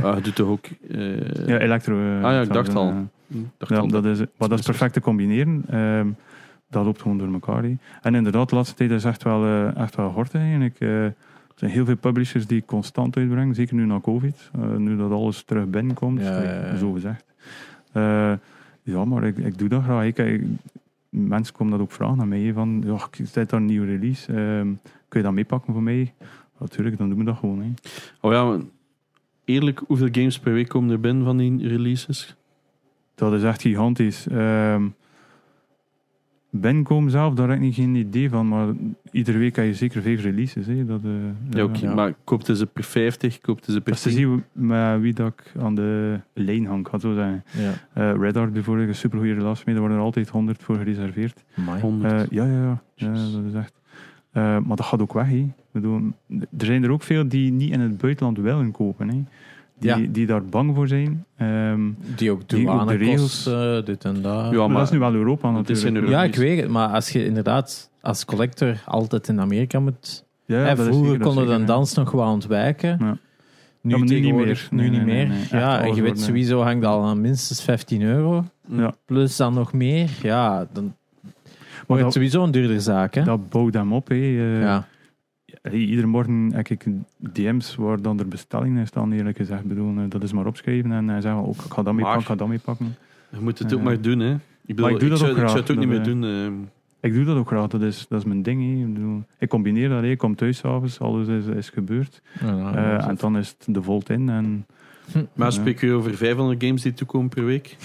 Speaker 1: Ah, je doet toch ook... eh,
Speaker 3: Ja, elektro. eh,
Speaker 1: ja, ik
Speaker 3: zou
Speaker 1: dacht
Speaker 3: zeggen,
Speaker 1: al.
Speaker 3: eh.
Speaker 1: ik dacht
Speaker 3: Ja,
Speaker 1: al
Speaker 3: dat is, maar dat is perfect te combineren. Ehm, dat loopt gewoon door elkaar. hè. En inderdaad, de laatste tijd is echt wel, eh, echt wel hard eigenlijk. Eh, er zijn heel veel publishers die constant uitbrengen, zeker nu na COVID. Eh, nu dat alles terug binnenkomt,
Speaker 2: Ja, ja, ja.
Speaker 3: zo gezegd. Eh, ja, maar ik, ik doe dat graag. Ik, ik- mensen komen dat ook vragen aan mij. hè, Van, ja, ik- zit daar een nieuwe release? Ehm, kun je dat meepakken voor mij? Natuurlijk, dan doen we dat gewoon. Hè.
Speaker 1: Oh ja, maar eerlijk, hoeveel games per week komen er binnen van die releases?
Speaker 3: Dat is echt gigantisch. Ehm Benkom zelf, daar heb ik niet geen idee van, maar iedere week heb je zeker vijf releases. Hè. Dat, eh,
Speaker 1: Ja, oké, maar koopten ze per 50, koopten ze per
Speaker 3: Dat is te
Speaker 1: 10?
Speaker 3: zien met wie dat ik aan de lijn hang, ik ga het zo zeggen.
Speaker 2: Ja.
Speaker 3: Eh Red Hart bijvoorbeeld, een supergoeie relatie mee, daar worden er altijd 100 voor gereserveerd.
Speaker 2: Amai.
Speaker 1: 100.
Speaker 3: Eh, ja, ja, ja. ja
Speaker 2: Jezus.
Speaker 3: dat is echt. Eh, maar dat gaat ook weg. Hè. Ik bedoel, er zijn er ook veel die niet in het buitenland willen kopen. Hè. Die,
Speaker 2: Ja.
Speaker 3: die daar bang voor zijn. Ehm,
Speaker 2: Die ook
Speaker 3: Die ook de
Speaker 2: douanekost, eh, dit en dat.
Speaker 1: Ja,
Speaker 2: Ja,
Speaker 3: maar
Speaker 1: maar-
Speaker 3: dat is nu wel Europa
Speaker 1: het is
Speaker 3: natuurlijk.
Speaker 1: in Europa.
Speaker 2: ik weet het, maar als je inderdaad als collector altijd in Amerika moet...
Speaker 3: Ja,
Speaker 2: hè,
Speaker 3: dat is
Speaker 2: vroeger
Speaker 3: zeker, dat is
Speaker 2: konden we
Speaker 3: zeker,
Speaker 2: de
Speaker 3: hè.
Speaker 2: dans nog wel ontwijken.
Speaker 3: Ja.
Speaker 2: Nu,
Speaker 3: Ja, maar nu niet
Speaker 2: tegenwoordig
Speaker 3: meer.
Speaker 2: Nu
Speaker 3: Nee,
Speaker 2: niet
Speaker 3: nee,
Speaker 2: meer.
Speaker 3: nee, nee. Echt
Speaker 2: Ja, en
Speaker 3: alles
Speaker 2: je weet
Speaker 3: wordt, eh, nee.
Speaker 2: sowieso hangt al aan minstens 15 euro.
Speaker 1: hm,
Speaker 3: Ja.
Speaker 2: Plus dan nog meer. Ja, dan
Speaker 3: Maar
Speaker 2: wordt het
Speaker 3: dat,
Speaker 2: sowieso een duurder zaak. Hè?
Speaker 3: dat bouwt hem op. Hè. Eh,
Speaker 2: ja.
Speaker 3: hey, Iedere morgen heb ik DM's waar dan er bestellingen in staan, eerlijk gezegd. Ik bedoel, eh, dat is maar opschrijven en eh, zeggen, ook, ik ga dat mee
Speaker 1: Maar-
Speaker 3: pakken, ik ga dat mee pakken.
Speaker 1: Je moet het ook
Speaker 3: Eh,
Speaker 1: maar doen, hè. Ik, bedoel,
Speaker 3: ik doe dat
Speaker 1: zou,
Speaker 3: ook
Speaker 1: ik zou
Speaker 3: graag,
Speaker 1: het ook niet meer
Speaker 3: dat, eh,
Speaker 1: doen. ehm.
Speaker 3: Ik doe dat ook graag, dat is, dat is mijn ding. hè. Ik, bedoel, ik combineer dat, hè. ik kom thuis s'avonds, alles is, is gebeurd. Eh,
Speaker 2: dus-
Speaker 3: en dan is het de volt in en
Speaker 1: maar
Speaker 3: ja. Eh,
Speaker 1: spreek je over 500 games die toekomen per week?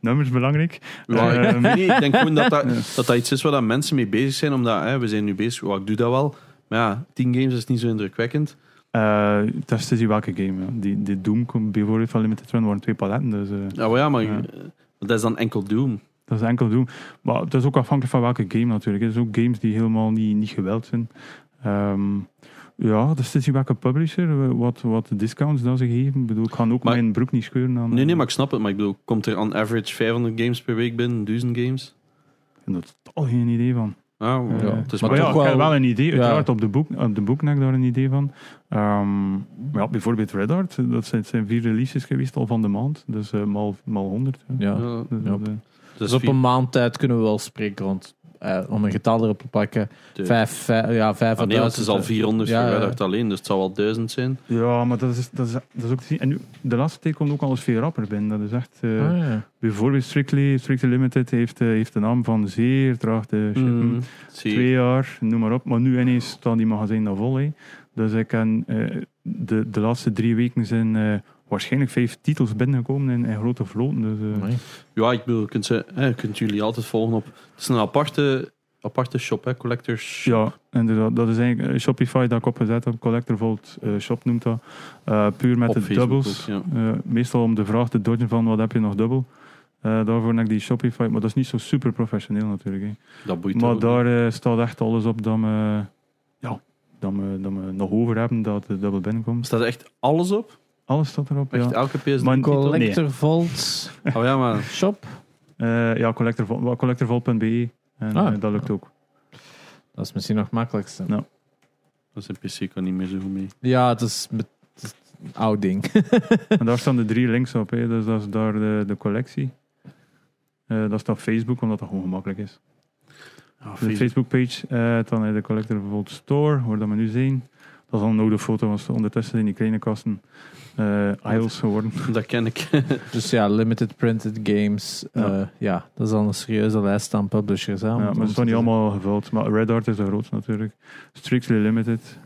Speaker 3: nummers belangrijk.
Speaker 1: Ja,
Speaker 3: [laughs]
Speaker 1: ik-
Speaker 3: Ehm.
Speaker 1: nee, ik denk gewoon dat dat, dat dat iets is waar dat mensen mee bezig zijn. Omdat hè, we zijn nu bezig, oh, ik doe dat wel. Maar ja, 10 games is niet zo indrukwekkend.
Speaker 3: Eh, het is te zien welke game. ja. Die, die Doom komt bijvoorbeeld van Limited Run waren twee paletten. Dus eh,
Speaker 1: Ja, maar, ja, maar
Speaker 3: Ja.
Speaker 1: eh, dat is dan enkel Doom.
Speaker 3: dat is enkel Doom. Maar het is ook afhankelijk van welke game natuurlijk. Er zijn ook games die helemaal niet, niet geweld zijn. Ehm, ja, het is te zien welke publisher, eh, wat, wat de discounts dat ze geven. Ik bedoel, ik ga ook
Speaker 1: Maar-
Speaker 3: mijn broek niet scheuren aan.
Speaker 1: Nee, nee, maar ik snap het. Maar ik bedoel, komt er on average 500 games per week binnen? 1000 games?
Speaker 3: Ik heb er totaal geen idee van.
Speaker 1: Nou,
Speaker 3: Eh,
Speaker 1: ja, het is maar,
Speaker 2: maar
Speaker 3: Maar ja,
Speaker 2: toch
Speaker 3: ik heb
Speaker 2: wel-
Speaker 3: wel een idee,
Speaker 2: ja.
Speaker 3: uiteraard op de, boek, op de boeknek daar een idee van. Ehm, maar ja, bijvoorbeeld Red Hart, dat zijn, zijn vier releases geweest al van de maand. Dus eh, mal, mal 100. ja.
Speaker 2: Ja.
Speaker 1: Ja,
Speaker 3: Dus,
Speaker 2: Ja.
Speaker 3: eh,
Speaker 1: dus
Speaker 2: Dus op
Speaker 1: vier-
Speaker 2: een maand tijd kunnen we wel spreken rond, eh, om een getal erop te pakken,
Speaker 1: de-
Speaker 2: vijf, vijf- ja, vijf
Speaker 1: Ah, nee, want het is al 400
Speaker 2: Ja,
Speaker 1: ja,
Speaker 2: ja.
Speaker 1: alleen, dus het zal wel 1000 zijn.
Speaker 3: ja, maar dat is, dat, is, dat is ook te zien. En nu, de laatste tijd komt ook alles veel rapper binnen. Dat is echt... eh,
Speaker 2: Ah, ja.
Speaker 3: Bijvoorbeeld Strictly, Strictly Limited heeft, eh, heeft de naam van zeer traag te shippen.
Speaker 1: Mm, zie.
Speaker 3: hm. Twee jaar, noem maar op. Maar nu ineens staan die magazijn dan vol. hè. Dus ik kan eh, de, de laatste drie weken zijn eh, waarschijnlijk vijf titels binnengekomen in, in grote vloten. Dus, eh,
Speaker 2: Amai.
Speaker 1: Ja, ik bedoel, je kunt, ze, hè, je kunt jullie altijd volgen op... Het is een aparte, aparte shop, hè, collectors.
Speaker 3: ja, inderdaad. Dat is eigenlijk eh, Shopify dat ik opgezet heb. Collector Vault eh, Shop noemt dat. Eh, puur met
Speaker 1: Op
Speaker 3: de
Speaker 1: Facebook
Speaker 3: doubles.
Speaker 1: ook,
Speaker 3: Eh, meestal om de vraag te dodgen van wat heb je nog dubbel. Eh, daarvoor heb ik die Shopify. Maar dat is niet zo super professioneel natuurlijk. hè.
Speaker 1: Dat boeit
Speaker 3: Maar
Speaker 1: ook.
Speaker 3: daar eh, staat echt alles op dat we, ja, dat we, dat we nog over hebben dat de dubbel binnenkomt.
Speaker 1: Staat er echt alles op?
Speaker 3: Alles staat erop.
Speaker 1: Echt
Speaker 3: ja.
Speaker 1: elke PS3?
Speaker 3: Maar-
Speaker 2: Collector Vault
Speaker 1: Oh ja, maar...
Speaker 2: Shop.
Speaker 3: Eh, ja, collectorvol- collectorvol.be. En
Speaker 2: Ah.
Speaker 3: eh, dat lukt ook.
Speaker 2: Dat is misschien nog het makkelijkste.
Speaker 3: Ja.
Speaker 1: Dat is een PC, kan niet meer zo goed mee.
Speaker 2: Ja, het is, met- het is een oud ding.
Speaker 3: En daar staan de drie links op. Hè. Dus dat is daar de, de collectie. Eh dat staat Facebook, omdat dat gewoon gemakkelijk is.
Speaker 1: Ja,
Speaker 3: De
Speaker 1: Facebook.
Speaker 3: Facebook-page, eh, dan eh, de Collector Store, waar dat we nu zijn. Dat is al een oude foto, want ondertussen zijn die kleine kasten eh aisles geworden.
Speaker 1: [laughs] Dat ken ik.
Speaker 2: Dus ja, limited printed games. eh, Ja,
Speaker 3: Ja.
Speaker 2: dat is al een serieuze lijst aan publishers. Hè, om-
Speaker 3: Ja, maar
Speaker 2: om
Speaker 3: ze
Speaker 2: te
Speaker 3: zijn niet
Speaker 2: zeggen.
Speaker 3: allemaal gevuld. Maar Red Art is de grootste natuurlijk. Strictly Limited.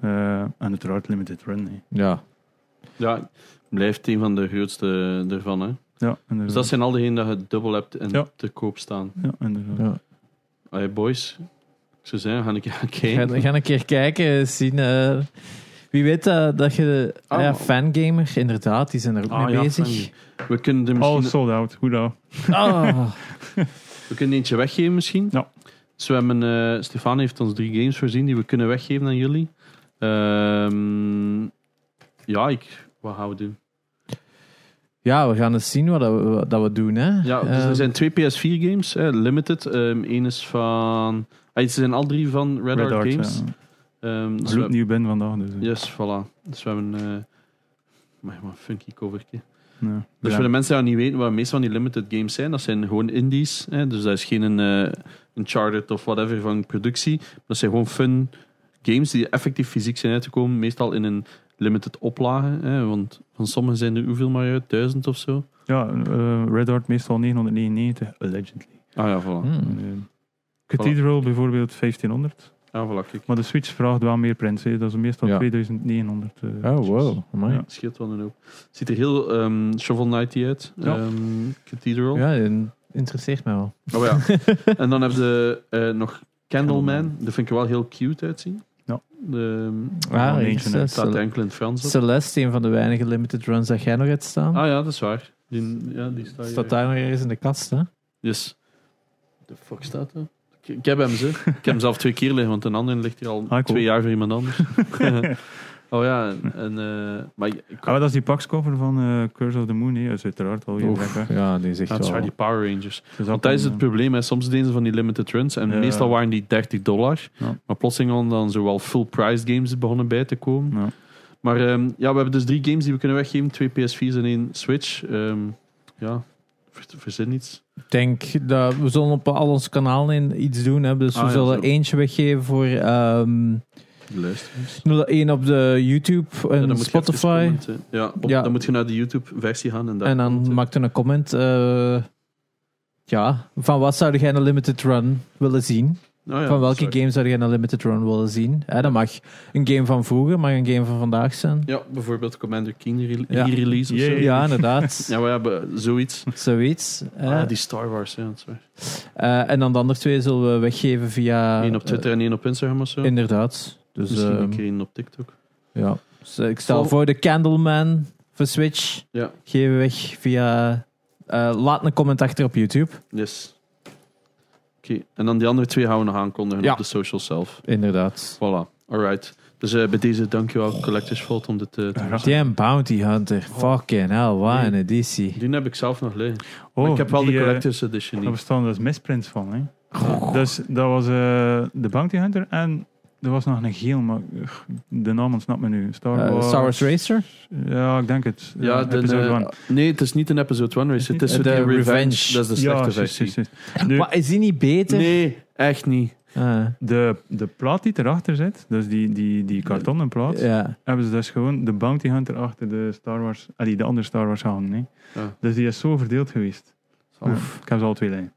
Speaker 3: eh, en uiteraard Limited Run. hè.
Speaker 2: Ja,
Speaker 1: ja, blijft een van de grootste ervan, hè.
Speaker 3: Ja,
Speaker 1: Dus
Speaker 3: inderdaad.
Speaker 1: dat zijn al diegenen dat je dubbel hebt en
Speaker 3: Mm. Ja.
Speaker 1: te koop staan.
Speaker 3: Ja, inderdaad.
Speaker 2: ja.
Speaker 1: Allee, boys. Ik zou zeggen, ga ik [laughs] gaan
Speaker 2: Ga,
Speaker 1: kijken.
Speaker 2: ga een keer kijken, zien. eh, wie weet eh, dat je... ah ja,
Speaker 1: Ah,
Speaker 2: fangamer, inderdaad, die zijn er ook
Speaker 1: Ah,
Speaker 2: mee
Speaker 1: ja,
Speaker 2: bezig.
Speaker 1: We kunnen er misschien...
Speaker 3: Alles sold out. Goed
Speaker 2: [laughs]
Speaker 3: dan.
Speaker 2: Ah,
Speaker 1: We kunnen eentje weggeven misschien.
Speaker 3: Ja.
Speaker 1: Dus we hebben, eh, Stefan heeft ons drie games voorzien die we kunnen weggeven aan jullie. Ehm, ja, ik, wat gaan we doen?
Speaker 2: ja, we gaan eens zien wat dat we, wat dat we doen. Hè.
Speaker 1: Ja, dus
Speaker 3: Ehm.
Speaker 2: Eh,
Speaker 1: er zijn twee PS4 games, eh, limited. Ehm Eén is van... ah, ze zijn al drie van Red, Art, Games.
Speaker 3: ja.
Speaker 1: Ehm, dus
Speaker 3: Ik
Speaker 1: we
Speaker 3: loop nieuw ben vandaag. Dus, eh,
Speaker 1: Yes, voilà. Dus we hebben... eh maar een funky covertje.
Speaker 3: ja.
Speaker 1: Dus
Speaker 3: Ja.
Speaker 1: voor de mensen die dat niet weten, wat meestal van die limited games zijn, dat zijn gewoon indies. Hè? Dus dat is geen eh Uncharted of whatever van productie. Dat zijn gewoon fun games die effectief fysiek zijn uitgekomen. Meestal in een limited oplage. Hè? Want van sommigen zijn er hoeveel maar uit? Duizend of zo?
Speaker 3: Ja, eh, Red Art meestal 999. Allegedly.
Speaker 1: Ah ja, voilà.
Speaker 2: hmm.
Speaker 3: Eh, Cathedral bijvoorbeeld 1500.
Speaker 1: Ah, voilà kijk.
Speaker 3: Maar de Switch vraagt wel meer prints. hè. Dat is meestal
Speaker 2: Ja.
Speaker 3: 2900. eh,
Speaker 2: Oh, wow. Amai.
Speaker 3: Ja.
Speaker 1: Scheelt wel een hoop. Ziet er heel ehm Shovel Knight uit.
Speaker 3: Ja.
Speaker 1: Ehm, Cathedral.
Speaker 2: Ja, in- interesseert mij wel.
Speaker 1: Oh ja. en dan hebben ze eh, nog Candleman. Dat vind ik er wel heel cute uitzien.
Speaker 3: Ja.
Speaker 1: De, ehm,
Speaker 3: Ah,
Speaker 2: Ah,
Speaker 3: eentje,
Speaker 2: is, eh,
Speaker 3: hè.
Speaker 1: staat enkel in het Frans op.
Speaker 2: Celeste, een van de weinige limited runs dat jij nog hebt staan.
Speaker 1: Ah ja, dat is waar. Die, ja, die staat, hier.
Speaker 2: Staat daar nog ergens in de kast, hè?
Speaker 1: Yes. De fuck staat er? Ik, ik heb hem ze. Ik heb hem zelf twee keer liggen, want een andere ligt hier al
Speaker 3: Ah, cool.
Speaker 1: twee jaar voor iemand
Speaker 3: [laughs]
Speaker 1: anders. oh ja, en, en, eh, maar ik- ik-
Speaker 3: Ah, maar dat is die pakscover van eh, Curse of the Moon. hè. Dat is uiteraard al heel
Speaker 2: Oef,
Speaker 3: lekker.
Speaker 2: ja, die zegt
Speaker 1: dat is waar, die Power Rangers.
Speaker 3: Dus dat
Speaker 1: Want dat
Speaker 3: kan,
Speaker 1: is het
Speaker 3: eh,
Speaker 1: probleem. Hè. Soms deden ze van die limited runs en
Speaker 3: Ja.
Speaker 1: meestal waren die 30 dollar.
Speaker 3: Ja.
Speaker 1: Maar plotseling hadden dan zowel full price games begonnen bij te komen.
Speaker 3: Ja.
Speaker 1: Maar ehm, ja, we hebben dus drie games die we kunnen weggeven. Twee PS4's en één Switch. Ehm, ja, ver- verzin iets.
Speaker 2: Ik denk dat we zullen op al onze kanalen iets doen. Hè? Dus
Speaker 1: Ah,
Speaker 2: we
Speaker 1: ja,
Speaker 2: zullen
Speaker 1: zo.
Speaker 2: eentje weggeven voor ehm
Speaker 1: Luister.
Speaker 2: één op de YouTube
Speaker 1: Ja,
Speaker 2: en
Speaker 1: dan moet je even
Speaker 2: Spotify.
Speaker 1: commenten. Ja, op-
Speaker 2: Ja.
Speaker 1: dan moet je naar de YouTube-versie gaan. En, daar
Speaker 2: En dan
Speaker 1: commenten.
Speaker 2: maakt er een comment. eh, ja, van wat zou jij een limited run willen zien?
Speaker 1: Nou ja,
Speaker 2: van welke
Speaker 1: sorry.
Speaker 2: game zou jij een limited run willen zien? Hè, dat mag een game van vroeger, mag een game van vandaag zijn.
Speaker 1: Ja, bijvoorbeeld Commander Keen re-
Speaker 2: Ja.
Speaker 1: release of zo.
Speaker 3: Jee.
Speaker 2: Ja, inderdaad.
Speaker 1: [laughs] Ja, maar ja, be- zoiets.
Speaker 2: Zoiets. hè.
Speaker 1: Ah, die Star Wars, ja, dat is waar.
Speaker 2: Eh, en dan de andere twee zullen we weggeven via...
Speaker 1: Eén op Twitter en één op Instagram of zo.
Speaker 2: eh, inderdaad. Dus
Speaker 1: Misschien
Speaker 2: ehm,
Speaker 1: een keer een op TikTok.
Speaker 2: ja. Dus, eh, ik stel
Speaker 1: Vol-
Speaker 2: voor de Candleman voor Switch.
Speaker 1: Ja.
Speaker 2: Geef weg via. eh, laat een comment achter op YouTube.
Speaker 1: Yes. Oké, en dan die andere twee gaan we nog aankondigen
Speaker 2: Ja.
Speaker 1: op de social zelf.
Speaker 2: Inderdaad.
Speaker 1: Voilà, alright. Dus eh, bij deze dankjewel Collectors Vault om dit eh, te doen.
Speaker 2: Damn Bounty Hunter. Fucking hell, wat een editie.
Speaker 1: Die heb ik zelf nog liggen.
Speaker 3: Oh,
Speaker 1: maar ik heb wel
Speaker 3: die,
Speaker 1: de
Speaker 3: eh,
Speaker 1: Collectors Edition
Speaker 3: daar
Speaker 1: niet.
Speaker 3: bestaan dus misprints van. Hè. Dus dat was eh, de Bounty Hunter en er was nog een geel, maar ugh, de naam ontsnapt me nu. Star
Speaker 2: Eh,
Speaker 3: Wars.
Speaker 2: Star Wars Racer?
Speaker 3: Ja, ik denk het.
Speaker 1: Ja, de,
Speaker 3: episode
Speaker 1: eh,
Speaker 3: one.
Speaker 1: nee, het is niet een episode 1 race.
Speaker 3: Is niet?
Speaker 1: Het is
Speaker 2: Eh,
Speaker 1: de
Speaker 2: de
Speaker 1: Revenge.
Speaker 2: Revenge.
Speaker 1: Dat is de
Speaker 3: Ja,
Speaker 1: slechte
Speaker 3: juist,
Speaker 1: versie.
Speaker 3: juist, juist. Nu,
Speaker 2: Maar is die niet beter?
Speaker 1: Nee, echt niet.
Speaker 2: Ah,
Speaker 3: de, de plaat die erachter zit, dus die, die, die kartonnen plaat,
Speaker 2: ja.
Speaker 3: hebben ze dus gewoon de Bounty Hunter achter de Star Wars, allee, de andere Star Wars hangen. hè.
Speaker 1: Ja.
Speaker 3: Dus die is zo verdeeld geweest. Ja,
Speaker 1: Oef.
Speaker 3: ik heb ze al twee liggen.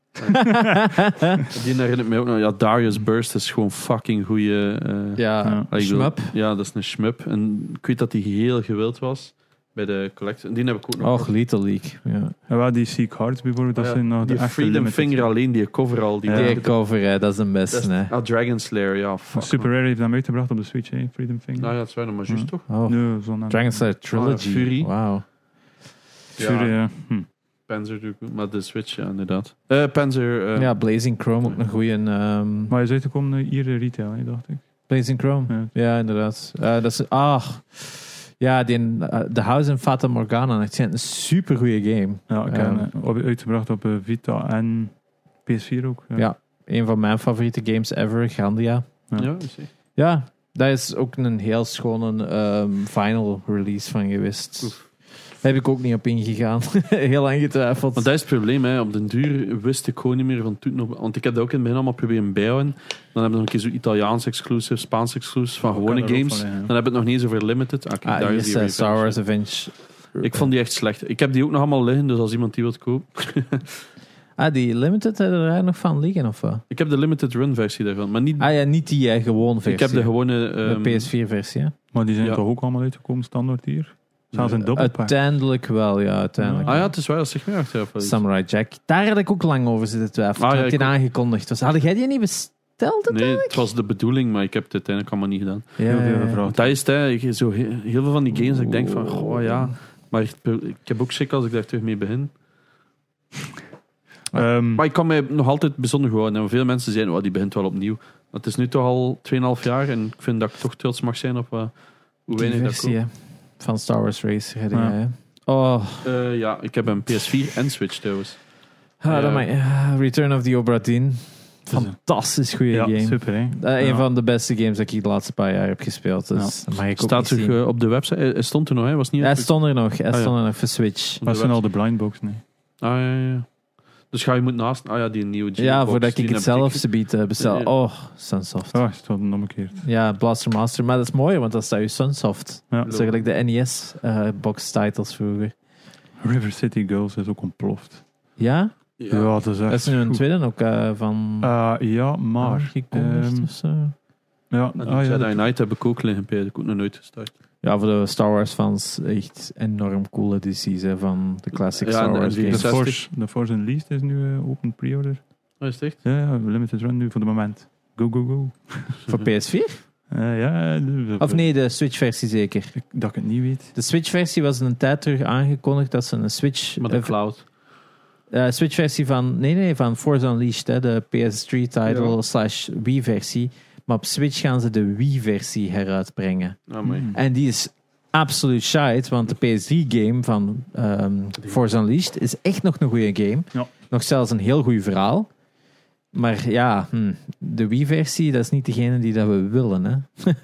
Speaker 1: Die herinnert me ook nog. Ja, Darius Burst is gewoon fucking goede.
Speaker 2: ja,
Speaker 1: Ah, ik bedoel-
Speaker 2: schmup.
Speaker 1: Ja, dat is een schmup. En ik weet dat die heel gewild was bij de collector. Die heb ik ook nog.
Speaker 2: Och, Little League. Ja.
Speaker 3: En wel die Seek Hearts bijvoorbeeld, dat
Speaker 1: Ja,
Speaker 3: zijn nog
Speaker 1: die
Speaker 3: de echte
Speaker 1: Freedom
Speaker 3: limited.
Speaker 1: Finger alleen, die cover al. Die
Speaker 3: Ja.
Speaker 2: Die
Speaker 1: dat-
Speaker 2: cover, hè, dat is de
Speaker 1: dat is-
Speaker 2: beste. hè.
Speaker 1: Ah, Dragon Slayer, ja. Fuck,
Speaker 3: Super
Speaker 1: man.
Speaker 3: Rare heeft hem uitgebracht op de Switch, hè? Freedom Finger.
Speaker 1: Nou ja, het zijn er maar juist
Speaker 3: Ja.
Speaker 1: toch?
Speaker 2: Oh,
Speaker 3: Nee, zo'n
Speaker 2: Dragon Slayer Trilogy.
Speaker 1: Ah, Fury.
Speaker 2: Wauw.
Speaker 3: Fury, ja. Hm.
Speaker 1: Panzer doe ik ook, maar de Switch, ja, inderdaad. Eh, Panzer. eh,
Speaker 2: Ja, Blazing Chrome ook een ehm, goede.
Speaker 3: Maar hij is uitgekomen eh, hier eh, retail, hè, dacht ik.
Speaker 2: Blazing Chrome.
Speaker 3: Ja.
Speaker 2: Ja, inderdaad. Eh, dat is, ah, ja, die, eh, The House in Fata Morgana. Het is een supergoeie game.
Speaker 3: Ja, ik
Speaker 2: Ja.
Speaker 3: heb, eh, op- uitgebracht op eh, Vita en PS4 ook.
Speaker 2: Ja. Een van mijn favoriete games ever, Grandia.
Speaker 1: ja, ik zie.
Speaker 2: Ja, daar is ook een heel schone ehm, final release van geweest.
Speaker 1: Oef.
Speaker 2: Heb ik ook niet op ingegaan. [laughs] heel lang getwijfeld.
Speaker 1: Want dat is het probleem, hè. op den duur wist ik gewoon niet meer van toen nog. Want ik heb dat ook in het begin allemaal proberen bijhouden. Dan hebben we nog een keer zo Italiaans exclusive, Spaans exclusive van gewone games. Dan
Speaker 3: Ja.
Speaker 1: heb ik het nog niet eens over Limited. Ah, kijk,
Speaker 2: Ah,
Speaker 1: daar
Speaker 2: hier
Speaker 1: is die
Speaker 2: is, eh,
Speaker 1: Revenge.
Speaker 2: Star Wars Revenge.
Speaker 1: Ik vond die echt slecht. Ik heb die ook nog allemaal liggen, dus als iemand die wilt kopen.
Speaker 2: Ah, die Limited hadden er eigenlijk nog van liggen, of wat?
Speaker 1: Ik heb de Limited Run versie daarvan, maar niet.
Speaker 2: Ah ja, niet die eh, gewoon versie.
Speaker 1: ik heb de gewone. ehm,
Speaker 2: PS4-versie,
Speaker 3: Maar die zijn
Speaker 1: Ja.
Speaker 3: toch ook allemaal uitgekomen, standaard hier? Zelfs
Speaker 2: Eh,
Speaker 3: een dubbelpack.
Speaker 2: Uiteindelijk wel, ja, uiteindelijk.
Speaker 1: Ah ja, het is waar, dat zeg maar achteraf. wel iets.
Speaker 2: Samurai Jack. Daar had ik ook lang over zitten twijfelen.
Speaker 1: Ah,
Speaker 2: toen
Speaker 1: ja,
Speaker 2: het
Speaker 1: ik
Speaker 2: die
Speaker 1: ook.
Speaker 2: aangekondigd was. Had jij die niet besteld?
Speaker 1: Nee, het was de bedoeling, maar ik heb het uiteindelijk allemaal niet gedaan.
Speaker 3: Heel veel
Speaker 1: Want
Speaker 2: Oh.
Speaker 3: gevraagd.
Speaker 1: dat is het, hè. Ik- Zo he- heel veel van die games dat ik denk van, goh ja. Maar ik- ik heb ook schrik als ik daar terug mee begin.
Speaker 2: eh,
Speaker 3: Ehm,
Speaker 1: Maar ik kan mij nog altijd bijzonder gewoon. En veel mensen zijn, oh, die begint wel opnieuw. Maar het is nu toch al 2,5 jaar en ik vind dat ik toch trots mag zijn op eh, hoe
Speaker 2: Die
Speaker 1: weinig dat
Speaker 2: versie
Speaker 1: komt.
Speaker 2: hè, van Star Wars Racer. had
Speaker 3: Ja.
Speaker 2: jij, hè. Oh,
Speaker 1: Eh, ja, ik heb een PS4 en Switch trouwens.
Speaker 2: ah, dat
Speaker 1: Ja.
Speaker 2: maakt- ah, Return of the Obra Dinn. Fantastisch goede
Speaker 3: ja,
Speaker 2: game.
Speaker 3: super, hè.
Speaker 2: Eh, een
Speaker 3: Ja.
Speaker 2: van de beste games dat ik de laatste paar jaar heb gespeeld. Dus dat mag ik ook
Speaker 1: Staat
Speaker 2: niet
Speaker 1: er
Speaker 2: zien.
Speaker 1: eh, op de website? Hij hij stond er nog, hij was niet
Speaker 2: Hij
Speaker 1: op de-
Speaker 2: stond er nog. Hij
Speaker 1: Ah, ja.
Speaker 2: stond er nog voor Switch.
Speaker 1: op de
Speaker 3: Dat zijn
Speaker 1: website.
Speaker 3: al de blindbox, nee.
Speaker 1: Ah, ja, ja, ja. Dus ga je moet naast... Ah ja, die nieuwe G-box,
Speaker 2: Ja, voordat
Speaker 1: die
Speaker 2: ik het
Speaker 1: heb
Speaker 2: zelf ze bied eh, bestel.
Speaker 1: Eh,
Speaker 2: Oh, Sunsoft.
Speaker 3: Ah, het staat nog een keer.
Speaker 2: Ja, Blaster Master. Maar dat is mooi, want dat staat je Sunsoft.
Speaker 3: Ja.
Speaker 2: Dat is eigenlijk de E NES-box-titles eh, vroeger.
Speaker 3: River City Girls is ook ontploft.
Speaker 2: Ja?
Speaker 1: Ja.
Speaker 3: Ja, dat is echt
Speaker 2: Dat is nu een Ah.
Speaker 3: goed.
Speaker 2: tweede ook eh, van...
Speaker 3: Eh, ja, maar...
Speaker 2: aangekondigd
Speaker 3: ehm,
Speaker 2: of zo.
Speaker 3: ja,
Speaker 1: En
Speaker 3: ah,
Speaker 2: Oh,
Speaker 1: die
Speaker 3: ja,
Speaker 1: Jedi
Speaker 3: dat-
Speaker 1: Knight heb ik ook liggen, Peter. Ik heb nog nooit gestart.
Speaker 2: Ja, voor de Star Wars fans echt enorm cool edities hè, van de classic
Speaker 1: Ja, en
Speaker 2: Star
Speaker 1: de
Speaker 2: Wars
Speaker 1: NVX.
Speaker 3: de [laughs]
Speaker 1: 60.
Speaker 2: games.
Speaker 3: Force, de Force Unleashed is nu eh, open pre-order.
Speaker 1: Oh, is het echt?
Speaker 3: Ja, ja, limited run nu voor de moment. Go, go, go.
Speaker 2: Voor PS4?
Speaker 3: Eh, ja, de-
Speaker 2: Of nee, de Switch-versie zeker.
Speaker 3: Ik- Dat ik het niet weet.
Speaker 2: De Switch-versie was een tijd terug aangekondigd dat ze een Switch...
Speaker 1: Maar de
Speaker 2: eh,
Speaker 1: cloud.
Speaker 2: eh, Switch-versie van... Nee, nee, van Forza Unleashed, hè, de PS3-title
Speaker 1: Ja.
Speaker 2: slash Wii-versie. Maar op Switch gaan ze de Wii-versie heruitbrengen.
Speaker 1: Ah, mooi.
Speaker 3: Hmm.
Speaker 2: En die is absoluut shite, want de PS3-game van ehm Forza Unleashed is echt nog een goede game.
Speaker 3: Ja.
Speaker 2: Nog zelfs een heel goed verhaal. Maar ja, hm, de Wii-versie, dat is niet degene die dat we willen, hè.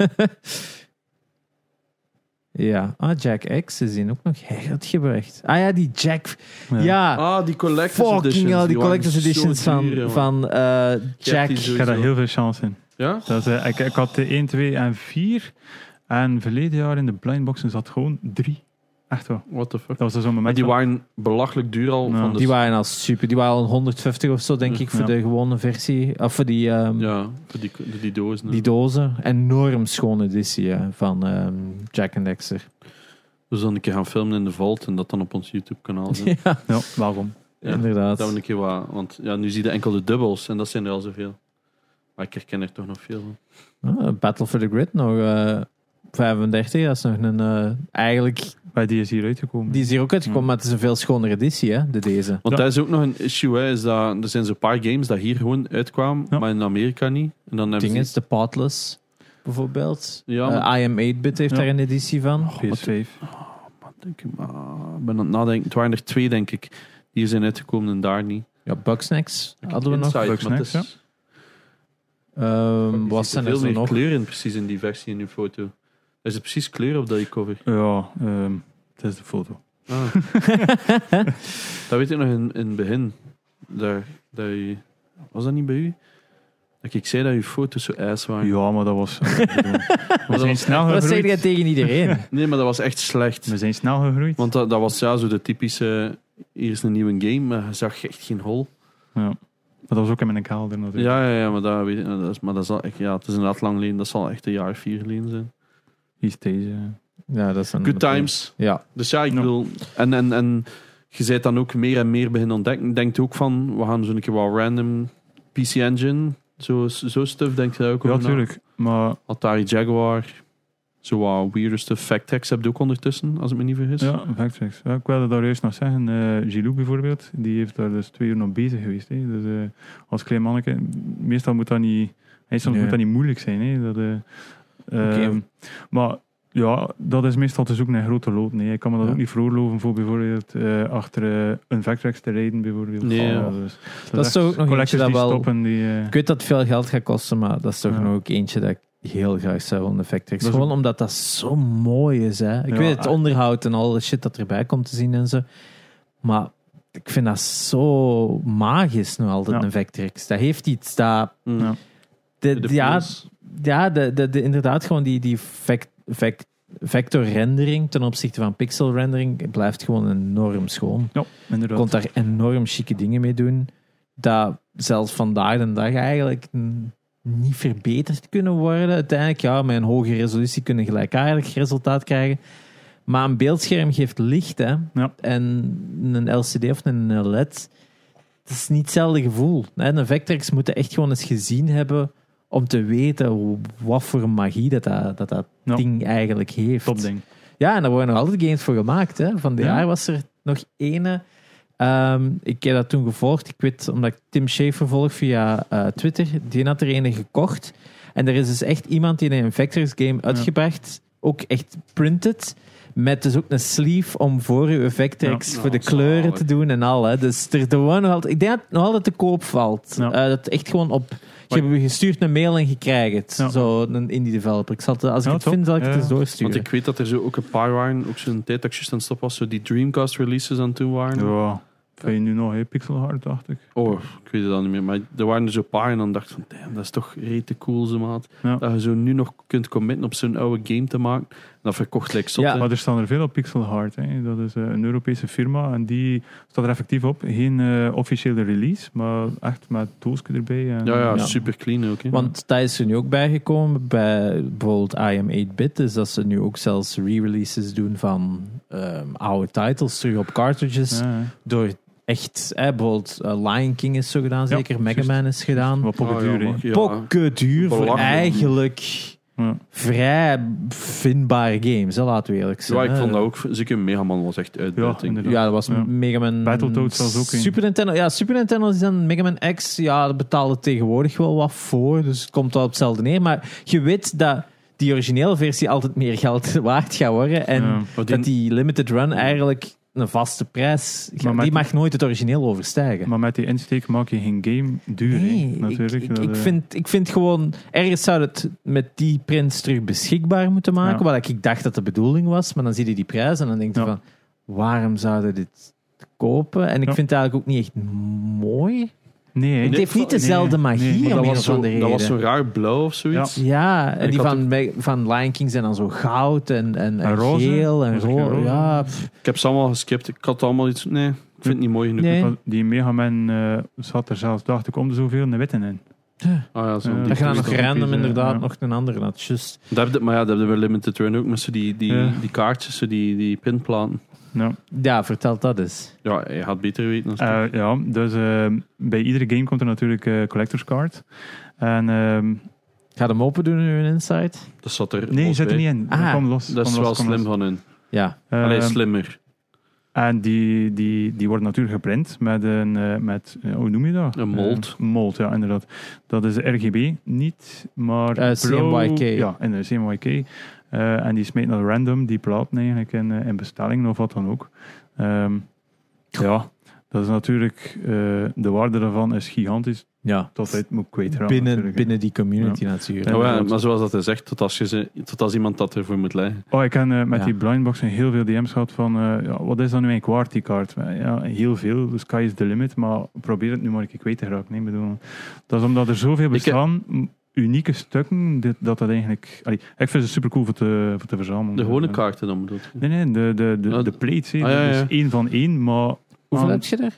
Speaker 2: [laughs] ja. Ah, Jack X is die ook nog gebracht. Ah ja, die Jack... Ja,
Speaker 1: Ah, die collector's
Speaker 2: fucking
Speaker 1: editions.
Speaker 2: hell, die,
Speaker 1: waren
Speaker 2: collector's
Speaker 1: zo
Speaker 2: editions van,
Speaker 1: duur, jongen.
Speaker 2: van eh,
Speaker 1: die
Speaker 2: Jack...
Speaker 1: zo-
Speaker 3: Ik heb daar heel veel chance in.
Speaker 1: Ja?
Speaker 3: Dat, is, eh, ik, ik had de 1, 2 en 4. En verleden jaar in de blindboxen zat gewoon 3. Echt wel.
Speaker 1: What the fuck?
Speaker 3: Dat was er
Speaker 1: Maar
Speaker 3: zo'n moment.
Speaker 1: die
Speaker 3: van-
Speaker 1: waren belachelijk duur al.
Speaker 3: Ja.
Speaker 1: Van de
Speaker 2: Die waren al super. Die waren al 150 of zo, denk ik, voor
Speaker 3: Ja.
Speaker 2: de gewone versie. Of voor die, ehm,
Speaker 1: Ja, voor die, voor die doos.
Speaker 2: die dozen. Enorm schone editie hè, van ehm, Jack and Dexter.
Speaker 1: Dus dan een keer gaan filmen in de Vault en dat dan op ons YouTube-kanaal zetten.
Speaker 2: [laughs] Ja,
Speaker 3: Ja, welkom.
Speaker 1: Ja.
Speaker 2: inderdaad.
Speaker 1: Dat we een keer wat... Want ja, nu zie je enkel de dubbels en dat zijn er al zoveel. Maar ik herken er toch nog veel van.
Speaker 2: Ah, Battle for the Grid nog eh, 35, dat is nog een... eh, eigenlijk,
Speaker 3: Maar die is hier uitgekomen.
Speaker 2: die is hier ook uitgekomen,
Speaker 1: Hmm.
Speaker 2: maar het is een veel schonere editie, hè, de deze.
Speaker 1: Want
Speaker 3: Ja.
Speaker 1: dat is ook nog een issue. Hè, is dat, er zijn zo'n paar games dat hier gewoon uitkwamen,
Speaker 3: Ja.
Speaker 1: maar in Amerika niet. En dan hebben
Speaker 2: Ding
Speaker 1: ze...
Speaker 2: is, de Potless, bijvoorbeeld.
Speaker 1: Ja,
Speaker 2: Eh,
Speaker 1: maar-
Speaker 2: I Am 8-bit heeft
Speaker 3: Ja.
Speaker 2: daar een editie van.
Speaker 3: PS5.
Speaker 2: Oh,
Speaker 1: Denk ik, maar, ik ben aan het nadenken. Het waren er twee, denk ik. Die zijn uitgekomen en daar niet.
Speaker 2: Ja, Bugsnax hadden we nog.
Speaker 1: Inside,
Speaker 3: Bugsnax,
Speaker 1: maar het is-
Speaker 3: ja.
Speaker 2: Ehm,
Speaker 1: Die
Speaker 2: wat
Speaker 1: zit
Speaker 2: zijn
Speaker 1: er
Speaker 2: er
Speaker 1: veel
Speaker 2: zo
Speaker 1: meer
Speaker 2: nog?
Speaker 1: kleur in, precies in die versie in uw foto. Er zit precies kleur op dat je cover.
Speaker 3: Ja, ehm, het is de foto.
Speaker 1: Ah. [laughs] dat weet ik nog in, in het begin. Daar, dat je, was dat niet bij u? Dat ik zei dat je foto's zo ass waren.
Speaker 3: Ja, maar dat
Speaker 2: [laughs]
Speaker 3: was... We zijn snel
Speaker 2: Wat zeg jij
Speaker 3: gegroeid.
Speaker 2: tegen iedereen?
Speaker 1: Nee, maar dat was echt slecht.
Speaker 3: We zijn snel gegroeid.
Speaker 1: Want dat, dat was ja, zo de typische... Hier is een nieuwe game, maar je zag echt geen hol.
Speaker 3: Maar dat was ook in mijn kelder natuurlijk.
Speaker 1: Ja, ja, ja maar, dat, weet ik, dat is, maar dat zal echt, ja, het is inderdaad lang geleden. Dat zal echt een jaar, vier geleden zijn.
Speaker 3: Hier is deze. eh.
Speaker 2: ja, dat is een
Speaker 1: Good times.
Speaker 2: Ja,
Speaker 1: Dus ja, ik
Speaker 3: Ja.
Speaker 1: wil. En, en, en je bent dan ook meer en meer beginnen ontdekken. Denkt ook van, we gaan zo'n keer wat random PC Engine, zo, zo stuff, denk je daar ook
Speaker 3: Ja,
Speaker 1: over na?
Speaker 3: natuurlijk. Maar
Speaker 1: Atari Jaguar, zo wat weirder stuff. Factex heb je ook ondertussen, als ik me niet vergis.
Speaker 3: Ja, factchecks. Ja, ik wilde daar juist nog zeggen, eh Gilou bijvoorbeeld, die heeft daar dus twee uur nog bezig geweest. Hè. Dus eh, als klein manneke, meestal moet dat niet, hè, soms
Speaker 2: Nee.
Speaker 3: moet dat niet moeilijk zijn. Hè. Dat, eh,
Speaker 2: Oké.
Speaker 3: ehm, maar ja, dat is meestal te zoeken naar grote loten. Hè. Ik kan me dat
Speaker 2: Ja.
Speaker 3: ook niet veroorloven voor bijvoorbeeld eh, achter eh, een facttrack te rijden bijvoorbeeld.
Speaker 1: Nee, ja.
Speaker 3: dus,
Speaker 2: Dat is
Speaker 3: echt
Speaker 2: toch ook nog eentje
Speaker 3: collectors
Speaker 2: dat
Speaker 3: die
Speaker 2: wel-
Speaker 3: stoppen, die, eh,
Speaker 2: ik weet dat het veel geld gaat kosten, maar dat is toch
Speaker 3: Ja.
Speaker 2: nog ook eentje dat ik heel graag zou willen effecten.
Speaker 3: Dat is
Speaker 2: Gewoon
Speaker 3: ook-
Speaker 2: omdat dat zo mooi is. Hè. Ik
Speaker 3: Ja,
Speaker 2: weet het
Speaker 3: ah.
Speaker 2: onderhoud en al de shit dat erbij komt te zien en zo. Maar ik vind dat zo magisch nog altijd,
Speaker 3: Ja.
Speaker 2: een Vectrex. Dat heeft iets dat...
Speaker 1: Mm.
Speaker 3: Ja.
Speaker 2: De,
Speaker 1: De
Speaker 2: Eh, ja,
Speaker 1: pools.
Speaker 2: ja de, de, de- inderdaad, gewoon die, die vec- vec- vector rendering ten opzichte van pixel rendering blijft gewoon enorm schoon.
Speaker 3: ja, inderdaad.
Speaker 2: kon daar enorm chique dingen mee doen. Dat zelfs vandaag de dag eigenlijk n- niet verbeterd kunnen worden. Uiteindelijk, ja, met een hoge resolutie kunnen gelijkaardig resultaat krijgen. Maar een beeldscherm geeft licht, hè.
Speaker 3: Ja.
Speaker 2: En een LCD of een LED, het is niet hetzelfde gevoel. Hè. Een Vectrex moet je echt gewoon eens gezien hebben om te weten wat voor magie dat dat, dat, dat
Speaker 3: Ja.
Speaker 2: ding eigenlijk heeft.
Speaker 3: Top ding.
Speaker 2: Ja, en daar worden nog altijd games voor gemaakt. Hè. Van dit
Speaker 3: Ja.
Speaker 2: jaar was er nog ene. Ehm, ik heb dat toen gevolgd. Ik weet, omdat ik Tim Schafer volg via eh, Twitter. Die had er ene gekocht. En er is dus echt iemand die een Vectors game uitgebracht. Ook echt printed. Met dus ook een sleeve om voor uw Vectrex,
Speaker 3: Ja.
Speaker 2: voor de
Speaker 1: Oh,
Speaker 2: kleuren
Speaker 1: zalig.
Speaker 2: te doen en al. Hè. Dus er, er gewoon nog altijd, ik denk dat het nog altijd te koop valt.
Speaker 3: Ja.
Speaker 2: Eh, dat echt gewoon op... Je hebt gestuurd een mail en gekrijgt het.
Speaker 3: Ja.
Speaker 2: Zo, een indie developer. Ik zal het, als ik
Speaker 3: Ja,
Speaker 2: het
Speaker 3: top.
Speaker 2: vind, zal ik het
Speaker 3: Ja.
Speaker 2: eens doorsturen.
Speaker 1: Want ik weet dat er zo ook een paar waren, ook zo'n tijd dat ik juist aan het stop was, zo die Dreamcast releases aan het doen waren.
Speaker 3: Ja, vind je nu nog hè, pixelhard, dacht ik.
Speaker 1: Oh, ik weet het al niet meer. Maar er waren er zo'n paar en dan dacht ik van, damn, dat is toch rete cool, zo maat.
Speaker 3: Ja.
Speaker 1: Dat je zo nu nog kunt committen op zo'n oude game te maken. En dat verkocht lijkt zot,
Speaker 2: Ja.
Speaker 1: hè.
Speaker 3: Maar er staan er veel op Pixel Hard. Hè. Dat is eh, een Europese firma en die staat er effectief op. Geen eh, officiële release, maar echt met doosje erbij. En,
Speaker 1: Ja, ja,
Speaker 2: Ja.
Speaker 1: super clean ook. Hè.
Speaker 2: Want daar is er nu ook bijgekomen bij bijvoorbeeld IM 8-bit. Dus dat ze nu ook zelfs re-releases doen van ehm, oude titles terug op cartridges.
Speaker 3: Ja, hè.
Speaker 2: Door echt, eh, bijvoorbeeld eh, Lion King is zo gedaan,
Speaker 3: Ja,
Speaker 2: zeker. Mega
Speaker 3: juist.
Speaker 2: Man is gedaan.
Speaker 3: Wat poppen
Speaker 1: Ah, ja,
Speaker 3: duur, hè.
Speaker 1: maar- ja.
Speaker 2: Pokken duur voor
Speaker 1: Belachelijk.
Speaker 2: eigenlijk
Speaker 3: Ja.
Speaker 2: vrij vindbare games, hè, laten we eerlijk zijn.
Speaker 1: Ja, ik
Speaker 2: hè.
Speaker 1: vond dat ook... Zeker Mega Man was echt uitbuiting.
Speaker 3: inderdaad.
Speaker 2: Ja, dat was
Speaker 3: Ja.
Speaker 2: Mega Man...
Speaker 3: Battletoads was ook een.
Speaker 2: Super Nintendo. Ja, Super Nintendo is dan Mega Man X. Ja, dat betaalde tegenwoordig wel wat voor. Dus het komt wel op hetzelfde neer. Maar je weet dat die originele versie altijd meer geld [laughs] waard gaat worden. En
Speaker 3: Ja.
Speaker 1: Maar die-
Speaker 2: dat die limited run eigenlijk een vaste prijs...
Speaker 3: Maar met
Speaker 2: die
Speaker 3: die-
Speaker 2: mag nooit het origineel overstijgen.
Speaker 3: Maar met die insteek maak je geen game duur. hè,
Speaker 2: Nee, ik,
Speaker 3: natuurlijk.
Speaker 2: ik,
Speaker 3: Dat,
Speaker 2: ik
Speaker 3: eh,
Speaker 2: vind, ik vind gewoon... Ergens zou het met die prints terug beschikbaar moeten maken.
Speaker 3: Ja.
Speaker 2: Wat ik dacht dat de bedoeling was. Maar dan zie je die prijs en dan denk je
Speaker 3: Ja.
Speaker 2: van... Waarom zouden dit kopen? En ik
Speaker 3: Ja.
Speaker 2: vind het eigenlijk ook niet echt mooi.
Speaker 3: Nee, hè.
Speaker 2: Het heeft niet
Speaker 3: Nee,
Speaker 2: dezelfde magie
Speaker 3: nee.
Speaker 2: om
Speaker 1: dat,
Speaker 2: een
Speaker 1: was
Speaker 2: of
Speaker 1: zo,
Speaker 2: andere
Speaker 1: dat was
Speaker 2: reden.
Speaker 1: zo raar blauw of zoiets.
Speaker 2: Ja, en
Speaker 1: Ik
Speaker 2: die
Speaker 1: had
Speaker 2: van, van Lion King zijn dan zo goud en, en, en
Speaker 3: En roze?
Speaker 2: geel en
Speaker 3: Was er geen
Speaker 2: rood.
Speaker 3: roze?
Speaker 2: Ja, pff,
Speaker 1: Ik heb ze allemaal geskipt. Ik had allemaal iets... Nee, ik vind het niet mooi genoeg.
Speaker 2: Nee.
Speaker 3: Want Die Mega Man eh, zat er zelfs, dacht ik, om de zoveel een witte in.
Speaker 1: Ah, ja, zo
Speaker 3: Ja,
Speaker 2: dat je dan
Speaker 3: toestand
Speaker 2: nog
Speaker 3: is,
Speaker 2: random
Speaker 3: eh,
Speaker 2: inderdaad
Speaker 3: ja.
Speaker 2: nog een andere had. Just,
Speaker 1: Dat heb je- maar ja, dat hebben we Limited Run ook. Met zo die, die,
Speaker 3: Ja.
Speaker 1: die kaartjes, zo die, die pinplaten.
Speaker 3: Ja.
Speaker 2: ja, vertel dat eens.
Speaker 1: Ja, je had beter weten. dan
Speaker 3: Eh, ja, dus eh, bij iedere game komt er natuurlijk eh collector's card. En, ehm,
Speaker 2: Gaat hem open doen in uw insight?
Speaker 1: Dat zat er
Speaker 3: nee,
Speaker 1: los
Speaker 3: zit er
Speaker 1: bij.
Speaker 3: niet in.
Speaker 2: Ah,
Speaker 3: kom los.
Speaker 1: Dat
Speaker 3: kom
Speaker 1: is wel
Speaker 3: los, kom
Speaker 1: slim
Speaker 3: los.
Speaker 1: van hun.
Speaker 2: Ja.
Speaker 1: Allee,
Speaker 3: Ehm,
Speaker 1: slimmer.
Speaker 3: En die, die, die worden natuurlijk geprint met een, eh, met, eh, hoe noem je dat?
Speaker 1: Een mold.
Speaker 3: Eh, mold, ja, inderdaad. Dat is RGB, niet, maar...
Speaker 2: Eh,
Speaker 3: blauw-
Speaker 2: CMYK.
Speaker 3: Ja, in de CMYK. Eh, en die smeet naar random, die platen eigenlijk in, eh, in bestellingen of wat dan ook. Ehm, ja, dat is natuurlijk... eh, de waarde daarvan is gigantisch,
Speaker 2: ja.
Speaker 3: tot hij het moet kwijtraken.
Speaker 2: binnen,
Speaker 3: natuurlijk, hè.
Speaker 2: binnen die community natuurlijk.
Speaker 3: Ja.
Speaker 1: Nou ja,
Speaker 3: inderdaad.
Speaker 1: maar zoals dat hij zegt, tot als, je ze, tot als iemand dat ervoor moet leggen.
Speaker 3: Oh, ik heb eh, met
Speaker 2: Ja.
Speaker 3: die blindboxen heel veel DM's gehad van eh, ja, wat is dan nu een QWERTY kaart? Ja, heel veel, de sky is the limit, maar probeer het nu maar een keer kwijt te geraken. Nee, ik bedoel, dat is omdat er zoveel
Speaker 1: heb-
Speaker 3: bestaan, m- unieke stukken, dit, dat dat eigenlijk... allee, ik vind ze super cool voor te, voor te verzamelen. Eh,
Speaker 1: De gewone kaarten dan bedoelt je?
Speaker 3: Nee, nee, de, de, de,
Speaker 1: Ah,
Speaker 3: de plates, hè,
Speaker 1: ah, ja,
Speaker 3: dat
Speaker 1: ja.
Speaker 3: is één van één, maar...
Speaker 2: Hoeveel
Speaker 3: aan-
Speaker 2: heb je er?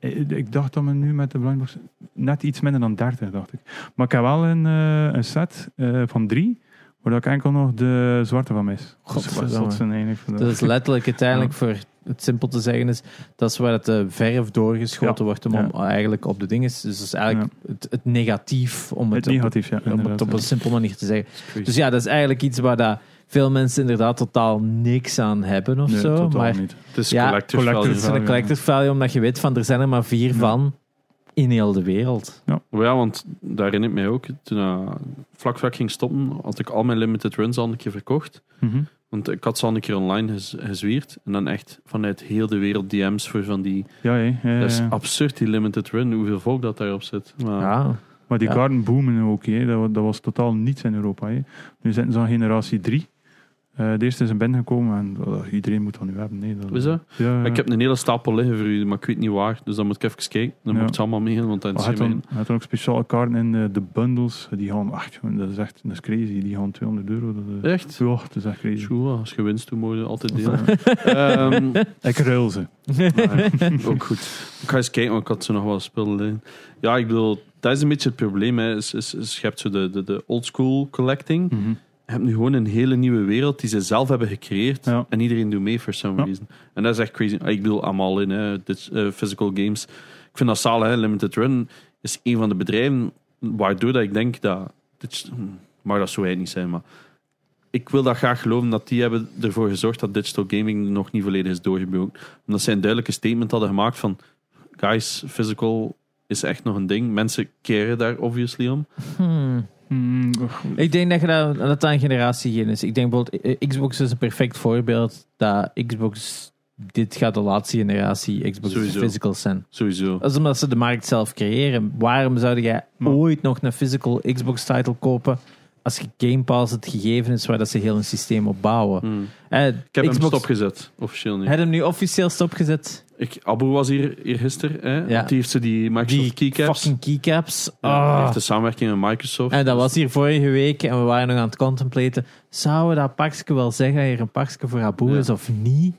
Speaker 3: eh, ik dacht dat we nu met de blindbox net iets minder dan 30, dacht ik. Maar ik heb wel een, eh, een set eh, van drie, waar ik enkel nog de zwarte van mis.
Speaker 2: Godverdomme.
Speaker 3: Dat zijn eigenlijk vandaag. [laughs]
Speaker 2: Dat is letterlijk uiteindelijk, voor het simpel te zeggen, is dat is waar het eh, verf doorgeschoten
Speaker 3: Ja.
Speaker 2: wordt om,
Speaker 3: Ja.
Speaker 2: om eigenlijk op de dingen. Dus dat is eigenlijk het, het negatief, om
Speaker 3: Het
Speaker 2: het, op,
Speaker 3: negatief, ja.
Speaker 2: om het
Speaker 3: inderdaad,
Speaker 2: op een simpele manier te zeggen.
Speaker 1: crazy.
Speaker 2: Dus ja, dat is eigenlijk iets waar dat veel mensen inderdaad totaal niks aan hebben of
Speaker 3: Nee,
Speaker 2: zo.
Speaker 3: totaal
Speaker 2: maar
Speaker 3: niet.
Speaker 1: Het is
Speaker 2: Ja,
Speaker 1: collector
Speaker 3: collector
Speaker 1: value.
Speaker 2: het is een collector value, omdat je weet van er zijn er maar vier van in heel de wereld.
Speaker 1: Maar Ja, want daar herinner ik mij ook. Toen eh, vlak vlak ging stoppen, had ik al mijn limited runs al een keer verkocht.
Speaker 3: Mhm.
Speaker 1: Want ik had ze al een keer online gez- gezwierd. En dan echt vanuit heel de wereld DM's voor van die...
Speaker 3: Ja, eh, hé, ja, ja,
Speaker 1: Dat is
Speaker 2: Dus
Speaker 3: ja.
Speaker 1: absurd, die limited run. Hoeveel volk dat daarop zit. Maar,
Speaker 2: Ja.
Speaker 3: Maar die
Speaker 2: Ja.
Speaker 3: kaarten boomen ook. Hé. Dat, wa- dat was totaal niets in Europa. Hé. Nu zitten ze aan generatie 3. de eerste is in Ben gekomen en oh, iedereen moet dat nu hebben. Nee, dat,
Speaker 1: Is dat?
Speaker 3: Ja,
Speaker 1: Maar ik heb een hele stapel liggen voor u, maar ik weet niet waar. Dus dan moet ik even kijken. Dan
Speaker 3: Ja.
Speaker 1: moet ze allemaal meegaan, want dan
Speaker 3: Maar
Speaker 1: zijn
Speaker 3: hij
Speaker 1: we in.
Speaker 3: had dan, hij had dan ook speciale kaarten in eh, de bundles. Die gaan, ach, jongen, dat is echt dat is crazy. Die gaan 200 euro. Dat, is-
Speaker 1: Echt?
Speaker 3: Ja, eh. dat is echt crazy.
Speaker 1: Tjoe, als je winst doet, moet je altijd delen. Ehm,
Speaker 3: Ik ruil ze. [laughs]
Speaker 1: maar ook goed. Ik ga eens kijken, want ik had ze nog wel spullen liggen. Ja, ik bedoel, dat is een beetje het probleem. Hè. Is, is, is, je hebt zo de, de, de old school collecting.
Speaker 3: Mhm.
Speaker 1: Je hebt nu gewoon een hele nieuwe wereld die ze zelf hebben gecreëerd.
Speaker 3: Ja.
Speaker 1: En iedereen doet mee for some
Speaker 3: Ja.
Speaker 1: reason. En dat is echt crazy. Ik bedoel, allemaal in hè, dit, eh, physical games. Ik vind dat zalig. Hè. Limited Run is een van de bedrijven waardoor dat ik denk dat. Dit, is- hm, mag dat zo eigenlijk niet zijn, maar. Ik wil dat graag geloven dat die hebben ervoor gezorgd dat digital gaming nog niet volledig is doorgebroken. Omdat zij een duidelijke statement hadden gemaakt van. Guys, physical is echt nog een ding. Mensen keren daar obviously om.
Speaker 2: Hmm.
Speaker 3: Mm, och,
Speaker 2: Ik denk dat je dat, dat dat een generatie geen is. Ik denk bijvoorbeeld, eh, Xbox is een perfect voorbeeld dat Xbox, dit gaat de laatste generatie Xbox
Speaker 1: Sowieso.
Speaker 2: physical zijn.
Speaker 1: Sowieso.
Speaker 2: Dat is omdat ze de markt zelf creëren. Waarom zou jij
Speaker 3: Maar-
Speaker 2: ooit nog een physical Xbox title kopen als je Game Pass het gegeven is waar dat ze heel een systeem op bouwen?
Speaker 1: Hm.
Speaker 2: Eh,
Speaker 1: Ik heb hem
Speaker 2: Xbox,
Speaker 1: stopgezet, officieel niet.
Speaker 2: Heb hem nu officieel stopgezet?
Speaker 1: Ik, Abu was hier, hier gisteren. Hè?
Speaker 2: Ja.
Speaker 1: Die heeft ze die Microsoft keycaps.
Speaker 2: Fucking keycaps.
Speaker 1: Ja, die
Speaker 2: Ah.
Speaker 1: heeft de samenwerking met Microsoft.
Speaker 2: En dat was hier vorige week en we waren nog aan het contemplaten. Zouden we dat pakje wel zeggen dat hier een pakje voor Abu
Speaker 1: Ja. Dus
Speaker 2: is of niet?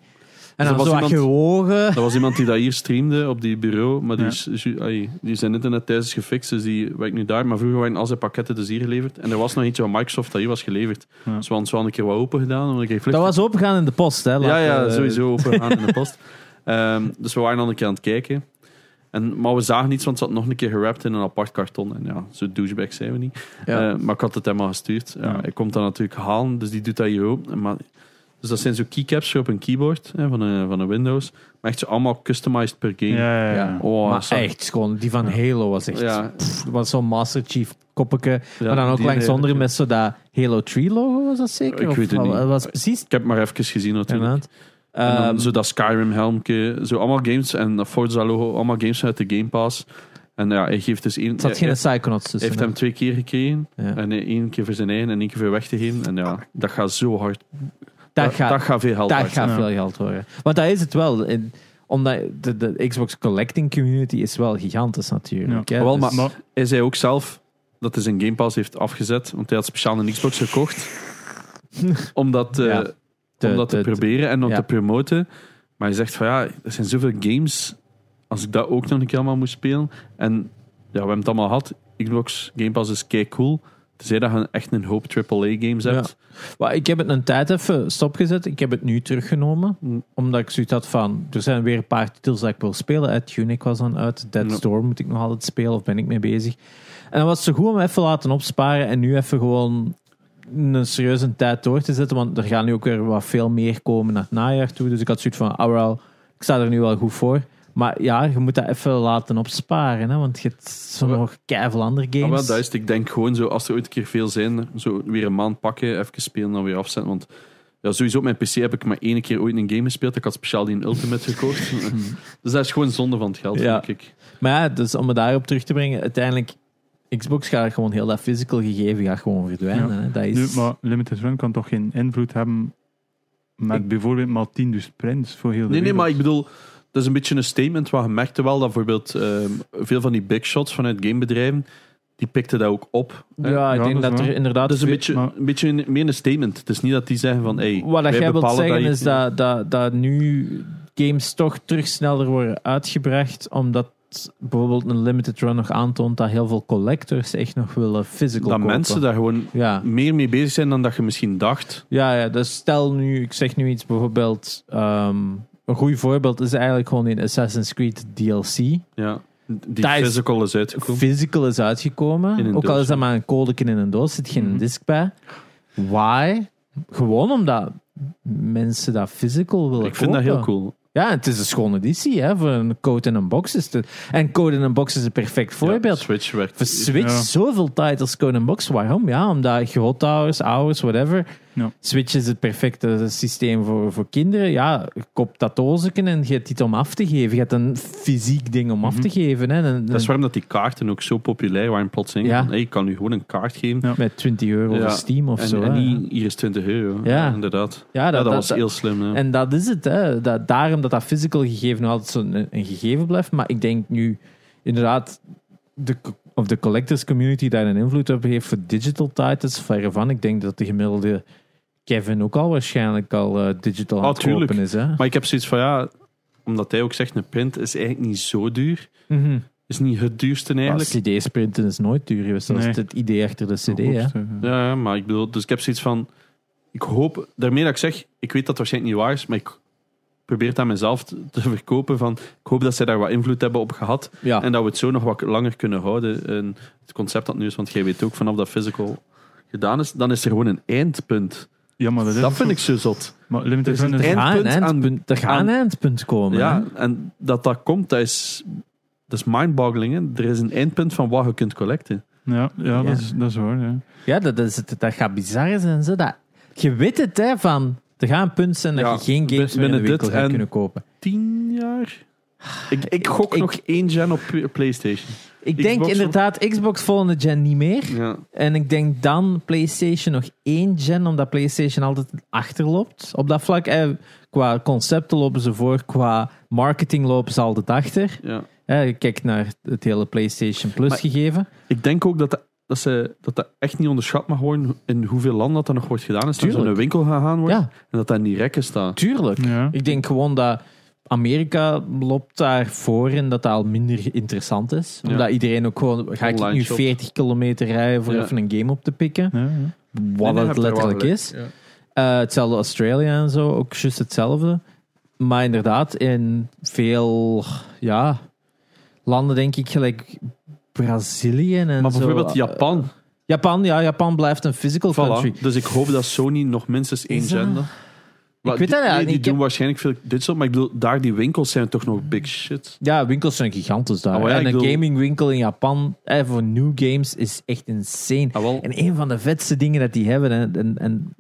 Speaker 1: er
Speaker 2: En dan
Speaker 1: was
Speaker 2: zo wat
Speaker 1: iemand-
Speaker 2: gewogen.
Speaker 1: Dat was iemand die dat hier streamde op die bureau. Maar die,
Speaker 3: Ja.
Speaker 1: is, ju- ai, die zijn internet thuis is gefixt, dus die werkt nu daar. Maar vroeger waren al zijn pakketten dus hier geleverd. En er was nog eentje van Microsoft dat hier was geleverd.
Speaker 3: Ja.
Speaker 1: Dus we hadden ze wel een keer wat open gedaan. Om een keer
Speaker 2: Dat was opengaan in de post, hè?
Speaker 1: Ja,
Speaker 2: laten
Speaker 1: ja,
Speaker 2: we-
Speaker 1: sowieso open aan in de post. [laughs] Ehm, dus we waren al een keer aan het kijken. En, maar we zagen niets, want het zat nog een keer gewrapt in een apart karton. En ja, zo douchebag zijn we niet.
Speaker 2: Ja.
Speaker 1: Eh, maar ik had het hem al gestuurd. Ja,
Speaker 3: Ja.
Speaker 1: Hij komt dat natuurlijk halen, dus die doet dat hier ook. Maar, dus dat zijn zo keycaps voor op een keyboard hè, van, een, van een Windows. Maar echt zo allemaal customized per game.
Speaker 3: ja, ja, ja.
Speaker 2: Ja.
Speaker 1: Oh,
Speaker 2: maar
Speaker 1: zo-
Speaker 2: echt schoon. Die van Halo was echt.
Speaker 1: Ja.
Speaker 2: pff, was zo'n Master Chief koppeke.
Speaker 1: Ja,
Speaker 2: maar dan ook
Speaker 1: die
Speaker 2: langs
Speaker 1: hele-
Speaker 2: onder met zo dat Halo 3 logo, was dat zeker?
Speaker 1: Ik
Speaker 2: Of
Speaker 1: weet het niet.
Speaker 2: Dat was precies.
Speaker 1: Ik heb maar even gezien natuurlijk.
Speaker 2: Inderdaad.
Speaker 1: En dan
Speaker 2: Ehm,
Speaker 1: zo dat Skyrim helmke, zo allemaal games en dat Forza logo, allemaal games uit de Game Pass. En ja, hij geeft dus één...
Speaker 2: er zat
Speaker 1: hij-
Speaker 2: geen Psychonauts
Speaker 1: Hij
Speaker 2: tussen.
Speaker 1: heeft
Speaker 2: hè?
Speaker 1: hem twee keer gekregen.
Speaker 2: Ja.
Speaker 1: En één keer voor zijn eigen en één keer voor weg te geven. En ja, dat gaat zo hard.
Speaker 2: dat gaat
Speaker 1: veel geld
Speaker 2: Dat
Speaker 1: hard.
Speaker 2: gaat
Speaker 3: Ja.
Speaker 2: veel geld worden. Want dat is het wel. In- omdat de, de Xbox Collecting Community is wel gigantisch natuurlijk.
Speaker 3: Ja.
Speaker 2: hè.
Speaker 1: Wel,
Speaker 2: Dus-
Speaker 1: maar- Hij zei ook zelf dat hij zijn Game Pass heeft afgezet. Want hij had speciaal een Xbox
Speaker 2: [laughs]
Speaker 1: gekocht. om dat, eh,
Speaker 2: Ja. de-
Speaker 1: om dat te,
Speaker 2: de- de-
Speaker 1: proberen en om
Speaker 2: ja.
Speaker 1: te promoten. Maar hij zegt van ja, er zijn zoveel games. Als ik dat ook nog een keer allemaal moest spelen. En ja, we hebben het allemaal gehad. Xbox Game Pass is kei cool. Tenzij dat je echt een hoop AAA-games
Speaker 2: Ja.
Speaker 1: hebt.
Speaker 2: Maar ik heb het een tijd even stopgezet. Ik heb het nu teruggenomen.
Speaker 1: Mm.
Speaker 2: Omdat ik zoiets had van... Er zijn weer een paar titels dat ik wil spelen. Uit Tunic was dan uit. Dead
Speaker 1: Ja.
Speaker 2: Storm moet ik nog altijd spelen. Of ben ik mee bezig. En dan was het zo goed om even laten opsparen. En nu even gewoon een serieuze tijd door te zetten. Want er gaan nu ook weer wat veel meer komen naar het najaar toe. Dus ik had zoiets van... ah, wel, ik sta er nu wel goed voor. Maar ja, je moet dat even laten opsparen. Hè? Want je hebt zo
Speaker 1: Maar-
Speaker 2: nog keiveel andere
Speaker 1: Ja,
Speaker 2: games.
Speaker 1: Ah, wel, dat is het. Ik denk gewoon zo, als er ooit een keer veel zijn, zo weer een maand pakken, even spelen en dan weer afzetten. Want ja, sowieso op mijn PC heb ik maar één keer ooit een game gespeeld. Ik had speciaal die in Ultimate
Speaker 2: [laughs]
Speaker 1: gekocht. dus dat is gewoon zonde van het geld,
Speaker 2: Ja.
Speaker 1: denk ik.
Speaker 2: Maar ja, dus om me daarop terug te brengen, uiteindelijk, Xbox gaat gewoon heel dat physical gegeven gaat gewoon verdwijnen.
Speaker 3: Ja.
Speaker 2: Hè? Dat
Speaker 3: Nu,
Speaker 2: is...
Speaker 3: maar Limited Run kan toch geen invloed hebben met bijvoorbeeld maar 10 dus sprints voor heel de
Speaker 1: Nee, nee, maar ik
Speaker 3: wereld?
Speaker 1: bedoel, dat is een beetje een statement. Waar je merkte wel dat bijvoorbeeld ehm, veel van die big shots vanuit gamebedrijven, die pikten dat ook op. hè.
Speaker 2: ja, ik
Speaker 3: Ja,
Speaker 2: denk
Speaker 3: dat
Speaker 2: dat,
Speaker 3: is
Speaker 2: er
Speaker 3: waar.
Speaker 2: inderdaad...
Speaker 1: Dat is Dus een
Speaker 2: veel-
Speaker 1: beetje,
Speaker 3: maar-
Speaker 1: een beetje een- meer een statement. Het is niet dat die zeggen van, hey,
Speaker 2: Wat
Speaker 1: wij
Speaker 2: dat jij wilt
Speaker 1: bepalen
Speaker 2: zeggen
Speaker 1: je-
Speaker 2: is dat, dat, dat nu games toch terug sneller worden uitgebracht, omdat bijvoorbeeld een limited run nog aantoont dat heel veel collectors echt nog willen physical
Speaker 1: dat
Speaker 2: kopen.
Speaker 1: mensen daar gewoon
Speaker 2: Ja.
Speaker 1: meer mee bezig zijn dan dat je misschien dacht.
Speaker 2: Ja, ja, dus stel nu, ik zeg nu iets bijvoorbeeld... ehm, een goed voorbeeld is eigenlijk gewoon in Assassin's Creed DLC.
Speaker 1: Ja, die
Speaker 2: Dat is-
Speaker 1: physical is uitgekomen.
Speaker 2: physical is uitgekomen.
Speaker 1: In een
Speaker 2: ook al
Speaker 1: doos,
Speaker 2: is dat
Speaker 1: ja.
Speaker 2: maar een codeken in een doos, zit geen
Speaker 3: Mhm.
Speaker 2: disc bij. Why? Gewoon omdat mensen dat physical willen
Speaker 1: Ik vind dat
Speaker 2: kopen.
Speaker 1: heel cool.
Speaker 2: Ja, het is een schone editie hè, voor een code in een box. Is het- En code in een box is een perfect voorbeeld.
Speaker 1: Ja, Switch werkt.
Speaker 2: Voor Switch,
Speaker 3: Ja.
Speaker 2: zoveel titles code in een box. Waarom? Ja, omdat grote ouders, ouders, whatever.
Speaker 3: Ja.
Speaker 2: Switch is het perfecte systeem voor, voor kinderen. Ja, koop dat doosje en je hebt iets om af te geven. Je hebt een fysiek ding om af te geven. Hè. Een-
Speaker 1: Mhm. Dat is
Speaker 2: een-
Speaker 1: waarom dat die kaarten ook zo populair waren plotseling.
Speaker 2: Ja.
Speaker 1: Hey, ik kan nu gewoon een kaart geven.
Speaker 3: Ja.
Speaker 2: Met 20 euro
Speaker 1: Ja.
Speaker 2: voor Steam of
Speaker 1: en,
Speaker 2: zo.
Speaker 1: en
Speaker 2: hè.
Speaker 1: niet, hier is 20 euro.
Speaker 2: Ja.
Speaker 1: Ja, inderdaad.
Speaker 2: ja,
Speaker 1: Ja, dat, was heel slim. ja.
Speaker 2: En dat is het. Hè. Dat, daarom dat dat physical gegeven nog altijd zo'n een, een gegeven blijft. Maar ik denk nu inderdaad de, co- of de collectors community daar een invloed op heeft voor digital titles. Verre van. Ik denk dat de gemiddelde Kevin ook al waarschijnlijk al eh, digital aan
Speaker 1: Ah,
Speaker 2: het kopen
Speaker 1: tuurlijk.
Speaker 2: is. Hè.
Speaker 1: Maar ik heb zoiets van, ja, omdat hij ook zegt, een print is eigenlijk niet zo duur.
Speaker 2: Mhm.
Speaker 1: Is niet het duurste eigenlijk.
Speaker 2: Maar CD's printen is nooit duur geweest. Dat
Speaker 3: Nee.
Speaker 2: is het idee achter de CD. Hè.
Speaker 3: Hoogste, ja.
Speaker 1: Ja, ja, maar ik bedoel, dus ik heb zoiets van, ik hoop, daarmee dat ik zeg, ik weet dat het waarschijnlijk niet waar is, maar ik probeer het aan mezelf te te verkopen van, ik hoop dat zij daar wat invloed hebben op gehad
Speaker 2: Ja.
Speaker 1: en dat we het zo nog wat langer kunnen houden. En het concept dat nu is, want jij weet ook, vanaf dat physical gedaan is, dan is er gewoon een eindpunt.
Speaker 3: Ja, maar dat is
Speaker 1: dat
Speaker 3: het
Speaker 1: vind
Speaker 3: ook.
Speaker 1: ik zo zot.
Speaker 3: Maar Limited
Speaker 1: Er is
Speaker 3: Run
Speaker 1: een
Speaker 3: is...
Speaker 2: er gaat een
Speaker 1: eindpunt aan-
Speaker 2: eindpunt, er gaat een eindpunt komen. hè.
Speaker 1: Ja, en dat dat komt, dat is, dat is mindboggling. hè. Er is een eindpunt van wat je kunt collecten.
Speaker 3: Ja, ja,
Speaker 2: Ja.
Speaker 3: Dat, is, dat is waar. Ja.
Speaker 2: Ja, dat, is het, dat gaat bizar zijn. Zo. Dat, je weet het, hè, van... Er gaan punten zijn dat
Speaker 1: Ja,
Speaker 2: je geen games
Speaker 1: bin-
Speaker 2: meer in de
Speaker 1: binnen
Speaker 2: winkel
Speaker 1: dit
Speaker 2: gaat
Speaker 1: en-
Speaker 2: kunnen kopen.
Speaker 1: Tien jaar? Ik, ik gok
Speaker 2: Ik-
Speaker 1: nog één gen op P- PlayStation.
Speaker 2: Ik denk
Speaker 1: Xbox-
Speaker 2: inderdaad Xbox volgende gen niet meer.
Speaker 1: Ja.
Speaker 2: En ik denk dan PlayStation nog één gen, omdat PlayStation altijd achterloopt. Op dat vlak, eh, qua concepten lopen ze voor, qua marketing lopen ze altijd achter.
Speaker 1: Ja.
Speaker 2: Eh, je kijkt naar het hele PlayStation Plus
Speaker 1: Maar-
Speaker 2: gegeven.
Speaker 1: Ik denk ook dat dat, dat, ze, dat dat echt niet onderschat mag worden in hoeveel landen dat, dat nog wordt gedaan. Is dat er
Speaker 2: Tuurlijk.
Speaker 1: een winkel gegaan wordt
Speaker 2: Ja,
Speaker 1: en dat dat in die rekken staat.
Speaker 2: tuurlijk.
Speaker 1: Hm.
Speaker 3: Ja.
Speaker 2: Ik denk gewoon dat Amerika loopt daar voor en dat dat al minder interessant is.
Speaker 1: Ja.
Speaker 2: Omdat iedereen ook gewoon... Ga ik
Speaker 1: Online
Speaker 2: nu
Speaker 1: shop.
Speaker 2: 40 kilometer rijden voor
Speaker 1: Ja.
Speaker 2: even een game op te pikken?
Speaker 3: Ja, ja.
Speaker 2: Wat het letterlijk is. Eh, hetzelfde Australië en zo, ook juist hetzelfde. Maar inderdaad, in veel ja, landen denk ik gelijk Brazilië en
Speaker 1: Maar
Speaker 2: zo. Eh,
Speaker 1: bijvoorbeeld Japan.
Speaker 2: Japan, ja, Japan blijft een physical country.
Speaker 1: Voilà. Dus ik hoop dat Sony nog minstens één
Speaker 2: Is dat-
Speaker 1: gen. Maar die-
Speaker 2: weet dat eigenlijk
Speaker 1: nee, die
Speaker 2: niet.
Speaker 1: doen
Speaker 2: Ik-
Speaker 1: waarschijnlijk veel digital, maar ik bedoel, daar die winkels zijn toch nog big shit.
Speaker 2: Ja, winkels zijn gigantisch daar.
Speaker 1: Ah, maar ja,
Speaker 2: en
Speaker 1: ik
Speaker 2: een
Speaker 1: bedoel-
Speaker 2: gamingwinkel in Japan eh, voor new games is echt insane.
Speaker 1: Ah, wel.
Speaker 2: En een van de vetste dingen dat die hebben, en, en, en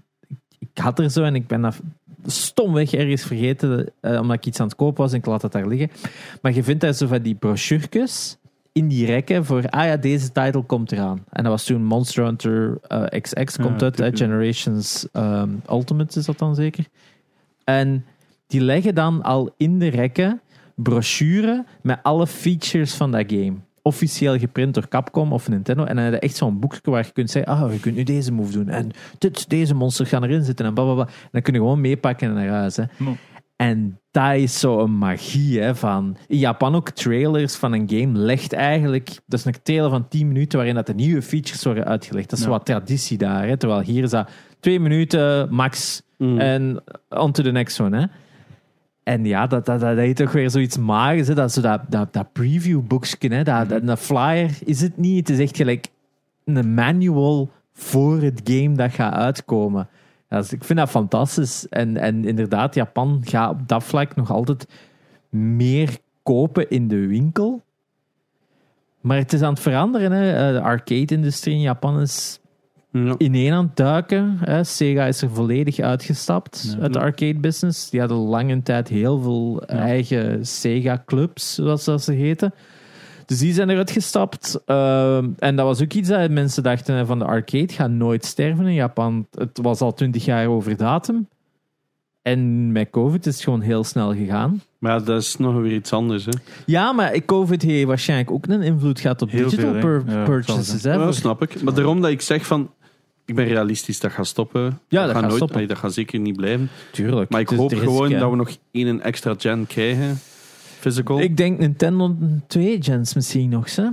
Speaker 2: ik had er zo en ik ben dat stomweg ergens vergeten, eh, omdat ik iets aan het kopen was en ik laat dat daar liggen. Maar je vindt daar zo van die brochures in die rekken voor, ah ja, deze title komt eraan. En dat was toen Monster Hunter eh, XX komt
Speaker 3: Ja,
Speaker 2: uit, eh,
Speaker 3: typisch.
Speaker 2: Generations ehm Ultimate is dat dan zeker. En die leggen dan al in de rekken brochure met alle features van dat game. Officieel geprint door Capcom of Nintendo. En dan heb je echt zo'n boekje waar je kunt zeggen: Ah, je kunt nu deze move doen. En dit, deze monsters gaan erin zitten. En blablabla. En dan kun je gewoon meepakken en naar huis. Hè.
Speaker 3: Nou.
Speaker 2: En dat is zo'n magie hè, van... In Japan ook trailers van een game legt eigenlijk... Dat is een trailer van 10 minuten waarin dat de nieuwe features worden uitgelegd. Dat is
Speaker 3: Ja.
Speaker 2: wat traditie daar. Hè, terwijl hier is dat 2 minuten max
Speaker 1: Mm.
Speaker 2: en on to the next one. Hè. En ja, dat, dat, dat heeft toch weer zoiets magisch. Hè, dat, zo dat, dat, dat previewboekje, hè, dat, dat, een flyer is het niet. Het is echt gelijk een manual voor het game dat gaat uitkomen. Ja, dus ik vind dat fantastisch. En, en inderdaad, Japan gaat op dat vlak nog altijd meer kopen in de winkel. Maar het is aan het veranderen. Hè. Eh, De arcade-industrie in Japan is
Speaker 1: Ja.
Speaker 2: ineen aan het duiken. Hè. Sega is er volledig uitgestapt
Speaker 3: Ja.
Speaker 2: uit de arcade-business. Die hadden lange tijd heel veel eigen Sega-clubs, zoals dat ze heten. Dus die zijn eruit gestapt. Ehm, en dat was ook iets dat mensen dachten hè, van de arcade gaat nooit sterven in Japan. Het was al twintig jaar over datum. En met COVID is het gewoon heel snel gegaan.
Speaker 1: Maar ja, dat is nog weer iets anders. Hè.
Speaker 2: Ja, maar COVID heeft waarschijnlijk ook een invloed gehad op
Speaker 3: Heel
Speaker 2: digital
Speaker 3: veel, hè.
Speaker 2: pur-
Speaker 3: Ja, dat zal
Speaker 2: purchases. hè,
Speaker 1: Ja,
Speaker 2: voor-
Speaker 1: dat snap ik. Maar daarom dat ik zeg van... Ik ben realistisch, dat gaat stoppen.
Speaker 2: dat gaat
Speaker 1: nooit,
Speaker 2: stoppen.
Speaker 1: nee, dat gaat zeker niet blijven.
Speaker 2: Tuurlijk.
Speaker 1: Maar ik
Speaker 2: Dus
Speaker 1: hoop
Speaker 2: er is
Speaker 1: gewoon
Speaker 2: geen-
Speaker 1: dat we nog één extra gen krijgen. Physical.
Speaker 2: Ik denk Nintendo 2 gens misschien nog, hè?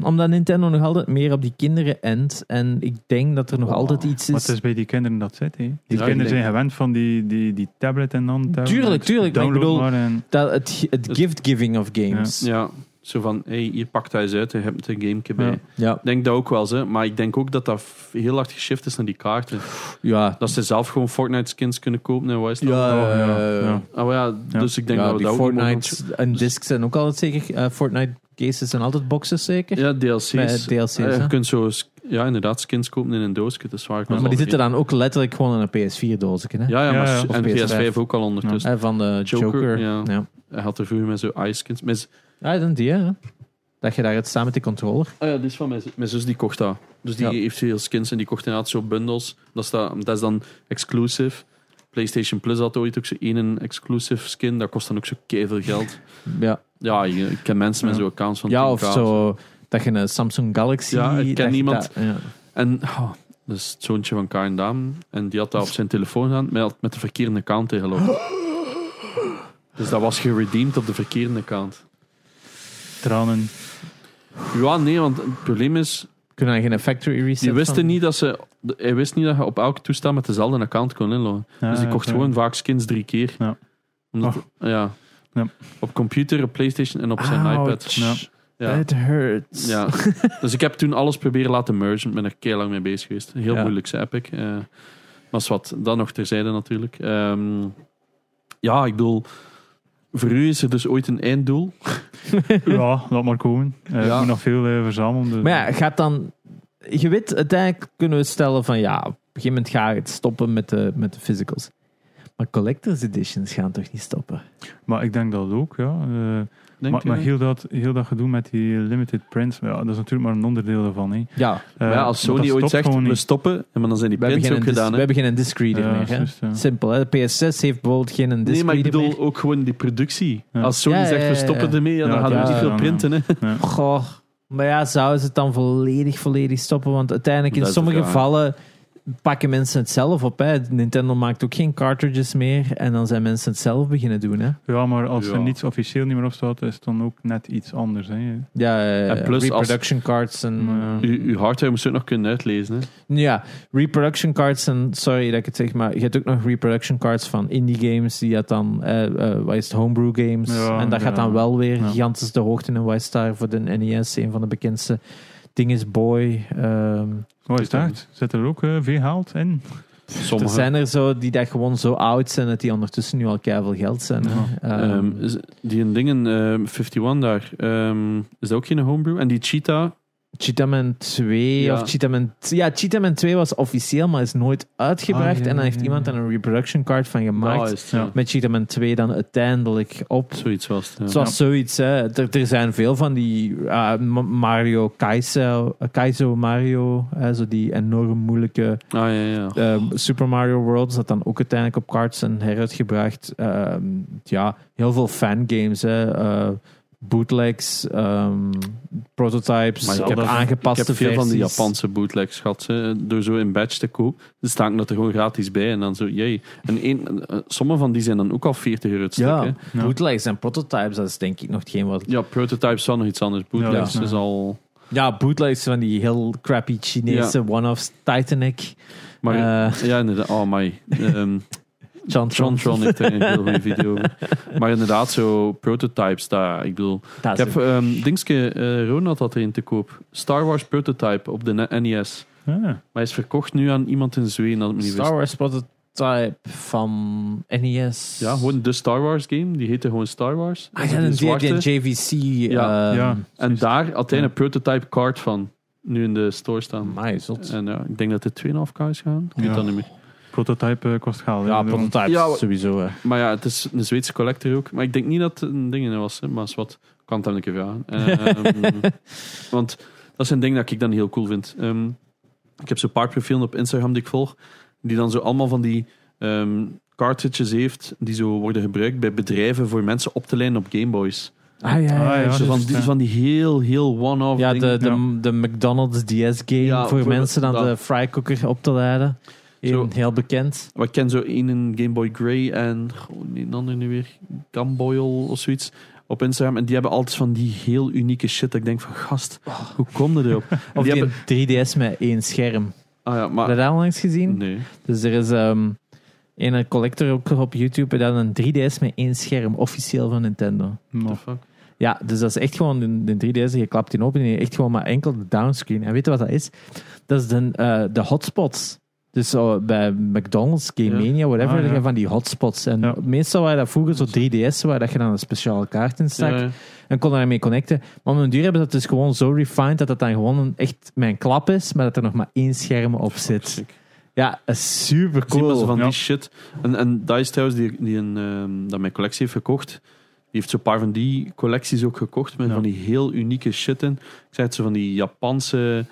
Speaker 2: Omdat Nintendo nog altijd meer op die kinderen endt. En ik denk dat er nog
Speaker 1: Oh,
Speaker 2: altijd iets
Speaker 3: Maar
Speaker 2: is.
Speaker 3: het is bij die kinderen dat zit. Hè. Die
Speaker 1: Ja, ik
Speaker 3: kinderen
Speaker 1: denk-
Speaker 3: zijn gewend van die, die, die tablet en non-tablet.
Speaker 2: Tuurlijk, tuurlijk, maar ik
Speaker 3: Download
Speaker 2: bedoel-
Speaker 3: maar en,
Speaker 2: Dat het, het gift-giving of games. Ja.
Speaker 1: Dus- Ja, zo van, hey, hier pakt hij eens uit, je hebt een gameke bij.
Speaker 3: Ja.
Speaker 1: Ik denk dat ook wel, hè. maar ik denk ook dat dat f- heel hard geshift is naar die kaarten.
Speaker 2: Ja.
Speaker 1: Dat ze zelf gewoon Fortnite skins kunnen kopen en wat is dat?
Speaker 3: Oh, ja, ja.
Speaker 1: Oh ja,
Speaker 3: Ja.
Speaker 1: dus ik denk
Speaker 2: ja,
Speaker 1: dat we
Speaker 2: die
Speaker 1: dat ook mogen-
Speaker 2: Fortnite en discs zijn ook altijd zeker. eh, Fortnite cases zijn altijd boxes zeker.
Speaker 1: Ja, DLC's.
Speaker 2: Met DLC's,
Speaker 1: Eh,
Speaker 2: hè?
Speaker 1: je kunt zo, sk- ja, inderdaad, skins kopen in een doosje, dat is waar. ik was
Speaker 2: maar die
Speaker 1: al
Speaker 2: zitten dan ook letterlijk gewoon in een PS4-doosje. hè?
Speaker 1: vergeten. Ja, ja, maar
Speaker 3: Ja, ja.
Speaker 1: s-
Speaker 2: Of
Speaker 1: en
Speaker 2: PS5.
Speaker 1: PS5 ook al ondertussen.
Speaker 2: Eh, Van de Joker.
Speaker 1: Joker, ja.
Speaker 2: ja.
Speaker 1: Hij had er vroeger met zo'n ice skins. Mijn z-
Speaker 2: Ah, dan die, hè. Dat je daar het samen met de controller.
Speaker 1: Ah ja, dit is van mijn, zus- mijn zus, die kocht dat. Dus die
Speaker 2: Ja.
Speaker 1: heeft veel skins en die kocht inderdaad zo bundles. Dat is, dat, dat is dan exclusive. PlayStation Plus had ooit ook zo'n één exclusive skin. Dat kost dan ook zo keihard geld.
Speaker 2: Ja.
Speaker 1: Ja, je- ik ken mensen met
Speaker 3: Ja.
Speaker 1: zo'n accounts van
Speaker 2: Ja,
Speaker 1: 10K
Speaker 2: of zo. Dat je een Samsung Galaxy...
Speaker 1: Ja, ik ken
Speaker 2: dat je
Speaker 1: niemand.
Speaker 2: dat- ja.
Speaker 1: En oh, dat is het zoontje van Karin Dam. En die had dat op zijn telefoon gedaan, maar hij had met de verkeerde account tegenlopen. Dus dat was geredeemd op de verkeerde account.
Speaker 3: tranen.
Speaker 1: Ja, nee, want het probleem is...
Speaker 2: Kunnen we dan geen factory reset
Speaker 1: Die wisten
Speaker 2: van-
Speaker 1: niet dat ze... Hij wist niet dat je op elk toestel met dezelfde account kon inloggen. Dus
Speaker 3: Ja,
Speaker 1: die kocht
Speaker 3: ja.
Speaker 1: gewoon vaak skins drie keer.
Speaker 3: Ah, Ja.
Speaker 1: Omdat-
Speaker 3: Och.
Speaker 1: ja.
Speaker 3: Ja.
Speaker 1: Op computer, op Playstation en op zijn
Speaker 2: Ouch.
Speaker 1: iPad.
Speaker 3: Ja.
Speaker 1: Ja.
Speaker 2: It hurts.
Speaker 3: [laughs]
Speaker 1: Ja. dus ik heb toen alles proberen laten mergen. Ik ben er keihard lang mee bezig geweest. Heel
Speaker 2: Ja.
Speaker 1: moeilijk, zei Epic. Eh, maar is wat, dat nog terzijde natuurlijk. Ehm, ja, ik bedoel... Voor u is er dus ooit een einddoel.
Speaker 3: Ja, laat maar komen. Eh, Ik
Speaker 1: Ja.
Speaker 3: moet nog veel eh, verzamelen. dus-
Speaker 2: Maar ja, gaat dan... Je weet, uiteindelijk kunnen we stellen van... Ja, op een gegeven moment ga ik het stoppen met de, met de physicals. Maar collector's editions gaan toch niet stoppen?
Speaker 3: Maar ik denk dat ook, ja. Eh,
Speaker 1: Denk
Speaker 3: maar
Speaker 1: je
Speaker 3: maar
Speaker 1: niet?
Speaker 3: heel, dat, heel dat gedoe met die limited prints, maar ja, dat is natuurlijk maar een onderdeel daarvan. hè.
Speaker 2: Ja,
Speaker 3: Eh,
Speaker 1: Maar ja, als
Speaker 3: want dat
Speaker 1: Sony ooit
Speaker 3: stopt
Speaker 1: zegt,
Speaker 3: gewoon
Speaker 1: we
Speaker 3: niet. dus-
Speaker 1: stoppen, maar dan zijn die
Speaker 2: we hebben,
Speaker 1: pins
Speaker 2: geen
Speaker 1: ook
Speaker 2: dis-
Speaker 1: gedaan.
Speaker 2: we
Speaker 1: hè.
Speaker 2: hebben geen disc reader
Speaker 3: Ja,
Speaker 2: meer. Hè?
Speaker 3: juist, ja.
Speaker 2: Simpel, hè? de PS6 heeft bijvoorbeeld geen disc
Speaker 1: Nee, maar ik
Speaker 2: reader
Speaker 1: bedoel
Speaker 2: meer.
Speaker 1: ook gewoon die productie.
Speaker 3: dus Ja.
Speaker 1: Als Sony
Speaker 2: Ja, ja,
Speaker 1: zegt, we
Speaker 2: ja, ja,
Speaker 1: stoppen
Speaker 2: ja.
Speaker 1: ermee, ja, dan
Speaker 3: Ja,
Speaker 1: gaan we
Speaker 2: ja,
Speaker 1: niet veel
Speaker 3: dan-
Speaker 1: printen. Hè.
Speaker 3: [laughs]
Speaker 2: Goh. Maar ja, zouden ze het dan volledig, volledig stoppen? Want uiteindelijk, in
Speaker 1: Dat is de
Speaker 2: sommige
Speaker 1: vraag.
Speaker 2: gevallen pakken mensen het zelf op. Hè. Nintendo maakt ook geen cartridges meer. En dan zijn mensen het zelf beginnen doen. Hè.
Speaker 3: Ja, maar als
Speaker 1: Ja.
Speaker 3: er niets officieel niet meer op staat, is het dan ook net iets anders. Hè.
Speaker 2: Ja, eh,
Speaker 1: En plus als- Hmm.
Speaker 2: reproduction cards en... eh,
Speaker 3: Ja.
Speaker 1: U, uw hardware moest je ook nog kunnen uitlezen. Hè.
Speaker 2: Ja, reproduction cards en... Sorry dat ik het zeg, maar je hebt ook nog reproduction cards van indie games. Die had dan... eh eh, wat is het? Homebrew games.
Speaker 3: Ja,
Speaker 2: en dat gaat dan
Speaker 3: ja.
Speaker 2: wel weer
Speaker 3: Ja.
Speaker 2: gigantisch de hoogte in. Wat is daar voor de NES? Een van de bekendste dingen is Boy. ehm
Speaker 3: Wat is dat? Zit er ook eh, veel geld in?
Speaker 2: Er
Speaker 1: Sommige.
Speaker 2: zijn er zo die dat gewoon zo oud zijn dat die ondertussen nu al keiveel geld zijn. hè. Ehm,
Speaker 1: Ehm, is- die in dingen, ehm, 51 daar, ehm, is dat ook geen homebrew? En die Cheetah,
Speaker 2: Cheetah Man 2
Speaker 1: Ja.
Speaker 2: of Cheetah Man... Ja, Cheetah Man 2 was officieel, maar is nooit uitgebracht.
Speaker 3: Ah, ja,
Speaker 2: en dan heeft
Speaker 3: ja,
Speaker 2: iemand
Speaker 3: ja.
Speaker 2: er een reproduction card van gemaakt.
Speaker 1: daar is het,
Speaker 3: Ja.
Speaker 1: ja.
Speaker 2: Met Cheetah Man 2 dan uiteindelijk op.
Speaker 1: Zoiets was het, ja. Ah,
Speaker 2: Het was zoiets, hè. Er, er zijn veel van die ah, Ma- Mario Kaizo, Kaizo Mario, hè, zo die enorm moeilijke
Speaker 1: Ah, ja, ja.
Speaker 2: Ehm, Super Mario World is dat dan ook uiteindelijk op cards en heruitgebracht. Ehm, ja, heel veel fangames. Hè. Eh, bootlegs, ehm, prototypes.
Speaker 1: Maar
Speaker 2: ik
Speaker 1: ja,
Speaker 2: heb
Speaker 1: dat- Ik
Speaker 2: aangepaste
Speaker 1: heb veel van die
Speaker 2: versies.
Speaker 1: Japanse bootlegs gehad. hè. Door zo een badge te koop, dan staan dat er gewoon gratis bij. En dan zo, jee. En één- eh, sommige van die zijn dan ook al 40 euro het stuk.
Speaker 2: Ja,
Speaker 1: hè.
Speaker 3: Ja.
Speaker 2: bootlegs en prototypes, dat is denk ik nog hetgeen wat...
Speaker 1: ja prototypes wel nog iets anders.
Speaker 3: Ja,
Speaker 1: Bootlegs
Speaker 3: dat is-
Speaker 1: is al...
Speaker 2: Ja, bootlegs van die heel crappy Chinese one-offs. Titanic,
Speaker 1: Maar
Speaker 2: Eh.
Speaker 1: ja, inderdaad. Oh my. Ehm
Speaker 2: John
Speaker 1: Tron
Speaker 2: Tron.
Speaker 1: Tron heeft er een heel goede video over. Maar inderdaad, zo prototypes daar. Ik bedoel,
Speaker 2: Dat
Speaker 1: ik
Speaker 2: is
Speaker 1: heb
Speaker 2: ook-
Speaker 1: ehm Dingske, eh, Ronald had erin te koop. Star Wars prototype op de E ne- NES.
Speaker 3: Ah,
Speaker 1: Maar hij is verkocht nu aan iemand in Zweden. Dat ik me niet wist.
Speaker 2: Star Wars prototype van NES.
Speaker 1: Ja, gewoon de Star Wars game. Die heette gewoon Star Wars.
Speaker 2: Ah,
Speaker 1: Dat
Speaker 2: ja,
Speaker 1: is
Speaker 2: dan
Speaker 1: die
Speaker 2: die, die
Speaker 1: zwarte.
Speaker 2: JVC.
Speaker 1: Ja,
Speaker 2: ehm,
Speaker 3: ja.
Speaker 1: En daar had hij
Speaker 3: Ja.
Speaker 1: een prototype card van. Nu in de store staan.
Speaker 2: Amai, zot.
Speaker 1: En ja, ik denk dat dit 2,5k is gaan. Ik weet
Speaker 3: Ja.
Speaker 1: dat niet meer.
Speaker 3: Prototype eh, kost geld.
Speaker 2: Ja,
Speaker 3: hè. Daarom-
Speaker 2: prototypes
Speaker 1: Ja, wa-
Speaker 2: sowieso. hè.
Speaker 1: Maar ja, het is een Zweedse collector ook. Maar ik denk niet dat het een ding in was. Hè. Maar is wat, ik kan het hem een keer vragen. Ehm, want dat zijn dingen dat ik dan heel cool vind. Ehm, ik heb zo'n paar profielen op Instagram die ik volg. Die dan zo allemaal van die ehm cartridges heeft. Die zo worden gebruikt bij bedrijven voor mensen op te leiden op Gameboys.
Speaker 2: Ah, ja, ja,
Speaker 3: Ah, ja,
Speaker 2: ja.
Speaker 1: zo van,
Speaker 3: juist,
Speaker 1: die,
Speaker 3: ja.
Speaker 1: van die heel, heel one-off
Speaker 2: Ja,
Speaker 1: dingen.
Speaker 2: de, de, de McDonald's DS-game
Speaker 1: Ja,
Speaker 2: voor
Speaker 1: voor-
Speaker 2: mensen dan
Speaker 1: dat.
Speaker 2: de frycooker op te leiden. Eén
Speaker 1: Zo.
Speaker 2: heel bekend.
Speaker 1: Maar ik ken zo één in Game Boy Grey en gewoon een ander nu weer, Gamboyl of zoiets, op Instagram. En die hebben altijd van die heel unieke shit. Dat ik denk van, gast, hoe kom je erop?
Speaker 2: Of
Speaker 1: Die
Speaker 2: die,
Speaker 1: hebben-
Speaker 2: 3DS met één scherm.
Speaker 1: Ah Mm. ja,
Speaker 2: Heb je
Speaker 1: maar...
Speaker 2: dat onlangs gezien?
Speaker 1: Nee.
Speaker 2: Dus er is ehm een collector ook nog op YouTube en dan een 3DS met één scherm, officieel van Nintendo.
Speaker 1: The
Speaker 3: Maar-
Speaker 1: fuck?
Speaker 2: Ja, dus dat is echt gewoon de, de 3DS, je klapt die open en je hebt echt gewoon maar enkel de downscreen. En weet je wat dat is? Dat is de, eh, de hotspots. Dus zo bij McDonald's, Game
Speaker 1: Ja.
Speaker 2: Mania, whatever,
Speaker 3: Ah,
Speaker 2: heb je
Speaker 3: ja.
Speaker 2: van die hotspots. En
Speaker 3: Ja.
Speaker 2: meestal waren dat vroeger zo 3DS, waar dat je dan een speciale kaart in stak.
Speaker 1: Ja, ja.
Speaker 2: En kon daarmee connecten. Maar om een duur hebben ze dat dus gewoon zo refined dat dat dan gewoon een, echt mijn klap is, maar dat er nog maar één scherm op zit.
Speaker 1: Sick.
Speaker 2: Ja, dat is super
Speaker 1: Zie maar zo
Speaker 2: cool.
Speaker 1: van
Speaker 3: Ja.
Speaker 1: die shit. En, en dat is trouwens die, die een, ehm, dat mijn collectie heeft gekocht. Die heeft zo'n paar van die collecties ook gekocht. Met
Speaker 3: Ja.
Speaker 1: van die heel unieke shit in. Ik zei het zo van die Japanse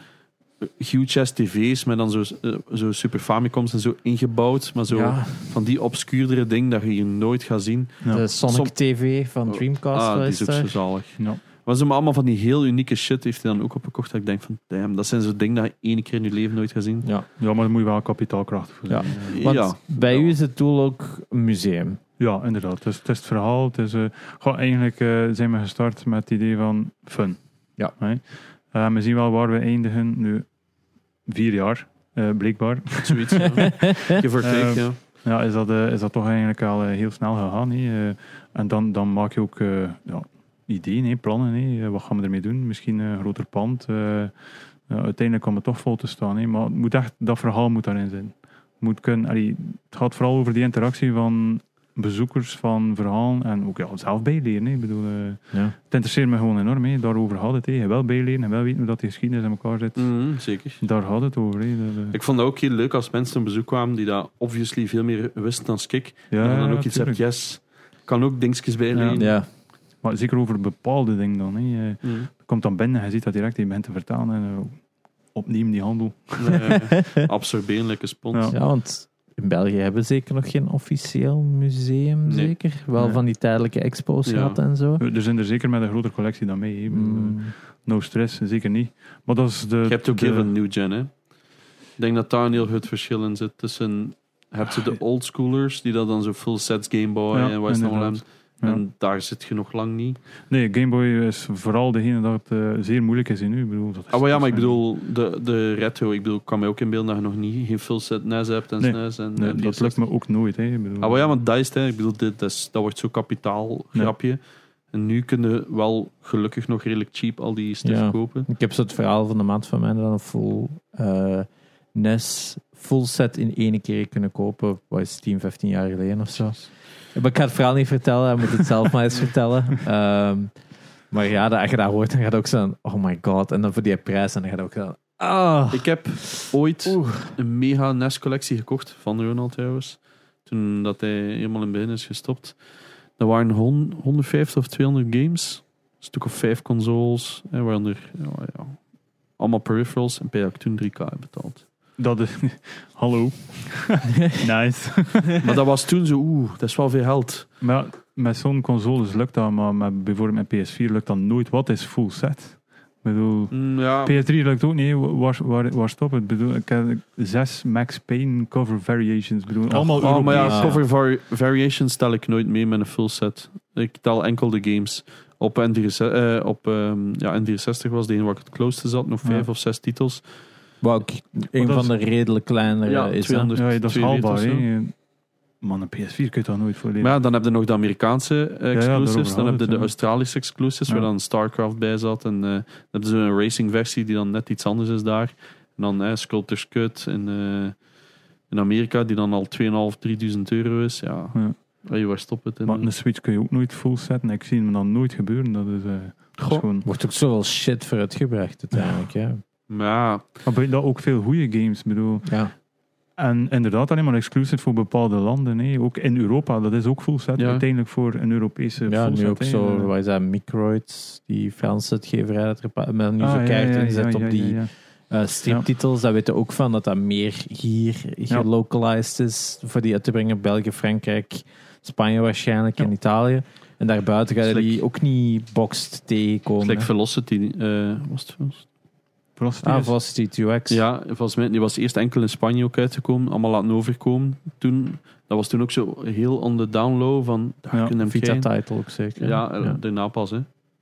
Speaker 1: eh, huge ass tv's met dan zo, eh, zo super Famicoms en zo ingebouwd. Maar zo
Speaker 2: Ja.
Speaker 1: van die obscuurdere ding dat je hier nooit gaat zien.
Speaker 3: Ja.
Speaker 2: De Sonic
Speaker 1: Som-
Speaker 2: TV van Dreamcast.
Speaker 1: ah,
Speaker 2: wel
Speaker 1: die is
Speaker 2: is
Speaker 1: ook
Speaker 2: daar.
Speaker 1: zo zalig.
Speaker 3: Ja.
Speaker 1: Maar zo maar allemaal van die heel unieke shit heeft hij dan ook opgekocht. Dat ik denk van, damn, dat zijn zo'n dingen dat je één keer in je leven nooit gaat zien.
Speaker 3: Ja, maar daar moet je wel kapitaalkracht voor
Speaker 2: Ja.
Speaker 3: zijn. eh.
Speaker 2: Want
Speaker 1: ja.
Speaker 2: bij
Speaker 1: Ja.
Speaker 2: u is het doel ook een museum.
Speaker 3: Ja, inderdaad. Het is, het is het verhaal. Het is, eh, goh, eigenlijk eh, zijn we gestart met het idee van fun.
Speaker 2: Ja.
Speaker 3: Hè? Eh, we zien wel waar we eindigen nu. Vier jaar, eh, blijkbaar.
Speaker 1: Zoiets, ja. Give or take,
Speaker 3: Ehm,
Speaker 1: ja.
Speaker 3: Ja, is dat, eh, is dat toch eigenlijk al eh, heel snel gegaan. hè? Eh, en dan, dan maak je ook eh, ja, ideeën, hè, plannen. hè. Eh, wat gaan we ermee doen? Misschien een groter pand. eh, ja, uiteindelijk komt het toch vol te staan. hè. Maar het moet echt, dat verhaal moet daarin zijn. Moet kunnen, allee, het gaat vooral over die interactie van bezoekers van verhalen en ook ja, zelf bijleren. hè. Ik bedoel, eh,
Speaker 2: Ja.
Speaker 3: het interesseert me gewoon enorm. hè. Daarover gaat het. hè. Je wel bijleren en wel weten hoe dat die geschiedenis in elkaar zit.
Speaker 1: Mhm, zeker.
Speaker 3: Daar gaat het over. hè. Dat, eh,
Speaker 1: Ik vond dat ook heel leuk als mensen op bezoek kwamen die daar obviously veel meer wisten dan ik.
Speaker 3: ja,
Speaker 1: en dan ook iets
Speaker 3: tuurlijk.
Speaker 1: hebt, yes, kan ook dingetjes bijleren.
Speaker 3: Ja.
Speaker 1: [laughs]
Speaker 3: Maar zeker over bepaalde dingen dan. hè. Eh,
Speaker 1: Mhm.
Speaker 3: komt dan binnen en je ziet dat direct, je begint te vertalen en eh, opnieuw die handel.
Speaker 1: [laughs] Eh, absorberen, lekker spons.
Speaker 3: Ja.
Speaker 2: Ja, want in België hebben we zeker nog geen officieel museum,
Speaker 1: Nee.
Speaker 2: zeker. Wel
Speaker 3: Nee.
Speaker 2: van die tijdelijke expos
Speaker 1: Ja.
Speaker 2: gehad en zo.
Speaker 3: Eh, Er zijn er zeker met een grotere collectie dan mee. hè. Eh,
Speaker 2: Mm.
Speaker 3: No stress, zeker niet. Maar dat is de...
Speaker 1: Je hebt ook
Speaker 3: de,
Speaker 1: heel veel new gen, hè. Ik denk dat daar een heel groot verschil in zit tussen... Heb je de oldschoolers, die dat dan zo full sets Game Boy
Speaker 3: Ja,
Speaker 1: en wat is het allemaal
Speaker 3: inderdaad.
Speaker 1: hebben. En daar zit je nog lang niet.
Speaker 3: Nee, Game Boy is vooral degene dat het eh, zeer moeilijk is in nu. Ik bedoel, dat is-
Speaker 1: Ah, maar ja, maar ik
Speaker 3: dat is-
Speaker 1: bedoel, de, de retro, ik bedoel, ik kan mij ook inbeelden dat je nog niet geen full set NES hebt en
Speaker 3: Nee.
Speaker 1: SNES. En,
Speaker 3: Nee,
Speaker 1: en die
Speaker 3: dat lukt me ook nooit. Hè. Ik bedoel,
Speaker 1: eh, Ah, wel ja, want dat is het, hè. Ik bedoel, dit, dat, is- dat wordt zo'n kapitaal grapje. En nu kunnen wel gelukkig nog redelijk cheap al die stuff
Speaker 2: Ja.
Speaker 1: kopen.
Speaker 2: Ik heb zo het verhaal van de maand van mij dan een full eh, NES full set in één keer kunnen kopen. Wat is het, 10, 15 jaar geleden of zo. Maar ik ga het verhaal niet vertellen, hij moet het zelf maar eens vertellen.
Speaker 1: [laughs]
Speaker 2: Ehm, maar ja, dat- als je dat hoort, dan gaat ook zo oh my god. En dan voor die prijs, en dan gaat ook zo ah.
Speaker 1: Ik heb ooit een mega NES-collectie gekocht, van Ronald trouwens. Toen dat hij helemaal in het begin is gestopt. Dat waren hon- 150 of 200 games. Een stuk of vijf [laughs] consoles. Hè, waaronder ja, ja, allemaal peripherals. En bij heb ik toen 3K betaald.
Speaker 3: dat is... [laughs] Hallo.
Speaker 1: [laughs]
Speaker 3: nice.
Speaker 1: Maar dat was toen zo, oeh, dat is wel veel geld.
Speaker 3: Maar met zo'n consoles lukt dat, maar met, bijvoorbeeld met PS4 lukt dat nooit. Wat is full set? Ik bedoel,
Speaker 1: Mm, ja.
Speaker 3: PS3 lukt ook niet. Waar, waar, waar stopt het? Ik bedoel, ik heb zes Max Payne cover variations. Ik bedoel, allemaal
Speaker 1: oh, maar ja,
Speaker 2: Europees.
Speaker 1: cover vari- variations tel ik nooit mee met een full set. Ik tel enkel de games. Op, N3, eh, op ehm, ja, N64 was de ene waar ik het closest zat, nog
Speaker 3: Ja.
Speaker 1: vijf of zes titels.
Speaker 2: Wat ook een
Speaker 3: dat
Speaker 2: van de redelijk kleinere
Speaker 1: Ja,
Speaker 2: is. hè.
Speaker 1: 200.
Speaker 3: Ja, dat is
Speaker 1: 2 weet
Speaker 3: haalbaar.
Speaker 1: of zo.
Speaker 3: hè. Man, een PS4 kun je dat nooit volledig.
Speaker 1: Maar ja, dan heb je nog de Amerikaanse eh,
Speaker 3: ja,
Speaker 1: exclusives,
Speaker 3: daarover
Speaker 1: dan heb
Speaker 3: hadden
Speaker 1: je
Speaker 3: we
Speaker 1: de
Speaker 3: het,
Speaker 1: Australische exclusives,
Speaker 3: Ja.
Speaker 1: waar dan StarCraft bij zat. En eh, dan heb je zo'n racing versie die dan net iets anders is daar. En dan eh, Sculptor's Cut in, eh, in Amerika, die dan al 2.500, 3.000 euro is. Ja,
Speaker 3: Ja.
Speaker 1: Hey, waar stopt het in?
Speaker 3: maar een Switch kun je ook nooit full setten. Ik zie hem dan nooit gebeuren. Dat is, eh, dat is
Speaker 2: Goh.
Speaker 3: gewoon...
Speaker 2: Wordt ook zoveel shit voor uitgebracht uiteindelijk. Ja.
Speaker 1: Maar ja,
Speaker 3: Maar buiten dat ook veel goede games. Ik bedoel,
Speaker 2: Ja.
Speaker 3: En inderdaad, alleen maar exclusief voor bepaalde landen. Hè. Ook in Europa, dat is ook full set.
Speaker 1: Ja.
Speaker 3: Uiteindelijk voor een Europese
Speaker 2: Ja,
Speaker 3: full
Speaker 2: nu
Speaker 3: set,
Speaker 2: ook
Speaker 3: hè.
Speaker 2: zo,
Speaker 3: Eh,
Speaker 2: wat is dat, Microids, die Franse uitgeverij dat er pa- maar nu
Speaker 3: ah,
Speaker 2: zo
Speaker 3: ja,
Speaker 2: keihard
Speaker 3: ja,
Speaker 2: inzet
Speaker 3: ja,
Speaker 2: op
Speaker 3: ja,
Speaker 2: die
Speaker 3: ja,
Speaker 2: eh, striptitels. Daar weten we ook van dat dat meer hier gelocalized is voor die uit te brengen. België, Frankrijk, Spanje waarschijnlijk en
Speaker 3: Ja.
Speaker 2: Italië. En daarbuiten ga je
Speaker 1: Slik.
Speaker 2: die ook niet boxed tegenkomen.
Speaker 1: gelijk
Speaker 2: hè.
Speaker 1: Velocity. eh, was het Velocity?
Speaker 3: Velocity
Speaker 2: Ah,
Speaker 3: is-
Speaker 2: Velocity 2X.
Speaker 1: Ja, volgens mij die was eerst enkel in Spanje ook uitgekomen, allemaal laten overkomen. Toen, dat was toen ook zo heel on the down low van, daar
Speaker 3: Ja,
Speaker 1: kunnen we hem
Speaker 2: Vita
Speaker 1: krijgen.
Speaker 2: title ook zeker.
Speaker 1: Ja, eh,
Speaker 2: ja.
Speaker 1: daarna pas. Hè.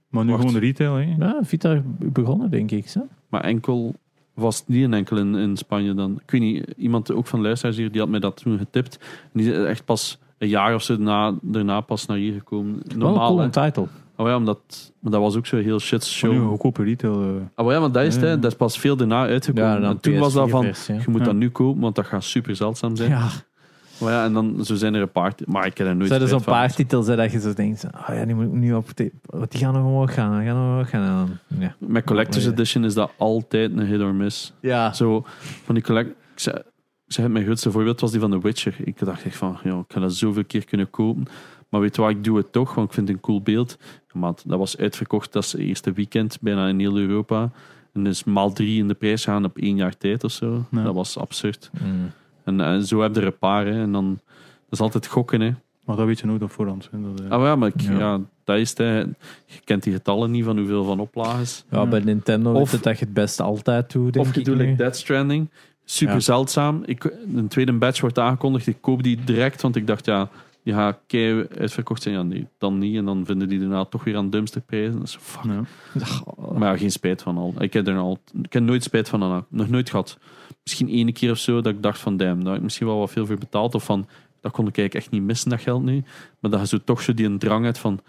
Speaker 3: Maar nu
Speaker 1: Wacht.
Speaker 3: gewoon retail, hè?
Speaker 2: Ja, Vita begonnen denk ik. Zo.
Speaker 1: Maar enkel was het niet een enkel in, in Spanje dan. Ik weet niet, iemand ook van de luisteraars hier, die had mij dat toen getipt. En die is echt pas een jaar of zo daarna, daarna pas naar hier gekomen. Normaal,
Speaker 2: Wel
Speaker 1: hè.
Speaker 2: een coole title.
Speaker 1: oh ja, omdat, maar dat was ook zo heel shit
Speaker 3: Show. Nu een
Speaker 1: show.
Speaker 3: goedkope retail. eh.
Speaker 1: Ah, maar ja, want dat is het, hè.
Speaker 3: Ja.
Speaker 1: dat is pas veel daarna uitgekomen. en toen was dat van, je moet
Speaker 3: Ja.
Speaker 1: dat nu kopen, want dat gaat super zeldzaam zijn.
Speaker 2: Ja,
Speaker 1: Maar ja, en dan, zo zijn er een paar, maar ik heb er nooit
Speaker 2: zijn er
Speaker 1: spijt
Speaker 2: zo'n
Speaker 1: van.
Speaker 2: paar titels hè, dat je zo denkt, oh ja, die moet ik nu op de, die gaan nog omhoog gaan, die gaan nog omhoog gaan. En dan- Ja.
Speaker 1: Met Collector's
Speaker 2: Oh, Ja.
Speaker 1: Edition is dat altijd een hit or miss.
Speaker 2: ja.
Speaker 1: Zo, van die collect... Ik zei, ik zei het, mijn grootste voorbeeld was die van The Witcher. Ik dacht echt van, ja, ik ga dat zoveel keer kunnen kopen. Maar weet je wat, ik doe het toch, want ik vind het een cool beeld. Maar dat was uitverkocht, dat is het eerste weekend, bijna in heel Europa. En dus maal drie in de prijs gaan op één jaar tijd of zo.
Speaker 3: Ja.
Speaker 1: Dat was absurd.
Speaker 2: Mm.
Speaker 1: En, en zo heb je er een paar, hè. En dan... Dat is altijd gokken, hè.
Speaker 3: Maar dat weet je nooit op voorhand. hè. Dat, eh.
Speaker 1: Ah, maar ja, maar ik-
Speaker 3: Ja.
Speaker 1: ja. dat is het, hè. Je kent die getallen niet van hoeveel van oplages.
Speaker 2: Ja, bij Nintendo
Speaker 1: Of-
Speaker 2: is het dat je het best altijd doet, denk
Speaker 1: Of je
Speaker 2: ik
Speaker 1: doet
Speaker 2: nu.
Speaker 1: like
Speaker 2: [laughs]
Speaker 1: Dead Stranding. Super
Speaker 2: Ja.
Speaker 1: zeldzaam. Ik, een tweede batch wordt aangekondigd. Ik koop die direct, want ik dacht, ja, die gaat kei uitverkocht zijn. Ja, nee, dan niet. En dan vinden die daarna toch weer aan dumpsterprijzen. Dat is fuck.
Speaker 3: Ja.
Speaker 1: Maar ja, geen spijt van al. Ik heb er al, ik heb nooit spijt van al. Nog nooit gehad. Misschien ene keer of zo dat ik dacht van, damn, daar heb ik misschien wel wat veel voor betaald. Of van, dat kon ik eigenlijk echt niet missen, dat geld nu. Maar dat je zo toch zo die drang hebt van,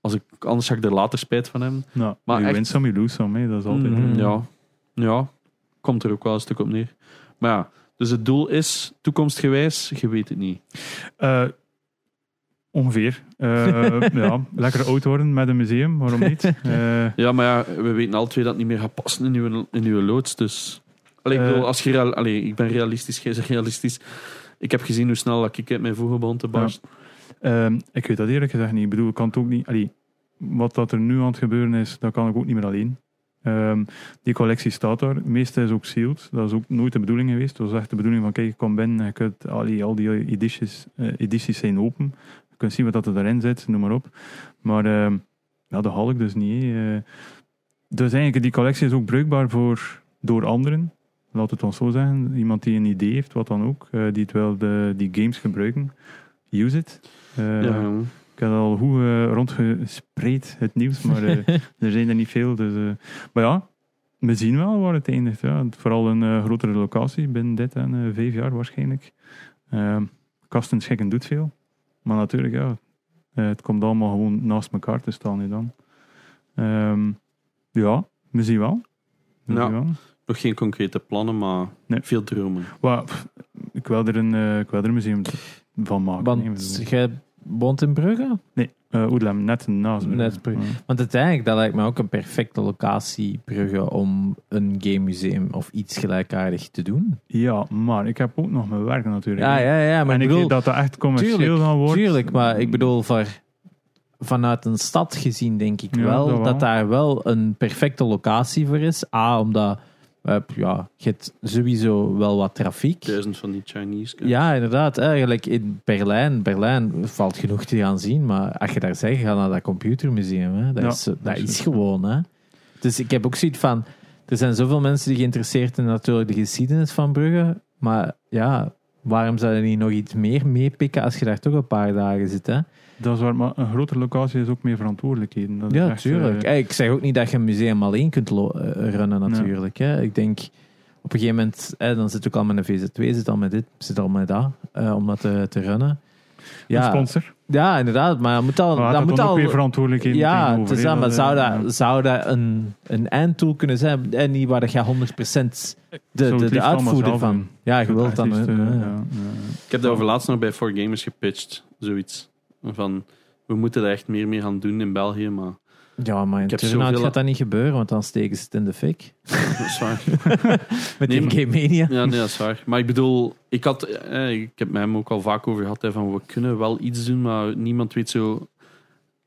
Speaker 1: als ik, anders ga ik er later spijt van hebben.
Speaker 3: Nou,
Speaker 1: Maar
Speaker 3: you
Speaker 1: echt-
Speaker 3: win some, you lose some. Hè. Dat is altijd...
Speaker 1: Mhm,
Speaker 2: Mm.
Speaker 1: ja. ja, komt er ook wel een stuk op neer. Maar ja, dus het doel is toekomstgewijs, je weet het niet.
Speaker 3: Eh, ongeveer. Eh, [laughs] ja, lekker oud worden met een museum, waarom niet?
Speaker 1: [laughs]
Speaker 3: Eh,
Speaker 1: Ja, maar ja, we weten al twee dat het niet meer gaat passen in uw, in uw loods. Dus Allee, ik,
Speaker 3: Eh.
Speaker 1: bedoel, als je real- allee, ik ben realistisch, jij bent realistisch. Ik heb gezien hoe snel dat ik uit mijn voegen begon te barsten.
Speaker 3: Ehm, ik weet dat eerlijk gezegd niet. Ik bedoel, ik kan het ook niet. Allee, wat dat er nu aan het gebeuren is, dat kan ik ook niet meer alleen. Ehm, die collectie staat daar. Het meeste is ook sealed. Dat is ook nooit de bedoeling geweest. Het was echt de bedoeling van, kijk, ik kom binnen, je kunt, allee, al die edities, eh, edities zijn open. Je kunt zien wat dat er daarin zit, noem maar op. Maar ehm, ja, dat haal ik dus niet. hè. Eh, dus eigenlijk, die collectie is ook bruikbaar voor, door anderen. Laat het ons zo zeggen. Iemand die een idee heeft, wat dan ook, eh, die het wil, de, die games gebruiken. Use it. Eh,
Speaker 1: Ja, ja.
Speaker 3: ik had al goed eh, rondgespreid, het nieuws, maar
Speaker 2: [laughs]
Speaker 3: eh, er zijn er niet veel. Dus, eh, maar ja, we zien wel waar het eindigt. Ja. Vooral een eh, grotere locatie binnen dit en eh, vijf jaar waarschijnlijk. Ehm kasten schikken doet veel. Maar natuurlijk, ja, eh, het komt allemaal gewoon naast elkaar te staan nu dan. Ehm, ja, we zien wel. We
Speaker 1: Ja.
Speaker 3: zien wel.
Speaker 1: Nog geen concrete plannen, maar
Speaker 3: Nee.
Speaker 1: veel dromen.
Speaker 3: Maar, pff, ik, wil er een, eh, ik wil er een museum t- van maken. Nee, we
Speaker 2: Want
Speaker 3: doen-
Speaker 2: jij woont in Brugge?
Speaker 3: Nee, eh, Oedlem, net naast. me.
Speaker 2: Net pre-
Speaker 3: Ja.
Speaker 2: Want uiteindelijk, dat lijkt me ook een perfecte locatie, Brugge, om een game museum of iets gelijkaardig te doen.
Speaker 3: Ja, maar ik heb ook nog mijn werk natuurlijk.
Speaker 2: Ah, Ja, ja, ja, maar
Speaker 3: en
Speaker 2: ik
Speaker 3: ik
Speaker 2: bedoel...
Speaker 3: weet dat dat echt commercieel
Speaker 2: Tuurlijk,
Speaker 3: dan wordt.
Speaker 2: Tuurlijk, maar ik bedoel, voor, vanuit een stad gezien denk ik
Speaker 3: Ja,
Speaker 2: wel
Speaker 3: dat
Speaker 2: dat,
Speaker 3: wel.
Speaker 2: daar wel een perfecte locatie voor is. A, omdat Hup, ja, je hebt sowieso wel wat trafiek.
Speaker 1: Duizend van die Chinese. guys.
Speaker 2: Ja, inderdaad. Eigenlijk in Berlijn, Berlijn valt genoeg te gaan zien, maar als je daar zegt, ga naar dat computermuseum. Hè. Dat,
Speaker 3: Ja,
Speaker 2: is, dat
Speaker 3: dat is
Speaker 2: is
Speaker 3: het.
Speaker 2: gewoon. Hè. Dus ik heb ook zoiets van, er zijn zoveel mensen die geïnteresseerd zijn in natuurlijk de geschiedenis van Brugge, maar ja, waarom zou je niet nog iets meer meepikken als je daar toch een paar dagen zit? Hè?
Speaker 3: Dat is waar, maar een grotere locatie is ook meer verantwoordelijkheden. Dat is
Speaker 2: Ja,
Speaker 3: echt,
Speaker 2: tuurlijk.
Speaker 3: eh,
Speaker 2: Eh, ik zeg ook niet dat je een museum alleen kunt lo- eh, runnen, natuurlijk. Hè. Ik denk, op een gegeven moment, eh, dan zit ook al met een VZ2, zit al met dit, zit al met dat, eh, om dat te, te runnen.
Speaker 3: een
Speaker 2: Ja,
Speaker 3: sponsor.
Speaker 2: ja, inderdaad, maar dat moet al...
Speaker 3: Maar
Speaker 2: Dat
Speaker 3: dat
Speaker 2: moet
Speaker 3: dan ook
Speaker 2: al
Speaker 3: weer verantwoordelijkheden
Speaker 2: ja,
Speaker 3: tegenover,
Speaker 2: het is
Speaker 3: hè,
Speaker 2: dat, maar
Speaker 3: dat,
Speaker 2: zou
Speaker 3: eh, ja.
Speaker 2: dat, zou dat een, een eindtool kunnen zijn? En niet waar je 100% de,
Speaker 3: zou
Speaker 2: de, de,
Speaker 3: het liefst allemaal
Speaker 2: uitvoerder
Speaker 3: zelf
Speaker 2: van...
Speaker 3: doen.
Speaker 2: Ja, je wilt dan...
Speaker 3: Artiest,
Speaker 2: eh,
Speaker 3: eh,
Speaker 2: ja.
Speaker 3: ja, ja.
Speaker 1: Ik heb daarover laatst nog bij 4Gamers gepitcht. Zoiets. Van, we moeten daar echt meer mee gaan doen in België, maar...
Speaker 2: Ja, maar in
Speaker 1: Ik heb
Speaker 2: Turnhout
Speaker 1: zoveel-
Speaker 2: gaat dat niet gebeuren, want dan steken ze het in de
Speaker 1: [laughs]
Speaker 2: fik.
Speaker 1: Dat is waar.
Speaker 2: Met
Speaker 1: Nee,
Speaker 2: die
Speaker 1: maar-
Speaker 2: Game Mania.
Speaker 1: Ja, nee, dat is waar. Maar ik bedoel, ik, had, eh, ik heb met hem ook al vaak over gehad, hè, van we kunnen wel iets doen, maar niemand weet zo...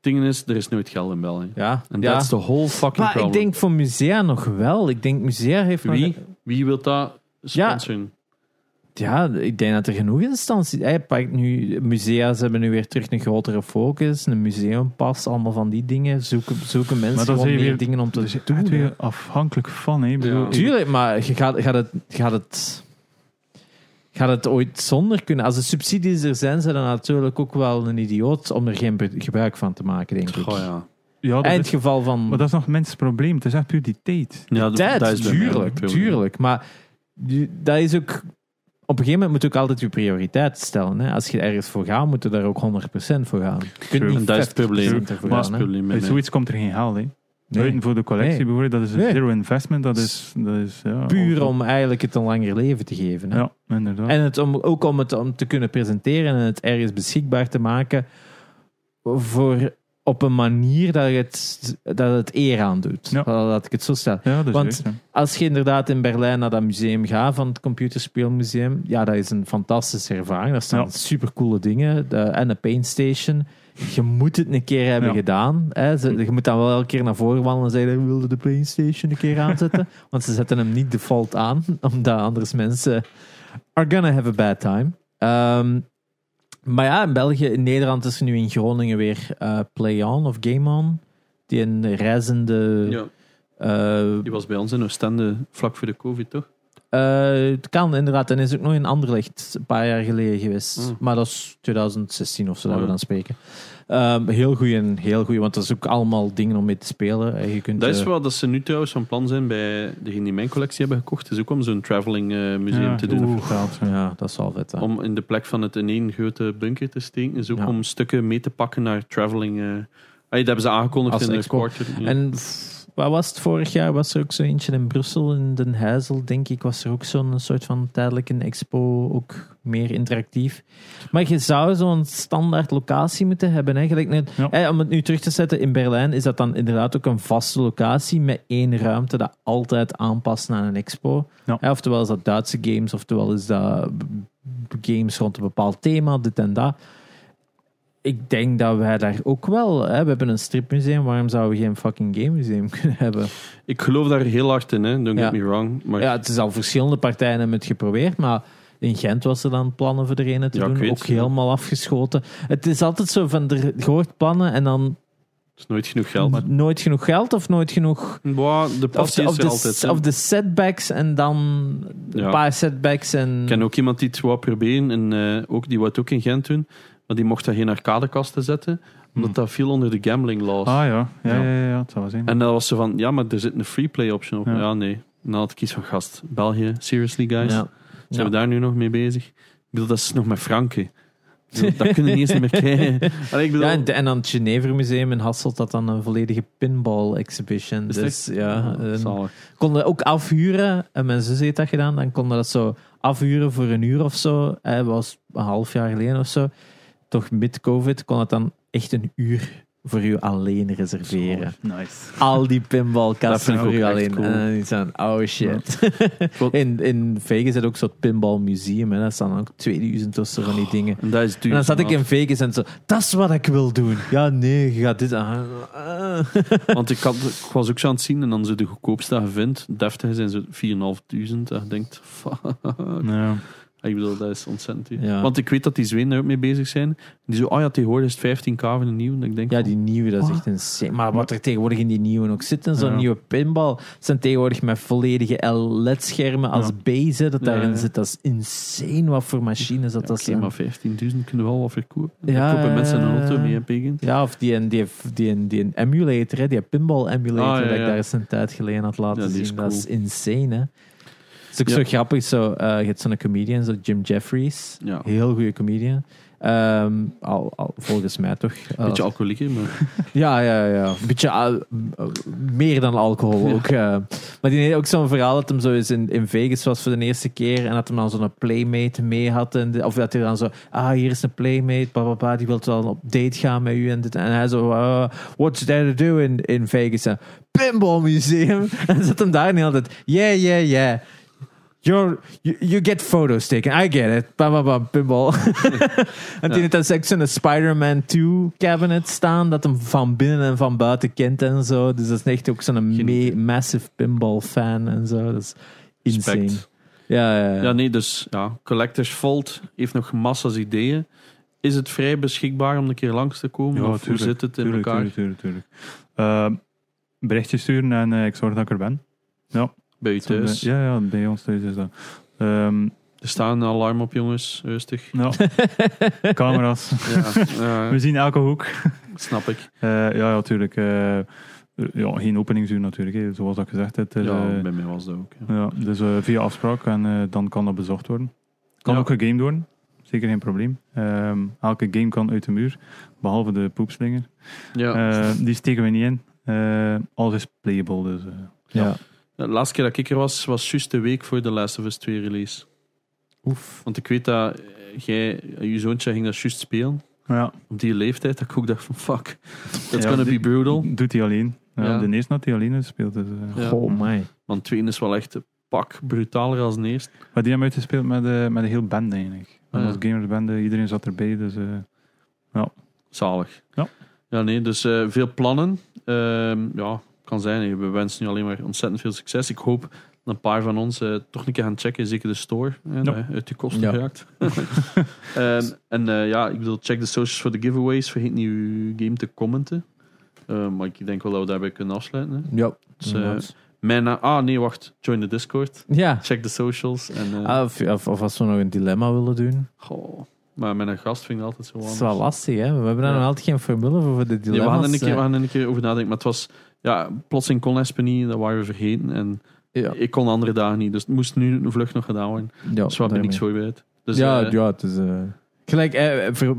Speaker 1: Dingen is, er is nooit geld in België.
Speaker 2: Ja,
Speaker 1: En
Speaker 2: ja.
Speaker 1: dat is de whole fucking
Speaker 2: Maar
Speaker 1: problem.
Speaker 2: ik denk voor musea nog wel. Ik denk musea heeft nog-
Speaker 1: Wie? Wie wil dat
Speaker 2: Ja.
Speaker 1: sponsoren?
Speaker 2: Ja, ik denk dat er genoeg instanties... Hij pakt nu... Musea's hebben nu weer terug een grotere focus. Een museumpas, allemaal van die dingen. Zoeken, zoeken mensen
Speaker 3: Maar dat
Speaker 2: gewoon
Speaker 3: is
Speaker 2: meer
Speaker 3: weer-
Speaker 2: dingen om te
Speaker 3: Dat Dus is
Speaker 2: doen.
Speaker 3: echt
Speaker 2: hè.
Speaker 3: weer afhankelijk van, hè. Ik bedoel,
Speaker 1: Ja.
Speaker 3: ik-
Speaker 2: Tuurlijk, maar je gaat, gaat, het, gaat, het, gaat het ooit zonder kunnen? Als de subsidies er zijn, zijn dan natuurlijk ook wel een idioot om er geen be- gebruik van te maken, denk ik.
Speaker 1: Goh, ja.
Speaker 3: ja, dat
Speaker 2: En het
Speaker 3: is-
Speaker 2: geval van...
Speaker 3: maar dat is nog mensen probleem. Het is echt puur die tijd.
Speaker 1: ja dat-
Speaker 2: tijd,
Speaker 1: dat is bij mij ook
Speaker 2: tuurlijk,
Speaker 1: een probleem.
Speaker 2: tuurlijk. Maar je- dat is ook... Op een gegeven moment moet je ook altijd je prioriteit stellen. Hè? Als je ergens voor gaat, moet je daar ook 100% voor gaan. Je kunt
Speaker 3: True.
Speaker 2: niet
Speaker 1: En dat is het
Speaker 2: 50%
Speaker 1: probleem.
Speaker 2: ervoor
Speaker 1: Dat is
Speaker 2: gaan,
Speaker 1: het
Speaker 2: hè.
Speaker 1: probleem
Speaker 3: Bij
Speaker 1: met mij.
Speaker 3: zoiets komt er geen haal, hè.
Speaker 2: Nee.
Speaker 3: Buiten voor de collectie
Speaker 2: Nee.
Speaker 3: bijvoorbeeld, dat is een
Speaker 2: Nee.
Speaker 3: zero investment. Dat is, dat is ja,
Speaker 2: Puur
Speaker 3: ook-
Speaker 2: om eigenlijk het een langer leven te geven. Hè?
Speaker 3: Ja, inderdaad.
Speaker 2: En het om, ook om het om te kunnen presenteren en het ergens beschikbaar te maken voor, op een manier dat het, dat het eer aan doet.
Speaker 3: Ja.
Speaker 2: Dat ik het zo stel.
Speaker 3: ja, dat is
Speaker 2: want-
Speaker 3: juist, ja.
Speaker 2: Als je inderdaad in Berlijn naar dat museum gaat, van het computerspeelmuseum, ja, dat is een fantastische ervaring. Daar staan
Speaker 3: Ja.
Speaker 2: supercoole dingen de- en een paintstation. Je moet het een keer hebben
Speaker 3: Ja. Mm.
Speaker 2: gedaan. Hè. Ze- je moet dan wel elke keer naar voren wandelen en zeggen, we wilden de paintstation een keer
Speaker 3: [laughs]
Speaker 2: aanzetten. Want ze zetten hem niet default aan, omdat anders mensen are gonna have a bad time. Ehm, maar ja, in België, in Nederland is er nu in Groningen weer eh, Play On of Game On. Die een reizende...
Speaker 1: Ja,
Speaker 2: eh,
Speaker 1: die was bij ons in Oostende vlak voor de COVID, toch?
Speaker 2: eh, het kan inderdaad. En is ook nog in Anderlecht een paar jaar geleden geweest.
Speaker 1: Mm.
Speaker 2: Maar dat is 2016 of zo, dat
Speaker 1: Oh, ja.
Speaker 2: we dan spreken. Ehm, heel goed en heel goed, want dat is ook allemaal dingen om mee te spelen. Eh, Je kunt,
Speaker 1: Dat is
Speaker 2: eh,
Speaker 1: wat dat ze nu trouwens van plan zijn bij degenen die mijn collectie hebben gekocht. Is ook om zo'n traveling eh, museum
Speaker 3: Ja,
Speaker 1: te doen.
Speaker 3: oeh, vertaald, ja.
Speaker 2: Ja, dat is al vet. hè.
Speaker 1: Om in de plek van het in één grote bunker te steken. Is ook
Speaker 2: Ja.
Speaker 1: om stukken mee te pakken naar traveling. eh. Hey, dat hebben ze aangekondigd
Speaker 2: Als
Speaker 1: in de
Speaker 2: expo.
Speaker 1: quarter.
Speaker 3: Mhm.
Speaker 1: ja.
Speaker 2: En pff, wat was het vorig jaar? Was er ook zo eentje in Brussel, in Den Heizel, denk ik. Was er ook zo'n soort van tijdelijke expo, ook meer interactief. Maar je zou zo'n standaard locatie moeten hebben. Eigenlijk net,
Speaker 3: Ja.
Speaker 2: hè, om het nu terug te zetten, in Berlijn is dat dan inderdaad ook een vaste locatie met één ruimte dat altijd aanpast aan een expo.
Speaker 3: Ja.
Speaker 2: Hè, oftewel is dat Duitse games, oftewel is dat b- b- games rond een bepaald thema, dit en dat ik denk dat wij daar ook wel. Hè? We hebben een stripmuseum, waarom zouden we geen fucking game museum [laughs] kunnen hebben?
Speaker 1: Ik geloof daar heel hard in, hè. don't get
Speaker 2: Ja.
Speaker 1: me wrong. Maar
Speaker 2: Ja, het is al verschillende partijen hebben het geprobeerd, maar in Gent was er dan plannen voor er een te
Speaker 1: Ja, ik
Speaker 2: doen,
Speaker 1: weet
Speaker 2: ook
Speaker 1: het, ja.
Speaker 2: helemaal afgeschoten. Het is altijd zo van, er je hoort plannen en dan
Speaker 1: het is nooit genoeg geld.
Speaker 2: nooit genoeg geld of nooit genoeg...
Speaker 1: Boah, de
Speaker 2: Of
Speaker 1: passie
Speaker 2: de, of,
Speaker 1: is er
Speaker 2: de,
Speaker 1: altijd. hè.
Speaker 2: of de setbacks en dan
Speaker 1: Ja.
Speaker 2: een paar setbacks en...
Speaker 1: Ik ken ook iemand die het wou proberen. En, eh, ook, die wou het ook in Gent doen. Maar die mocht dat geen arcadekasten zetten. Omdat
Speaker 3: Hmm.
Speaker 1: dat viel onder de gambling laws.
Speaker 3: Ah ja, ja,
Speaker 1: Ja.
Speaker 3: ja, ja, ja, het zou wel zijn.
Speaker 1: En dan was ze van, ja, maar er zit een free play option op. Ja,
Speaker 3: Ja.
Speaker 1: nee. En dan had ik iets van, gast, België, seriously guys.
Speaker 2: Ja.
Speaker 1: Zijn we daar nu nog mee bezig? Ik bedoel, dat is nog met franken. Ik bedoel, Dat kunnen we niet eens meer krijgen.
Speaker 2: [laughs]
Speaker 1: Allee, ik bedoel,
Speaker 2: Ja, en, en aan het Genever Museum in Hasselt had dan een volledige pinball exhibition.
Speaker 1: is
Speaker 2: Dus,
Speaker 1: het echt- Ah,
Speaker 2: ja, een-
Speaker 1: zalig.
Speaker 2: konden ook afhuren. En mijn zus heeft dat gedaan. Dan konden dat zo afhuren voor een uur of zo. Dat was een half jaar geleden of zo. Toch mid-covid kon het dan echt een uur voor u alleen reserveren.
Speaker 3: Nice.
Speaker 2: Al die
Speaker 1: Dat vind
Speaker 2: pinbalkasten
Speaker 1: ik
Speaker 2: voor
Speaker 1: ook
Speaker 2: u
Speaker 1: echt
Speaker 2: alleen.
Speaker 1: cool.
Speaker 2: En dan iets aan, oh shit.
Speaker 1: Wat-
Speaker 2: [laughs] in, in Vegas zit ook zo'n pinbalmuseum. En daar staan ook 2000 of zo van die dingen.
Speaker 1: En dat is Oh, duur.
Speaker 2: En dan zat ik
Speaker 1: maat.
Speaker 2: in Vegas en zo, dat is wat ik wil doen. Ja, nee, je gaat dit aan. Ah.
Speaker 1: Want ik, had, ik was ook zo aan het zien en dan zo de goedkoopste dat je vindt. Deftige zijn ze 4.500. En je denkt, fuck.
Speaker 3: Ja.
Speaker 1: Ik bedoel, dat is ontzettend duur.
Speaker 2: Ja.
Speaker 1: Want ik weet dat die Zweden daar ook mee bezig zijn. Die zo, oh ja, tegenwoordig is het 15k voor een nieuw. En ik denk, "Oh,
Speaker 2: Ja,
Speaker 1: van,
Speaker 2: die nieuwe, dat is echt insane. Maar
Speaker 1: Hm.
Speaker 2: wat er tegenwoordig in die nieuwe ook zit, en zo'n
Speaker 3: Ja.
Speaker 2: nieuwe pinbal, zijn tegenwoordig met volledige LED-schermen als base dat
Speaker 1: Ja,
Speaker 2: daarin
Speaker 1: ja.
Speaker 2: zit. Dat is insane wat voor machines dat
Speaker 1: ja,
Speaker 2: dat
Speaker 1: oké,
Speaker 2: zijn.
Speaker 1: maar 15.000 kunnen we wel wat verkopen.
Speaker 2: Ja,
Speaker 1: Ja, kopen
Speaker 2: ja,
Speaker 1: mensen een
Speaker 2: ja,
Speaker 1: auto
Speaker 2: ja.
Speaker 1: mee, heb ik.
Speaker 2: Ja, of die, die, die, die, die emulator, hè, die pinbal-emulator,
Speaker 1: Ah, ja,
Speaker 2: dat ik
Speaker 1: ja.
Speaker 2: daar eens een tijd geleden had laten
Speaker 1: Ja, die
Speaker 2: zien.
Speaker 1: is
Speaker 2: Dat
Speaker 1: cool.
Speaker 2: is insane, hè. Het is ook
Speaker 1: Ja.
Speaker 2: zo grappig, zo, eh, je hebt zo'n comedian, zo Jim Jeffries.
Speaker 1: Ja.
Speaker 2: Heel goede comedian. Ehm, al, al, volgens mij toch. eh,
Speaker 1: Beetje alcoholieker, maar
Speaker 2: ja, ja, ja. Een beetje al- meer dan alcohol ook. eh. maar die heeft ook zo'n verhaal dat hem zo eens in, in Vegas was voor de eerste keer en dat hem dan zo'n playmate mee had. En de- of dat hij dan zo, ah, hier is een playmate, bla bla bla, die wil wel op date gaan met u. En, dit, en hij zo, "Ah, what's there to do in, in Vegas? En, Pinball Museum. [laughs] En dan zat hem daar en hij altijd, yeah, yeah, yeah. You're, you, you get photos taken. I get it. Bam, bam, bam, pinball. [laughs] en die heeft dan seks in een Spider-Man 2 cabinet staan, dat hem van binnen en van buiten kent en zo. Dus dat is echt ook zo'n me-
Speaker 1: Genieten.
Speaker 2: massive pinball fan en zo. Dat is [laughs] insane.
Speaker 1: respect.
Speaker 2: Ja, ja, ja.
Speaker 1: Ja, nee, dus ja, Collectors Vault heeft nog massa's ideeën. Is het vrij beschikbaar om een keer langs te komen?
Speaker 3: Ja,
Speaker 1: of hoe
Speaker 3: tuurlijk,
Speaker 1: zit het in
Speaker 3: tuurlijk,
Speaker 1: elkaar?
Speaker 3: Tuurlijk, tuurlijk, tuurlijk. Eh, berichtje sturen en eh, ik zorg dat ik er ben.
Speaker 1: Bij u thuis.
Speaker 3: Ja, ja, bij ons thuis is dat. Ehm,
Speaker 1: Er staat een alarm op, jongens. Rustig. [laughs]
Speaker 3: nou,
Speaker 2: [laughs]
Speaker 3: camera's. [laughs]
Speaker 1: Ja, ja,
Speaker 3: We zien elke hoek.
Speaker 1: snap ik.
Speaker 3: Eh, ja, ja, tuurlijk. eh, ja, geen openingsuur natuurlijk, hè, zoals dat gezegd het is,
Speaker 1: Ja,
Speaker 3: eh,
Speaker 1: bij mij was dat ook. ja.
Speaker 3: ja, dus eh, via afspraak en eh, dan kan dat bezocht worden. Kan
Speaker 1: Ja.
Speaker 3: ook gegamed worden, zeker geen probleem. Ehm, elke game kan uit de muur, behalve de poepslinger.
Speaker 1: Ja.
Speaker 3: Eh, die steken we niet in. Eh, alles is playable, dus... eh,
Speaker 2: Ja.
Speaker 1: De laatste keer dat ik er was, was juist de week voor de Last of Us 2 release.
Speaker 2: Oef.
Speaker 1: Want ik weet dat eh, jij, je zoontje ging dat juist spelen.
Speaker 3: ja.
Speaker 1: Op die leeftijd, dat ik ook dacht van
Speaker 3: [laughs]
Speaker 1: fuck, that's
Speaker 3: Ja,
Speaker 1: gonna be
Speaker 3: die-
Speaker 1: brutal.
Speaker 3: Doet hij alleen. Ja,
Speaker 1: Ja.
Speaker 3: De eerste had hij alleen gespeeld. Dus, eh.
Speaker 1: Ja.
Speaker 2: Oh my.
Speaker 1: Want tweede is wel echt een pak brutaler als een eerste.
Speaker 3: Maar die hebben uitgespeeld met, eh, met een heel band eigenlijk.
Speaker 1: Ah,
Speaker 3: Met
Speaker 1: ja.
Speaker 3: ons gamersbende, iedereen zat erbij. Dus, eh,
Speaker 1: Zalig.
Speaker 3: Ja.
Speaker 1: Ja, nee, dus eh, veel plannen. Ehm, ja, kan zijn. We wensen nu alleen maar ontzettend veel succes. Ik hoop dat een paar van ons eh, toch een keer gaan checken. Zeker de store. hè, dat je uit je kosten
Speaker 2: Ja.
Speaker 1: geraakt. Ehm, en eh, ja, ik bedoel, check de socials voor de giveaways. Vergeet niet uw game te commenten. Eh, maar ik denk wel dat we daarbij kunnen afsluiten. Hè.
Speaker 2: Ja.
Speaker 1: Dus, eh, mijn na- ah, nee, wacht. Join de Discord.
Speaker 2: ja.
Speaker 1: Check de socials. En, eh,
Speaker 2: Ah, Of, of, of als we nog een dilemma willen doen.
Speaker 1: goh. Maar met een gast vind ik dat altijd zo
Speaker 2: Dat is
Speaker 1: anders.
Speaker 2: wel lastig, hè? We hebben daar
Speaker 1: dus- Ja.
Speaker 2: nog altijd geen formule voor, voor de
Speaker 1: Nee, we
Speaker 2: dilemma's.
Speaker 1: gaan er een keer,
Speaker 2: eh.
Speaker 1: we gaan er een keer over nadenken. Maar het was... Ja, plotseling kon Espen niet. Dat waren we vergeten. En
Speaker 2: Ja,
Speaker 1: ik kon de andere dagen niet. Dus het moest nu een vlucht nog gedaan worden.
Speaker 2: ja,
Speaker 1: Dus we hebben niks
Speaker 2: daarmee.
Speaker 1: voorbereid. Dus,
Speaker 2: ja,
Speaker 1: eh,
Speaker 2: ja, het is... eh, gelijk, eh, voor-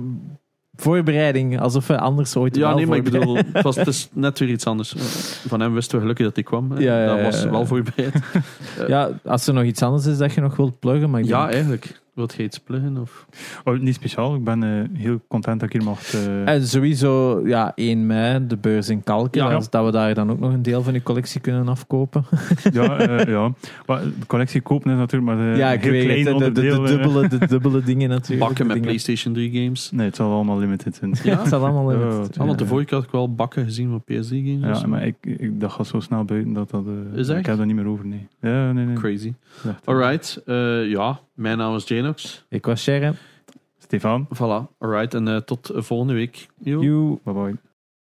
Speaker 2: voorbereiding, alsof we anders ooit
Speaker 1: ja,
Speaker 2: wel
Speaker 1: nee, maar ik
Speaker 2: voorbereid-
Speaker 1: bedoel, het, was, het is net weer iets anders. Eh, Van hem wisten we gelukkig dat hij kwam. hè.
Speaker 2: Ja, ja, ja,
Speaker 1: dat was
Speaker 2: ja.
Speaker 1: wel voorbereid.
Speaker 2: Ja, als er nog iets anders is dat je nog wilt pluggen, maar ik
Speaker 1: eh, Ja, eh,
Speaker 2: denk-
Speaker 1: eigenlijk. Wilt jij iets pluggen? Of?
Speaker 3: oh, niet speciaal, ik ben eh, heel content dat ik hier mag. eh,
Speaker 2: En sowieso, ja, 1 mei, de beurs in Kalken,
Speaker 1: Ja.
Speaker 2: dat- dat we daar dan ook nog een deel van je collectie kunnen afkopen.
Speaker 3: [laughs] ja, eh, ja. Maar de collectie kopen is natuurlijk maar eh,
Speaker 2: ja,
Speaker 3: een
Speaker 2: ik
Speaker 3: heel
Speaker 2: weet
Speaker 3: klein
Speaker 2: het, de, de, de,
Speaker 3: onderdeel. eh.
Speaker 2: dubbele, de dubbele dingen natuurlijk.
Speaker 1: Bakken
Speaker 2: de
Speaker 1: met
Speaker 2: dingen-
Speaker 1: PlayStation 3 games.
Speaker 3: Nee, het zal allemaal limited zijn.
Speaker 1: Ja,
Speaker 2: [laughs] Het zal allemaal in
Speaker 3: Ja,
Speaker 2: het...
Speaker 3: ja,
Speaker 1: Ah, want de
Speaker 3: ja.
Speaker 1: vorige keer had ik wel bakken gezien van PS3 games.
Speaker 3: Ja, maar ik, ik, dat gaat zo snel buiten dat dat... eh,
Speaker 1: Is echt?
Speaker 3: ik heb dat niet meer over, nee. Ja, nee, nee.
Speaker 1: Crazy.
Speaker 3: Ja.
Speaker 1: Alright. eh, ja, mijn naam is Janox.
Speaker 2: Ik was Sharon.
Speaker 3: Stefan,
Speaker 1: Voilà. Alright. En eh, tot eh, volgende week. Yo.
Speaker 2: You.
Speaker 3: bye bye.